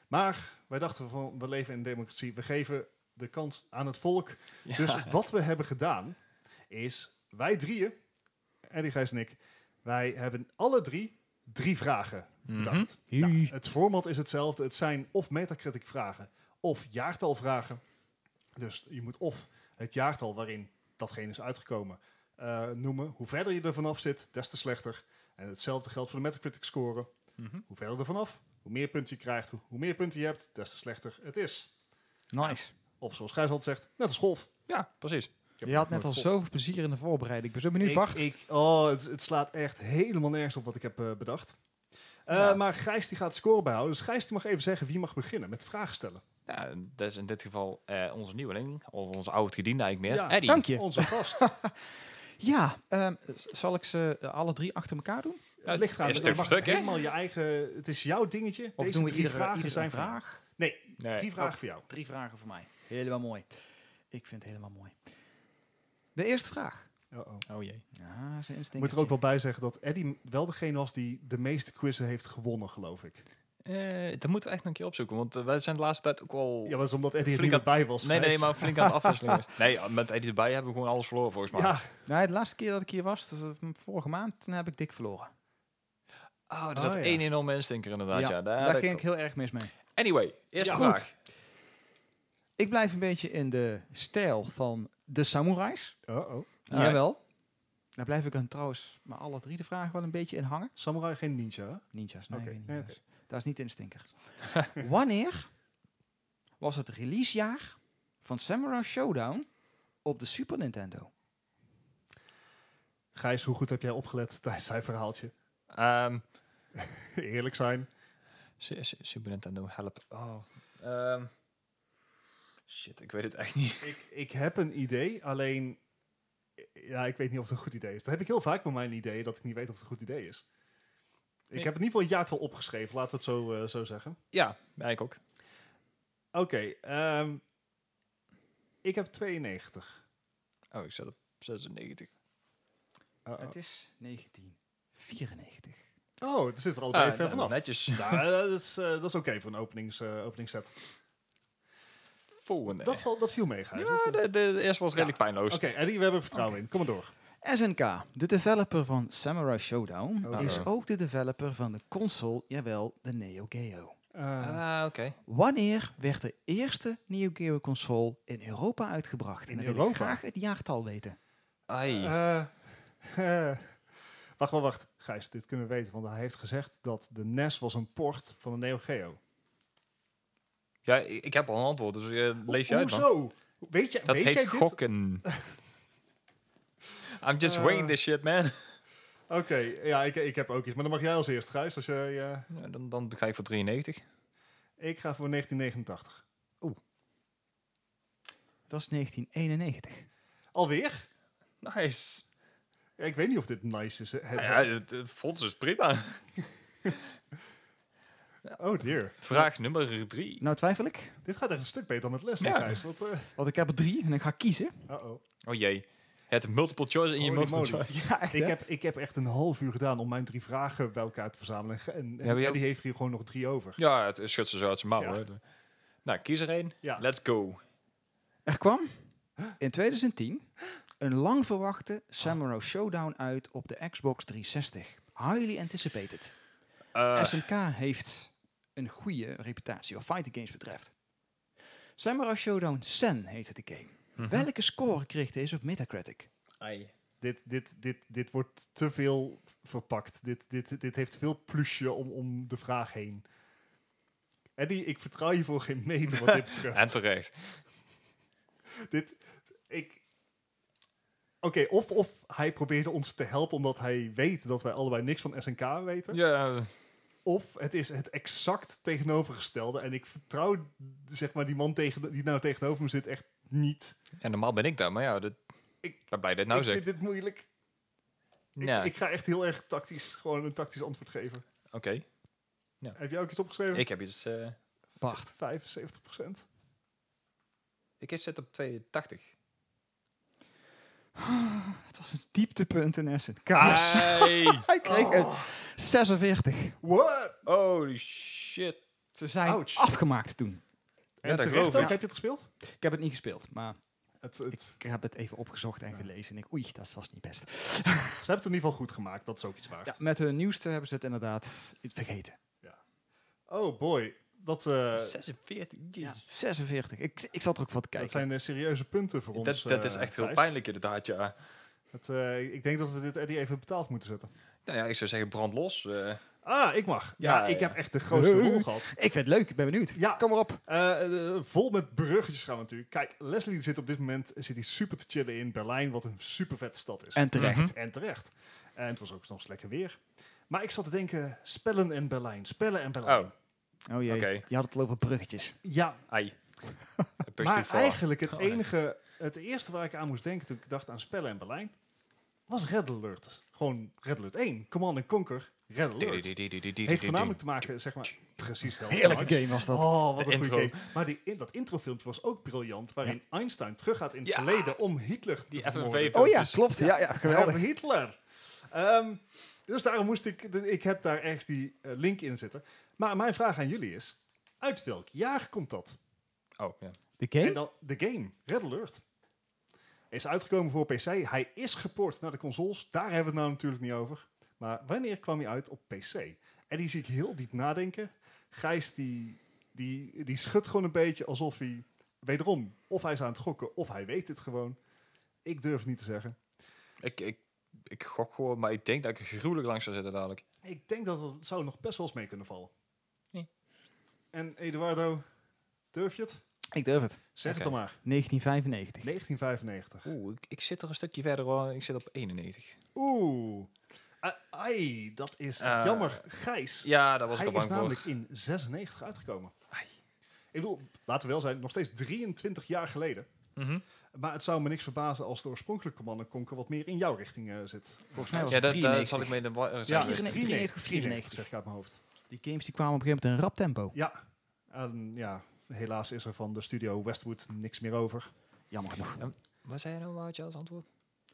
Maar wij dachten van, we leven in een democratie. We geven de kans aan het volk. Ja. Dus wat we hebben gedaan, is wij drieën, Eddy, Gijs en ik, wij hebben alle drie drie vragen Mhm. bedacht. Nou, het format is hetzelfde. Het zijn of metacritic vragen of jaartal vragen. Dus je moet of het jaartal waarin datgene is uitgekomen eh, noemen. Hoe verder je er vanaf zit, des te slechter. En hetzelfde geldt voor de metacritic score. Mhm. Hoe verder er vanaf, hoe meer punten je krijgt, hoe, hoe meer punten je hebt, des te slechter het is. Nou, Nice. Of zoals Gijs altijd zegt, net als golf. Ja, precies. Ik heb Je had nog net al nooit golf. zoveel plezier in de voorbereiding. Ik ben zo benieuwd, Ik- Bart. Ik, oh, het, het slaat echt helemaal nergens op wat ik heb eh, bedacht. Eh, Ja. Maar Gijs die gaat de score bijhouden. Dus Gijs die mag even zeggen wie mag beginnen met vragen stellen. Ja, en dat is in dit geval eh, onze nieuweling, of onze oud gediende eigenlijk meer, Ja, Eddie. Dank je. Onze gast. Ja, ehm, z- zal ik ze eh, alle drie achter elkaar doen? het ligt aan. Een stuk Je mag voor het stuk, hè? helemaal je eigen... Het is jouw dingetje. Of Deze doen we drie iedere, vragen iedere zijn voor jou. vraag? Nee, Nee. drie vragen voor jou. Drie vragen voor mij. Helemaal mooi. Ik vind het helemaal mooi. De eerste vraag. Uh-oh. Oh jee. Ja, Ik zijn instinct. moet er ook wel bij zeggen dat Eddie wel degene was die de meeste quizzen heeft gewonnen, geloof ik. Eh dat moeten we echt nog een keer opzoeken, want eh, wij zijn de laatste tijd ook wel... Ja, maar dat is omdat Eddie er niet Flink meer bij was. nee, nee, Gijs. maar flink aan het afwisselen is. Nee, ja, met Eddie erbij hebben we gewoon alles verloren volgens mij. Ja, Nou, de laatste keer dat ik hier was, dat was vorige maand, toen heb ik dik verloren. Ah, er Oh, zat ja. één enorme instinker inderdaad. Ja, daar, daar dat ging ik klopt. heel erg mis mee. Anyway, eerste Ja, vraag. Ik blijf een beetje in de stijl van de samurais. Uh-oh. Alright. Jawel. Daar blijf ik dan trouwens maar alle drie de vragen wel een beetje in hangen. Samurai geen ninja, hè? Ninjas, nee, Oké, geen nee, ninjas. Dat is niet in de stinker. Wanneer was het releasejaar van Samurai Showdown op de Super Nintendo? Gijs, hoe goed heb jij opgelet tijdens zijn verhaaltje? Ehm, Eerlijk zijn. Su- Su- Super Nintendo, help. Oh. ehm, shit, ik weet het echt niet. Ik, ik heb een idee, alleen... Ja, ik weet niet of het een goed idee is. Dat heb ik heel vaak bij mijn idee, dat ik niet weet of het een goed idee is. Ik Nee. heb in ieder geval een jaartal opgeschreven, laten we het zo, eh, zo zeggen. Ja, ik ook. Oké, ehm, ik heb 92. Oh, ik zat op Oh, 96. Uh-oh. Het is 1994. Oh, er zit er allebei Ah, ver nou, vanaf. Netjes. Nou, dat is, eh, dat is oké voor een openings, eh, openingsset. Volgende. Dat, val- dat viel mee, Gijs. Dat ja, viel- de, de, de eerste was redelijk pijnloos. Oké, Eddie, we hebben vertrouwen in. Kom maar door. SNK, de developer van Samurai Showdown, Oh. is ook de developer van de console, jawel, de Neo Geo. Eh, Ah, oké. Wanneer werd de eerste Neo Geo console in Europa In uitgebracht? en dan wil ik Europa? graag het jaartal weten. Ai. Eh, eh, wacht, wacht, wacht. Gijs, dit kunnen we weten, want hij heeft gezegd dat de NES was een port van de Neo Geo. ja, i- ik heb al een antwoord, dus eh, leef je uit, man. Hoezo? Weet, je, Dat weet jij heet dit? gokken. I'm just Eh. waiting this shit, man. Oké, ja, ik, ik heb ook iets. Maar dan mag jij als eerst, Gijs. Als jij, eh, Ja, dan, dan ga ik voor 93. ik ga voor 1989. Dat is 1991. Alweer? Nice. Ja, ik weet niet of dit nice is. Het- Ja, het, het fonds is prima. Oh dear. Vraag nummer 3. Nou twijfel ik, Dit gaat echt een stuk beter dan met les, hè, Ja. Gijs. Wat, eh, want ik heb er drie en ik ga kiezen. uh-oh. Oh jee. Het multiple choice in je Holy multiple moly. choice. Ja, echt, Ik hè? heb, ik heb echt een half uur gedaan om mijn drie vragen bij elkaar te verzamelen. En, en maar jij- Eddie heeft hier gewoon nog drie over. Ja, het schudt ze zo uit zijn mouw. Ja. hè. Nou, kies er één. Ja. Let's go. Er kwam in 2010 een lang verwachte Samurai Showdown uit op de Xbox 360. Highly anticipated. Ah. Eh, SNK heeft een goede reputatie wat fighting games betreft. Samurai Showdown Sen heette de game. mhm. Welke score kreeg deze op Metacritic? ai. Dit, dit, dit, dit wordt te veel verpakt. Dit, dit, dit heeft te veel plusje om, om de vraag heen. Eddie, ik vertrouw je voor geen meter wat dit betreft. En terecht. dit, ik... Oké, of, of hij probeerde ons te helpen omdat hij weet dat wij allebei niks van SNK weten. Ja, Of het is het exact tegenovergestelde. En ik vertrouw zeg maar, die man tegen, die nou tegenover me zit echt niet. en normaal ben ik daar, maar ja, dat, Ik- ik ben blij dat je het nou ik zegt. vind dit moeilijk. Ik, Ja, ik ga echt heel erg tactisch, gewoon een tactisch antwoord geven. oké. Heb jij ook iets opgeschreven? Ik heb iets... eh, Bart. 75 procent. ik zit op 82. Het was een dieptepunt in SNK. Ai. Hij kreeg Oh. een 46. What? Holy shit. Ze zijn Ouch. afgemaakt toen. En dat geloof terecht ik. ook. Ja. Heb je het gespeeld? Ik heb het niet gespeeld, maar Het, het, ik heb het even opgezocht en gelezen. En ik, oei, dat was niet best. ze hebben het in ieder geval goed gemaakt. Dat is ook iets waard. Ja, met hun nieuwste hebben ze het inderdaad vergeten. Oh boy. Dat, eh, 46. Ja, jezus. 46. Ik, ik zat er ook van te dat kijken. zijn eh, serieuze punten voor ons. Dat, dat is eh, echt heel Thijs. pijnlijk inderdaad, ja. Het, eh, ik denk dat we dit Eddie even betaald moeten zetten. Nou ja, ik zou zeggen brand los. eh. Ah, ik mag. Ja, Ja, ja. ik heb echt de grootste Hey. rol gehad. Ik vind het leuk, ik ben benieuwd. Ja, Kom maar op. Eh, eh, vol met bruggetjes gaan we natuurlijk. Kijk, Leslie zit op dit moment zit hij super te chillen in Berlijn, wat een super vette stad is. En terecht. Mhm. En terecht. En het was ook soms lekker weer. Maar ik zat te denken, spellen en Berlijn, spellen en Berlijn. Oh, Mhm. Oh jee, Oké. je had het al over bruggetjes. Ja, ai. maar Positief voor. eigenlijk het Oh, nee. enige, het eerste waar ik aan moest denken toen ik dacht aan spellen en Berlijn, was Red Alert. Gewoon Red Alert 1, Command and Conquer, Red Alert. Heeft voornamelijk te maken, zeg maar, precies dat. Heerlijke game was dat. Oh, wat De een goede intro. game. Maar die, in, dat introfilmpje was ook briljant, waarin Einstein teruggaat in het Ja. verleden om Hitler Die te vermoorden. FNV Oh ja, filmpjes. klopt. Ja, ja, geweldig. Herr Hitler. Ehm, dus daarom moest ik, de- ik heb daar ergens die eh, link in zitten. Maar mijn vraag aan jullie is, uit welk jaar komt dat? Oh, ja. De En game? dan de game, Red Alert. Is uitgekomen voor PC. Hij is geport naar de consoles. Daar hebben we het nou natuurlijk niet over. Maar wanneer kwam hij uit op PC? En die zie ik heel diep nadenken. Gijs die, die, die schudt gewoon een beetje alsof hij... Wederom, of hij is aan het gokken, of hij weet het gewoon. Ik durf het niet te zeggen. Ik, ik, ik gok gewoon, maar ik denk dat ik er gruwelijk langs zou zitten dadelijk. Ik denk dat het zou nog best wel eens mee kunnen vallen. Nee. En Eduardo, durf je het? Ik durf het. Zeg Oké. het dan maar. 1995. 1995. Oeh, ik, ik zit er een stukje verder hoor. Ik zit op 91. Oeh. A- Ai, dat is Eh, jammer. Gijs, Ja, daar was hij ik al is bang voor. namelijk in 96 uitgekomen. Ik bedoel, laten we wel zijn, nog steeds 23 jaar geleden. Mhm. Maar het zou me niks verbazen als de oorspronkelijke Command Conquer wat meer in jouw richting eh, zit. Volgens mij was Ja, het dat, dat 93. zal ik mee de war- eh, Ja, zijn. 94, 93, 93, zeg ik uit mijn hoofd. Die games die kwamen op een gegeven moment in rap tempo. Ja, en ja, helaas is er van de studio Westwood niks meer over. Jammer genoeg. Wat zei je nou, wat had je als antwoord?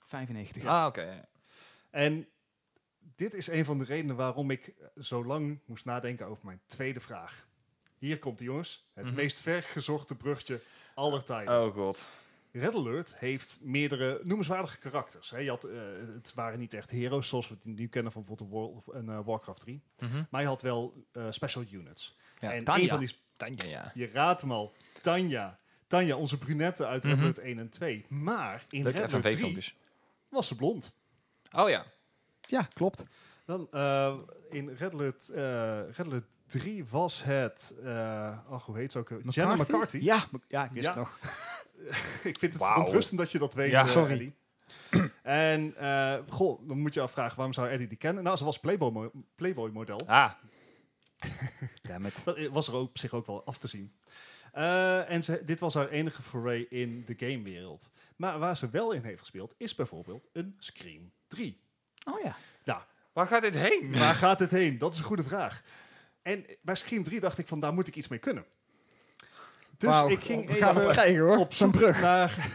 95. Ah, oké. ja. En dit is een van de redenen waarom ik eh, zo lang moest nadenken over mijn tweede vraag. Hier komt die jongens, het Mhm. meest vergezochte brugje aller tijden. Oh god. Red Alert heeft meerdere noemenswaardige karakters. Hè. Je had, eh, het waren niet echt heroes zoals we die nu kennen van bijvoorbeeld World of- en, eh, Warcraft 3. Mhm. Maar je had wel eh, special units. Ja, en Tanya. een van die, sp- Tanja, ja. je raadt hem al, Tanja. Tanja, onze brunette uit Mhm. Red Alert 1 en 2. Maar in Leuke Red Alert 3 FNV-filmpjes. was ze blond. Oh ja. Ja, klopt. Dan eh, in Red Alert, eh, Red Alert 3 was het. eh ach, hoe heet ze ook? McCarthy? Jenna McCarthy. Ja, Mc- ja ik wist Ja. het nog. Ik vind het Wauw. ontrustend dat je dat weet. Ja, eh, sorry. Eddie. en eh, goh, dan moet je afvragen waarom zou Eddie die kennen? Nou, ze was Playboy, mo- Playboy model. Ah. Dammit. Dat was er ook, op zich ook wel af te zien. Eh, en ze, dit was haar enige foray in de gamewereld. Maar waar ze wel in heeft gespeeld is bijvoorbeeld een Scream 3. Oh ja. Waar gaat dit heen? Waar gaat het heen? Dat is een goede vraag. En bij Scream 3 dacht ik van, daar moet ik iets mee kunnen. Dus Wauw, ik ging we gaan het even krijgen hoor. op zijn zoek brug. naar,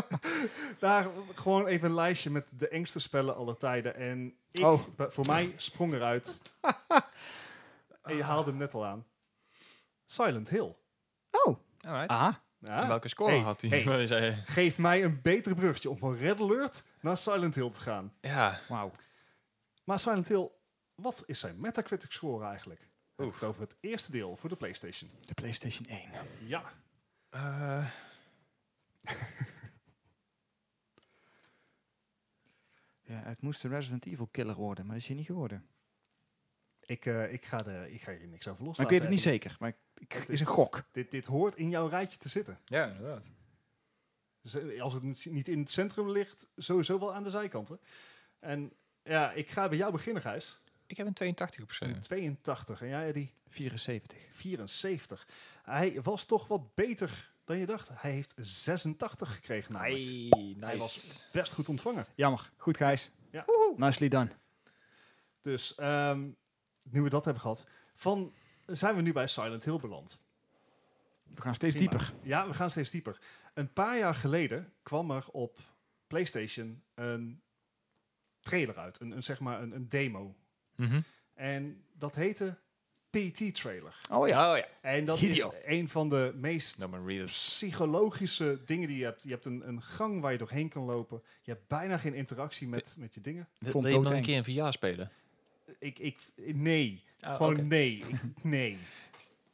naar gewoon even een lijstje met de engste spellen aller tijden. En ik, Oh. b- voor mij sprong eruit. en je haalde hem net al aan. Silent Hill. Oh. Alright. Ah. Ja, En Welke score Hey, had hij? hey. Hij zei, Geef mij een beter brugje om van Red Alert naar Silent Hill te gaan. Ja. Wauw. Maar Silent Hill, wat is zijn Metacritic score eigenlijk? Ik heb Oef. het over het eerste deel voor de PlayStation. De PlayStation 1. Ja. Eh, Ja, het moest de Resident Evil killer worden, maar dat is hier niet geworden. Ik, eh, ik, ga de, ik ga hier niks over loslaten. Maar ik weet het niet Eddie. zeker, maar ik, Het het is een gok. Dit, dit hoort in jouw rijtje te zitten. ja, inderdaad. Dus, eh, als het niet- niet in het centrum ligt, sowieso wel aan de zijkanten. En ja, ik ga bij jou beginnen, Gijs. Ik heb een 82 opgeschreven. Een 82 en jij, Eddie, 74. 74. Hij was toch wat beter dan je dacht. Hij heeft 86 gekregen namelijk. Hij was best goed ontvangen. Jammer. Goed, Gijs. Ja. Nicely done. Dus ehm, nu we dat hebben gehad, van, zijn we nu bij Silent Hill beland. We gaan steeds Prima. dieper. Ja, we gaan steeds dieper. Een paar jaar geleden kwam er op PlayStation een trailer uit, een, een, zeg maar een, een demo. Mhm. En dat heette PT-trailer. Oh ja. Oh ja. En dat Hideo. is een van de meest Dan maar readers. psychologische dingen die je hebt. Je hebt een, een gang waar je doorheen kan lopen. Je hebt bijna geen interactie met, met je dingen. Vond Wil je nog een doodeng. keer een VR spelen? Ik, ik, nee, Ah, gewoon oké. nee. Ik- nee.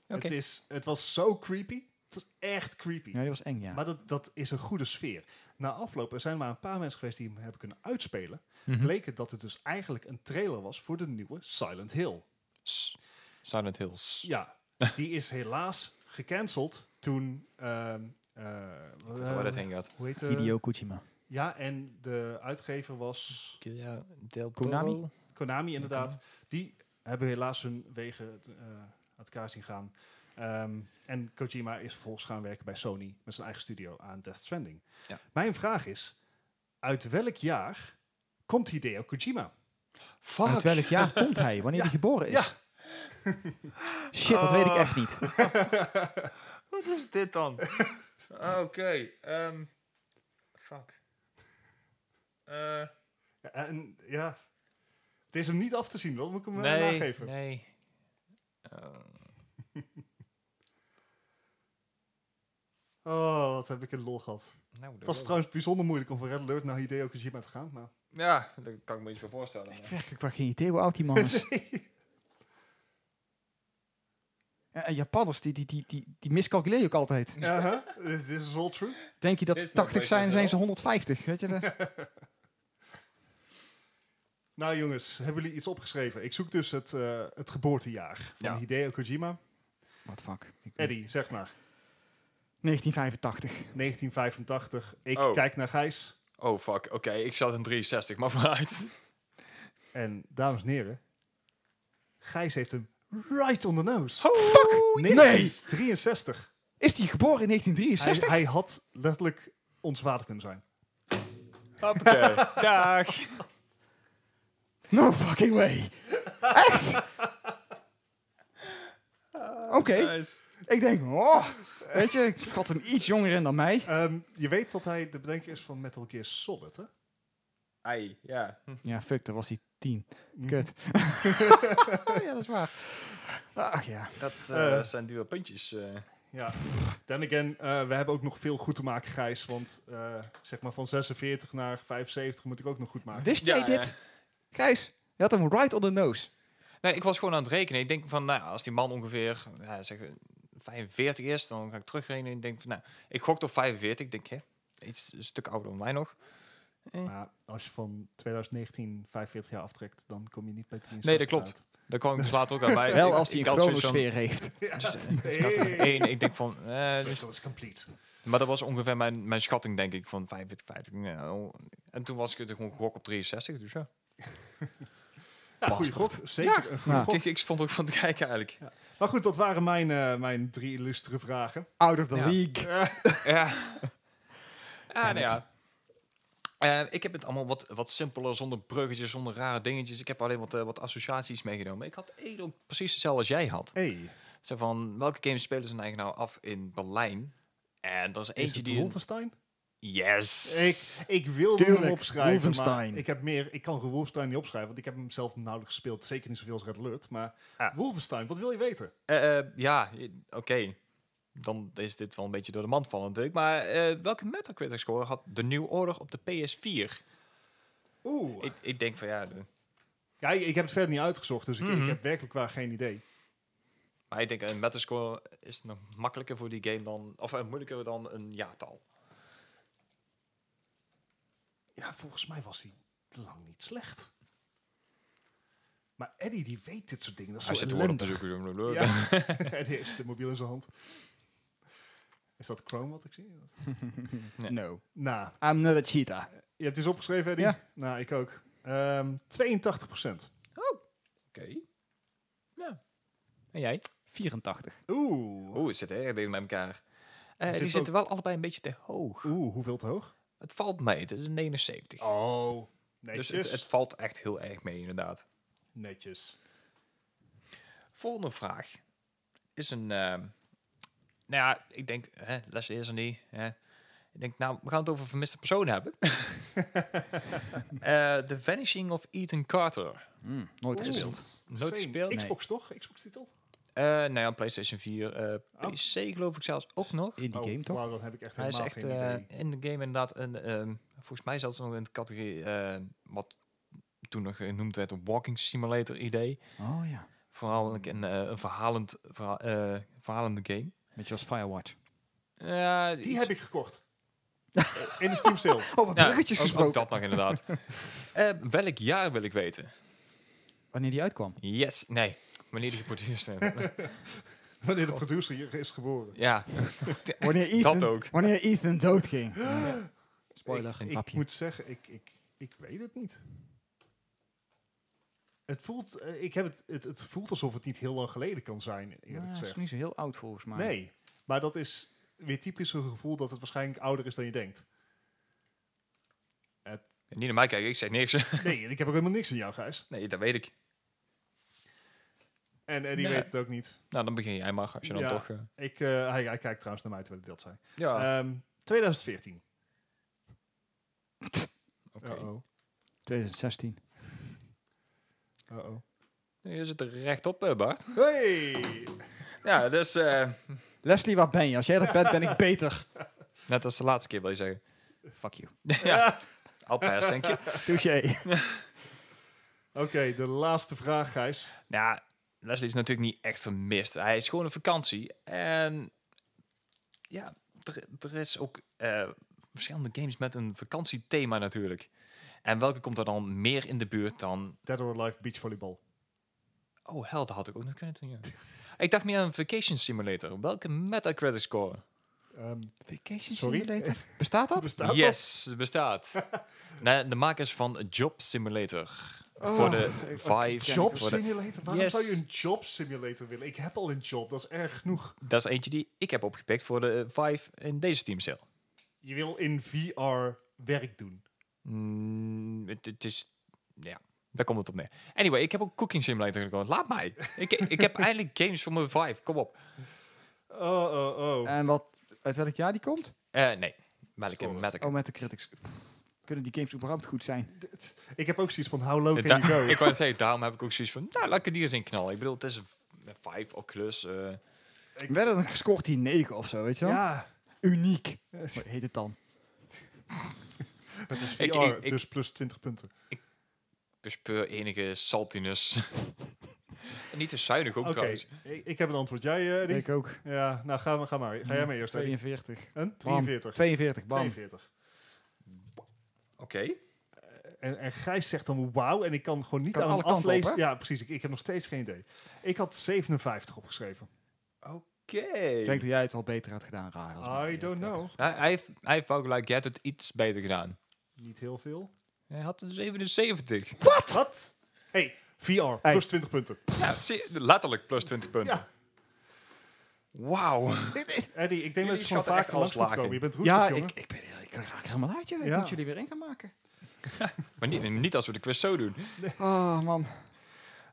Oké. Het, is, het was zo creepy. Het was echt creepy. Ja, die was eng, ja. Maar dat, dat is een goede sfeer. Na afloop, er zijn maar een paar mensen geweest die hem hebben kunnen uitspelen. Mhm. Bleek het dat het dus eigenlijk een trailer was voor de nieuwe Silent Hill. S- Silent Hills. Ja, die is helaas gecanceld toen... ehm eh, Dat is waar dat heen gaat. hoe heet het? Hideo Kojima. Ja, en de uitgever was Ja, Del Konami? Toro. Konami inderdaad. Die hebben helaas hun wegen eh, uit elkaar zien gaan. Ehm, en Kojima is vervolgens gaan werken bij Sony met zijn eigen studio aan Death Stranding. Ja. Mijn vraag is, uit welk jaar komt Hideo Kojima? Uit welk jaar komt hij? Wanneer hij geboren is? Shit, dat weet ik echt niet. Wat is dit dan? Ah, Oké. ehm, fuck. Eh, Ja, en, ja. Het is hem niet af te zien, wel moet ik hem eh, nee, nageven. nee. Eh, Oh, wat heb ik een lol gehad. nou, Het was trouwens bijzonder moeilijk om van Red Alert naar Hideo Kojima te gaan. Maar Ja, dat kan ik me iets voor voorstellen. maar- Werkelijk waar geen idee hoe oud die man is. Ja, en Japanners, die, die, die, die, die miscalculeer je ook altijd. Aha, Uh-huh. this, this is all true. Denk je dat Dit ze is nog 80 zijn, PlayStation zijn ze wel. 150. Weet je de- Nou jongens, hebben jullie iets opgeschreven? Ik zoek dus het, eh, het geboortejaar van Ja. Hideo Kojima. What the fuck. Ik- Eddie, zeg maar. 1985. 1985. Ik Oh. kijk naar Gijs. Oh, fuck. Oké, ik zat in 63, maar vooruit. En dames en heren, Gijs heeft hem right on the nose. fuck! Nee, Nee! 63. Is die geboren in Hij, 1963? hij had letterlijk ons vader kunnen zijn. Hoppakee. Dag. No fucking way. Echt? Oké, Nice. ik denk, oh, weet je, ik had hem iets jonger in dan mij. Ehm, je weet dat hij de bedenker is van Metal Gear Solid, hè? Ai, ja. Hm, Ja, fuck, dan was hij 10. Mhm. Kut. Oh ja, dat is waar. Ach ja. Dat eh, Eh. zijn duur puntjes. eh. Ja. Then again, eh, we hebben ook nog veel goed te maken, Gijs. Want eh, zeg maar van 46 naar 75 moet ik ook nog goed maken. Wist Ja, jij dit? ja. Gijs, je had hem right on the nose. Nee, ik was gewoon aan het rekenen. Ik denk van, nou, ja, als die man ongeveer ja, zeg, 45 is, dan ga ik terugrekenen. Ik denk van, nou, ik gok op 45. Ik denk, hè, iets een stuk ouder dan mij nog. Maar als je van 2019 45 jaar aftrekt, dan kom je niet bij 63 Nee, dat klopt. uit. Daar kwam ik dus later ook aan bij. Wel Ik- als hij ik een had zoiets van- chronosfeer heeft. Dus, eh, Ik had er één. Ik denk van, eh, dus- Circle is complete. maar dat was ongeveer mijn, mijn schatting, denk ik, van 45, 50. Nou, en toen was ik er gewoon gok op 63, dus ja. Ja, goede gok. Zeker een goede Ja. gok. Ik, ik stond ook van te kijken eigenlijk. Maar goed, dat waren mijn, eh, mijn drie illustere vragen. Out of the Ja. league. Ja. ja, nou ja. Eh, ik heb het allemaal wat, wat simpeler, zonder bruggetjes, zonder rare dingetjes. Ik heb alleen wat, eh, wat associaties meegenomen. Ik had eigenlijk precies hetzelfde als jij had. Hey, Zo van, welke games spelen ze nou eigenlijk nou af in Berlijn? En dat is is eentje het die... Wolfenstein? Yes! Ik, ik wilde Tuurlijk, hem opschrijven, Wolfenstein. maar ik, heb meer, ik kan Wolfenstein niet opschrijven, want ik heb hem zelf nauwelijks gespeeld. Zeker niet zoveel als Red Alert, maar Ah. Wolfenstein, wat wil je weten? Eh, eh, ja, eh, oké. Dan is dit wel een beetje door de mand vallen natuurlijk. Maar eh, welke Metacritic score had The New Order op de PS4? Oeh. Ik, ik denk van ja... de- Ja, ik ik heb het verder niet uitgezocht, dus ik, ik Mhm. heb werkelijk waar geen idee. Maar ik denk, een metascore is nog makkelijker voor die game dan... Of eh, moeilijker dan een jaartal. Ja, volgens mij was hij lang niet slecht. Maar Eddie, die weet dit soort dingen. Dat is Hij zo zit woorden op te ellendig. zoeken. Ja. Ja. Eddie heeft de mobiel in zijn hand. Is dat Chrome wat ik zie? Ja. No. Nou, I'm not a cheetah. je hebt het eens opgeschreven, Eddie? Ja. Nou, ik ook. Ehm 82 Oké. Ja. En jij? 84. Oeh. Oeh, het zit erg dicht bij elkaar. Eh, Zit die ook- zitten wel allebei een beetje te hoog. Oeh, hoeveel te hoog? Het valt mee, het is een 79. Oh, netjes. dus het, het valt echt heel erg mee, inderdaad. Netjes. Volgende vraag is een... ehm, nou ja, ik denk, hè, les is er niet. Hè. Ik denk, nou, we gaan het over vermiste personen hebben. Eh The Vanishing of Ethan Carter. Mm, nooit Oeh. gespeeld. Nooit Same. gespeeld? Xbox toch? Xbox-titel? Eh nou ja, PlayStation 4, eh, Oh. PC geloof ik zelfs ook nog. In die Oh, game toch? Wauw, dan heb ik echt Hij is helemaal echt geen eh, idee. in de game inderdaad een, ehm, volgens mij zelfs nog in de categorie eh, wat toen nog genoemd werd een walking simulator idee. Oh ja. Vooral een, een, eh, een verhalend, verha- eh, verhalende game. Beetje als Firewatch. Ja, Die iets- heb ik gekocht. in de Steam sale. Oh, Over Ja, bruggetjes ook- gesproken. Ook dat nog inderdaad. Eh, welk jaar wil ik weten? Wanneer die uitkwam. Yes, nee. Wanneer die geproduceerd werd. Wanneer de producer hier is geboren. ja, Wanneer dat ook. Wanneer Ethan doodging. Spoiler, Ik- geen ik, grapje. moet zeggen, ik, ik, ik weet het niet. Het voelt, eh, ik heb het, het, het voelt alsof het niet heel lang geleden kan zijn, eerlijk Nou, is gezegd. niet zo heel oud volgens mij. Nee, maar dat is weer typisch een gevoel dat het waarschijnlijk ouder is dan je denkt. Het Niet naar mij kijken, ik zeg niks. Nee, ik heb ook helemaal niks aan jou, Gijs. nee, dat weet ik. En Eddie Nee. weet het ook niet. Nou, dan begin jij maar, als je dan Ja. toch... eh, Ik, eh, hij, hij kijkt trouwens naar mij terwijl hij dat zei. ja, Ehm, 2014. oké. Uh-oh. 2016. Uh-oh. Nee, Je zit er rechtop, eh, Bart. Hey! Ja, dus eh, Leslie, waar ben je? Als jij dat bent, ben ik beter. net als de laatste keer wil je zeggen. Fuck you. ja, alpijs, denk je. Touché. Oké, de laatste vraag, Gijs. Nou, Leslie is natuurlijk niet echt vermist. Hij is gewoon op vakantie. En ja, er, er is ook eh, verschillende games met een vakantiethema natuurlijk. En welke komt er dan meer in de buurt dan... Dead or Alive Beach Volleyball. Oh, hel, dat had ik ook nog kunnen doen, ja. Ik dacht meer aan Vacation Simulator. Welke Metacritic score? Ehm, Vacation Sorry? Simulator. Bestaat dat? bestaat dat? yes, het bestaat. Nee, de makers van Job Simulator. Oh, voor de ik- Vive. Job voor de- simulator? Waarom Yes. zou je een job simulator willen? Ik heb al een job, dat is erg genoeg. Dat is eentje die ik heb opgepikt voor de eh, Vive in deze teamcel. Je wil in VR werk doen. Mm, het, het is... Ja, daar komt het op neer. Anyway, ik heb ook Cooking Simulator gekozen. Laat mij. ik, ik heb eindelijk games voor mijn Vive. Kom op. Oh, oh, oh. En wat, uit welk jaar die komt? Eh, nee. Welke Score. Metacritic? Oh, met de critics. Pff, Kunnen die games überhaupt goed zijn? Dit- ik heb ook zoiets van, how low Eh, can da- you go? ik wou net zeggen, daarom heb ik ook zoiets van... Nou, laat ik er die eens in knallen. Ik bedoel, het is een v- Vive, Oculus... eh Ik- Werden dan gescoord die 9 of zo, weet je wel? ja, Uniek. Wat heet het dan? het is VR, Ik- ik- ik- dus plus 20 punten. bespeur dus enige saltiness. En Niet te zuinig ook Oké, trouwens. ik, ik heb een antwoord. Jij, eh, Eddie? Ik ook. Ja, nou ga, maar- ga maar. Ga jij maar eerst, Eddie. 42. Een? Bam. 43. 42, bam. 42. Oké. En, en Gijs zegt dan wauw, en ik kan gewoon niet Kan aan alle hem kanten op, aflezen. hè? ja, precies. Ik, ik heb nog steeds geen idee. Ik had 57 opgeschreven. Oké. Ik denk dat jij het al beter had gedaan, raar. dat is maar I eerlijk. don't know. Hij, hij heeft, hij heeft wel gelijk, jij hebt het iets beter gedaan. Niet heel veel. Hij had een 77. Wat? hey, VR, Hey. plus 20 punten. Ja, zie, je, letterlijk plus 20 punten. Ja. Wauw. Eddie, ik denk dat Jullie je gewoon schatten echt vaker langs alles moet laag komen. in. Je bent roestig, Ja, jongen. ik, ik, ben, heel- ik raak helemaal uit, joh. Ik Ja. moet jullie weer in gaan maken. Maar niet, niet als we de quiz zo doen. Oh, man.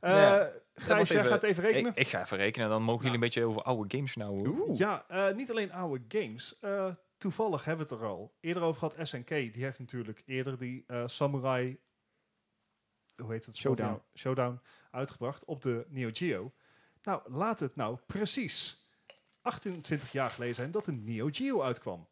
Eh, Ja. Gijs, wacht jij even. gaat even Ik, rekenen. ik ga even rekenen, dan mogen jullie een beetje over oude games nou hoor. Ja, eh, niet alleen oude games. Eh, toevallig hebben we het er al eerder over gehad. SNK, die heeft natuurlijk eerder die eh, Samurai... Hoe heet het? spel van Showdown. jou? Showdown uitgebracht op de Neo Geo. Nou, laat het nou precies 28 jaar geleden zijn dat de Neo Geo uitkwam.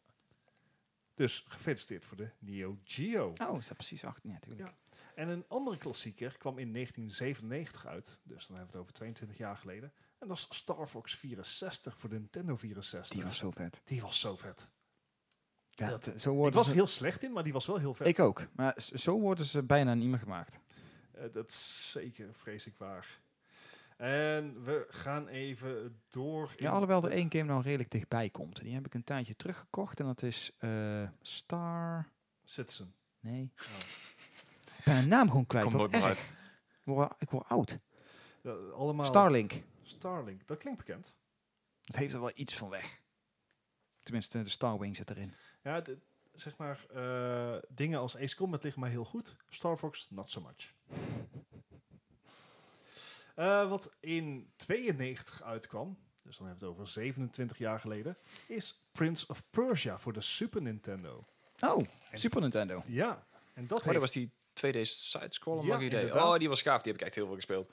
Dus gefeliciteerd voor de Neo Geo. Oh, is dat precies achter? Ja, natuurlijk. Ja. En een andere klassieker kwam in 1997 uit. Dus dan hebben we het over 22 jaar geleden. En dat is Star Fox 64 voor de Nintendo 64. Die was zo vet. Die was zo vet. Ja, Dat- zo Ik worden was ze- er heel slecht in, maar die was wel heel vet. Ik ook. Maar s- zo worden ze bijna niet meer gemaakt. Eh, dat is zeker, vrees ik waar. En we gaan even door. in Ja, alhoewel er de- één game nou redelijk dichtbij komt. Die heb ik een tijdje teruggekocht. En dat is eh, Star... Citizen. Nee. Oh. Ik ben de naam gewoon kwijt. Komt wat nooit meer Oh, erg. Ik word- Ik word oud. Ja, allemaal Starlink. Starlink, dat klinkt bekend. Dat heeft er wel iets van weg. Tenminste, de Starwing zit erin. Ja, d- zeg maar, eh, dingen als Ace Combat liggen mij heel goed. Star Fox, not so much. Eh, wat in 92 uitkwam, dus dan hebben we het over 27 jaar geleden, is Prince of Persia voor de Super Nintendo. Oh, Super Nintendo. Ja, en dat Oh, dat heeft was die 2D sidescroller, Ja, mag idee. inderdaad. Oh, die was gaaf, die heb ik echt heel veel gespeeld.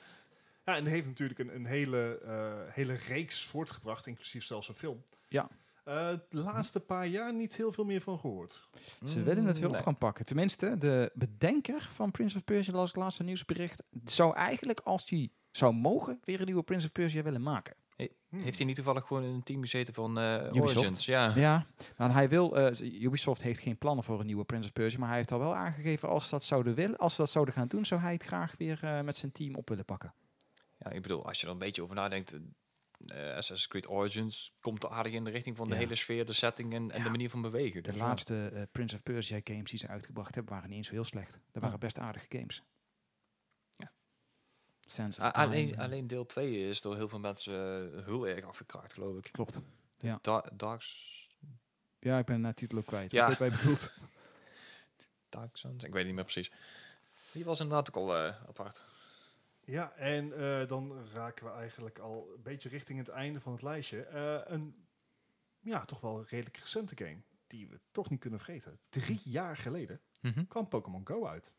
Ja, en die heeft natuurlijk een, een hele, eh, hele reeks voortgebracht, inclusief zelfs een film. Ja. Eh, de laatste paar jaar niet heel veel meer van gehoord. Ze willen het weer Nee. op gaan pakken. Tenminste, de bedenker van Prince of Persia, las ik laatste nieuwsbericht, zou eigenlijk, als hij zou mogen, weer een nieuwe Prince of Persia willen maken. Hmm. Heeft hij niet toevallig gewoon in een team gezeten van eh, Ubisoft. Origins? Ja. Ja, maar hij wil, eh, Ubisoft heeft geen plannen voor een nieuwe Prince of Persia, maar hij heeft al wel aangegeven, als ze dat zouden willen, als ze dat zouden gaan doen, zou hij het graag weer eh, met zijn team op willen pakken. ja, ik bedoel, als je er een beetje over nadenkt... eh, Assassin's Creed Origins komt aardig in de richting van de Ja. hele sfeer, de setting en, en Ja. de manier van bewegen. De Dus ja. laatste eh, Prince of Persia games die ze uitgebracht hebben, waren niet eens zo heel slecht. Dat Ah. waren best aardige games. Ja. Sense of A- Time, alleen, eh, alleen deel 2 is door heel veel mensen eh, heel erg afgekraakt, geloof ik. Klopt. Da- Darks... eh, Ja, ik ben naar titel ook kwijt. Ja. Ik weet wat je bedoelt. Taxons, ik weet niet meer precies. Die was inderdaad ook al eh, apart. Ja, en eh, dan raken we eigenlijk al een beetje richting het einde van het lijstje. Eh, een, ja, toch wel redelijk recente game. Die we toch niet kunnen vergeten. Drie Hm. jaar geleden Mhm. kwam Pokémon Go uit.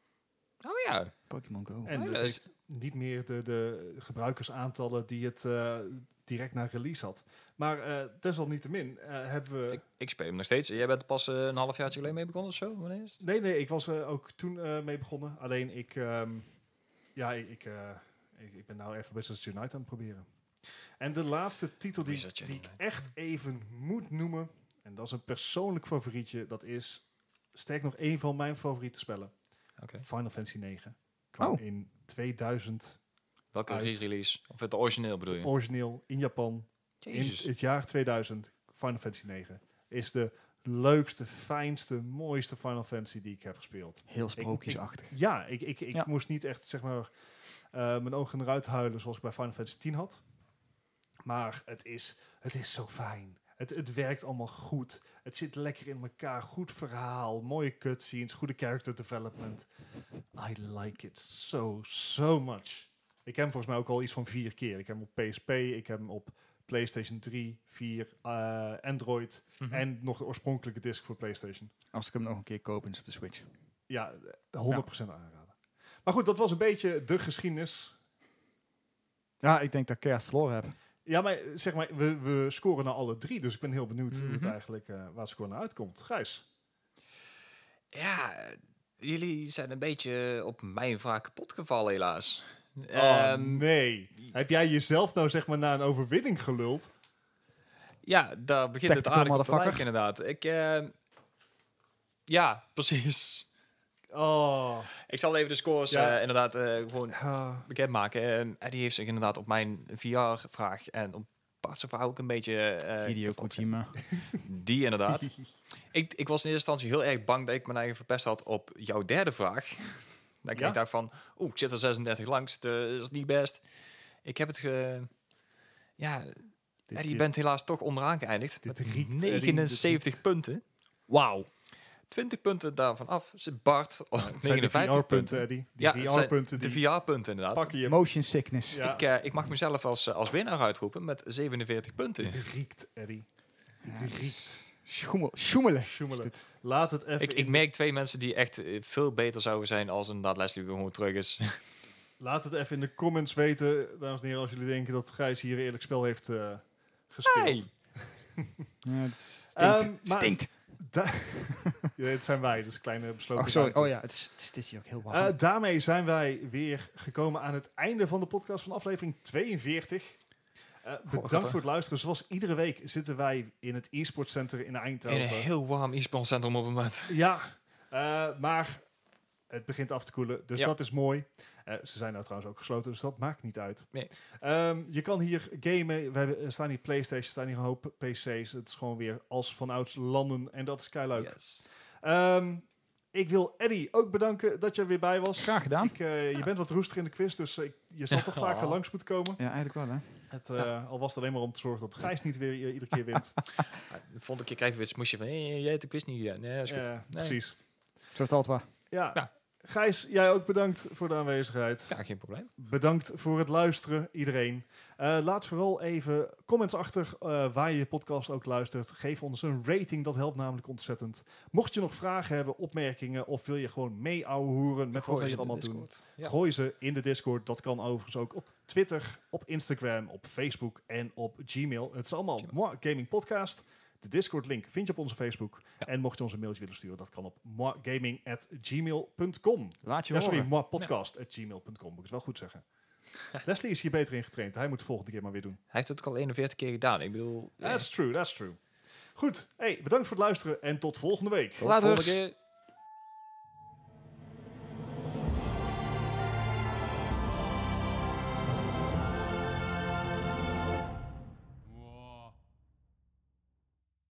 Oh ja. Pokémon Go. En Oh, dat dat is- heeft niet meer de, de gebruikersaantallen die het eh, direct na release had. Maar eh, desalniettemin eh, hebben we... Ik, ik speel hem nog steeds. Jij bent er pas eh, een half jaar geleden mee begonnen of zo? Wanneer is het? Nee, nee, ik was eh, ook toen eh, mee begonnen. Alleen ik... ehm, ja, ik, ik, eh, ik, ik ben nou even Wizards Unite aan het proberen. En de laatste titel die, Wizards die ik Unite. echt even moet noemen... En dat is een persoonlijk favorietje. Dat is, sterk nog, één van mijn favoriete spellen. Oké. Final Fantasy 9. Kwam Oh. in 2000 Welke Uit. re-release? Of het origineel bedoel je? origineel in Japan. In Jezus. het jaar 2000, Final Fantasy 9, is de leukste, fijnste, mooiste Final Fantasy die ik heb gespeeld. Heel sprookjesachtig. Ja, ik, ik, ik Ja. moest niet echt, zeg maar, eh, mijn ogen eruit huilen zoals ik bij Final Fantasy 10 had. Maar het is, het is zo fijn. Het, het werkt allemaal goed. Het zit lekker in elkaar. Goed verhaal, mooie cutscenes, goede character development. I like it so, so much. Ik heb hem volgens mij ook al iets van vier keer. Ik heb hem op PSP, ik heb hem op PlayStation 3, 4, eh, Android Mhm. en nog de oorspronkelijke disc voor PlayStation. Als ik hem nog een keer koop, is op de Switch. Ja, 100% aanraden. Maar goed, dat was een beetje de geschiedenis. Ja, ik denk dat ik keihard verloren heb. Ja, maar eh, zeg maar, we, we scoren naar alle drie, dus ik ben heel benieuwd hoe het Mhm. eigenlijk, eh, waar het score naar uitkomt. Gijs, Ja, eh, jullie zijn een beetje op mijn vraag kapot gevallen helaas. oh Ehm, nee. Heb jij jezelf nou zeg maar na een overwinning geluld? Ja, daar begint het Tactical aardig op te lijken, motherfucker. inderdaad. Ik, eh, ja, precies. Oh. Ik zal even de scores Ja. eh, inderdaad eh, gewoon Ah. bekendmaken. Ehm, Eddie heeft zich inderdaad op mijn VR-vraag en op Parts of Hour ook een beetje... eh, Hideo kapot Kojima. Die inderdaad. ik, ik was in eerste instantie heel erg bang dat ik mijn eigen verpest had op jouw derde vraag. dat ik Ja? echt dacht van, oeh, ik zit er 36 langs, dus dat is niet best. Ik heb het ge... Ja, Dit- Eddie, dit- je bent helaas toch onderaan geëindigd. dit Met riekt, dus Eddie, dit 79 riekt. punten. Wauw. 20 punten daarvan af zit Bart op Het zijn de 59 VR-punten, punten. Eddie. Ja, Die het zijn VR-punten, De die VR-punten inderdaad. pakken je. Motion sickness. Ja. Ik, eh, ik mag mezelf als, eh, als winnaar uitroepen met 47 punten. Het riekt, Eddie. Het riekt. Schoemel, schoemelen. Sjoemelen. Laat het even Ik, ik in- merk twee mensen die echt eh, veel beter zouden zijn als inderdaad Leslie weer gewoon terug is. Laat het even in de comments weten, dames en heren, als jullie denken dat Gijs hier eerlijk spel heeft eh, gespeeld. Hey. Ja, het Ehm, stinkt. maar stinkt. da- ja, het zijn wij, dus kleine besloten. Oh, sorry. ruimte. Oh ja, het is, het is dit hier ook heel warm. Eh, daarmee zijn wij weer gekomen aan het einde van de podcast van aflevering 42. Eh, Oh, bedankt gaat er. voor het luisteren. Zoals iedere week zitten wij in het e-sport center in Eindhoven. In een heel warm e-sport centrum op het moment. Ja, eh, maar het begint af te koelen, dus Ja. dat is mooi. Eh, ze zijn nou trouwens ook gesloten, dus dat maakt niet uit. Nee. Ehm, je kan hier gamen. We hebben, er staan hier PlayStation, er staan hier een hoop PC's. Het is gewoon weer als vanuit landen en dat is kei leuk. Yes. Ehm, ik wil Eddie ook bedanken dat je er weer bij was. Graag gedaan. Ik, eh, Je bent wat roestig in de quiz, dus eh, ik- je zal toch Oh. vaker langs moeten komen. Ja, eigenlijk wel hè. Het, eh, Al was het alleen maar om te zorgen dat Gijs niet weer i- iedere keer wint. Ja, Ah, de volgende keer krijg je weer het smoesje van, hey, jij hebt de quiz niet gedaan. Nee, is goed. Eh, Precies. Zo is het altijd waar. Ja. Ja. Gijs, jij ook bedankt voor de aanwezigheid. Ja, geen probleem. Bedankt voor het luisteren, iedereen. Eh, laat vooral even comments achter eh, waar je je podcast ook luistert. Geef ons een rating, dat helpt namelijk ontzettend. Mocht je nog vragen hebben, opmerkingen... of wil je gewoon mee ouwehoeren met wat Gooi wij ze hier in de allemaal doen... Discord. Ja. Gooi ze in de Discord. Dat kan overigens ook op Twitter, op Instagram, op Facebook en op Gmail. Het is allemaal Gmail. Moi Gaming Podcast. De Discord link vind je op onze Facebook. Ja. En mocht je ons een mailtje willen sturen, dat kan op moigaming.gmail.com. Laat je Ja, horen. sorry, moipodcast.gmail.com. Moet ik het wel goed zeggen. Leslie is hier beter in getraind. Hij moet de volgende keer maar weer doen. Hij heeft het ook al 41 keer gedaan. Ik bedoel, eh, That's true, that's true. Goed, hey, bedankt voor het luisteren en tot volgende week. tot de volgende Laters. keer.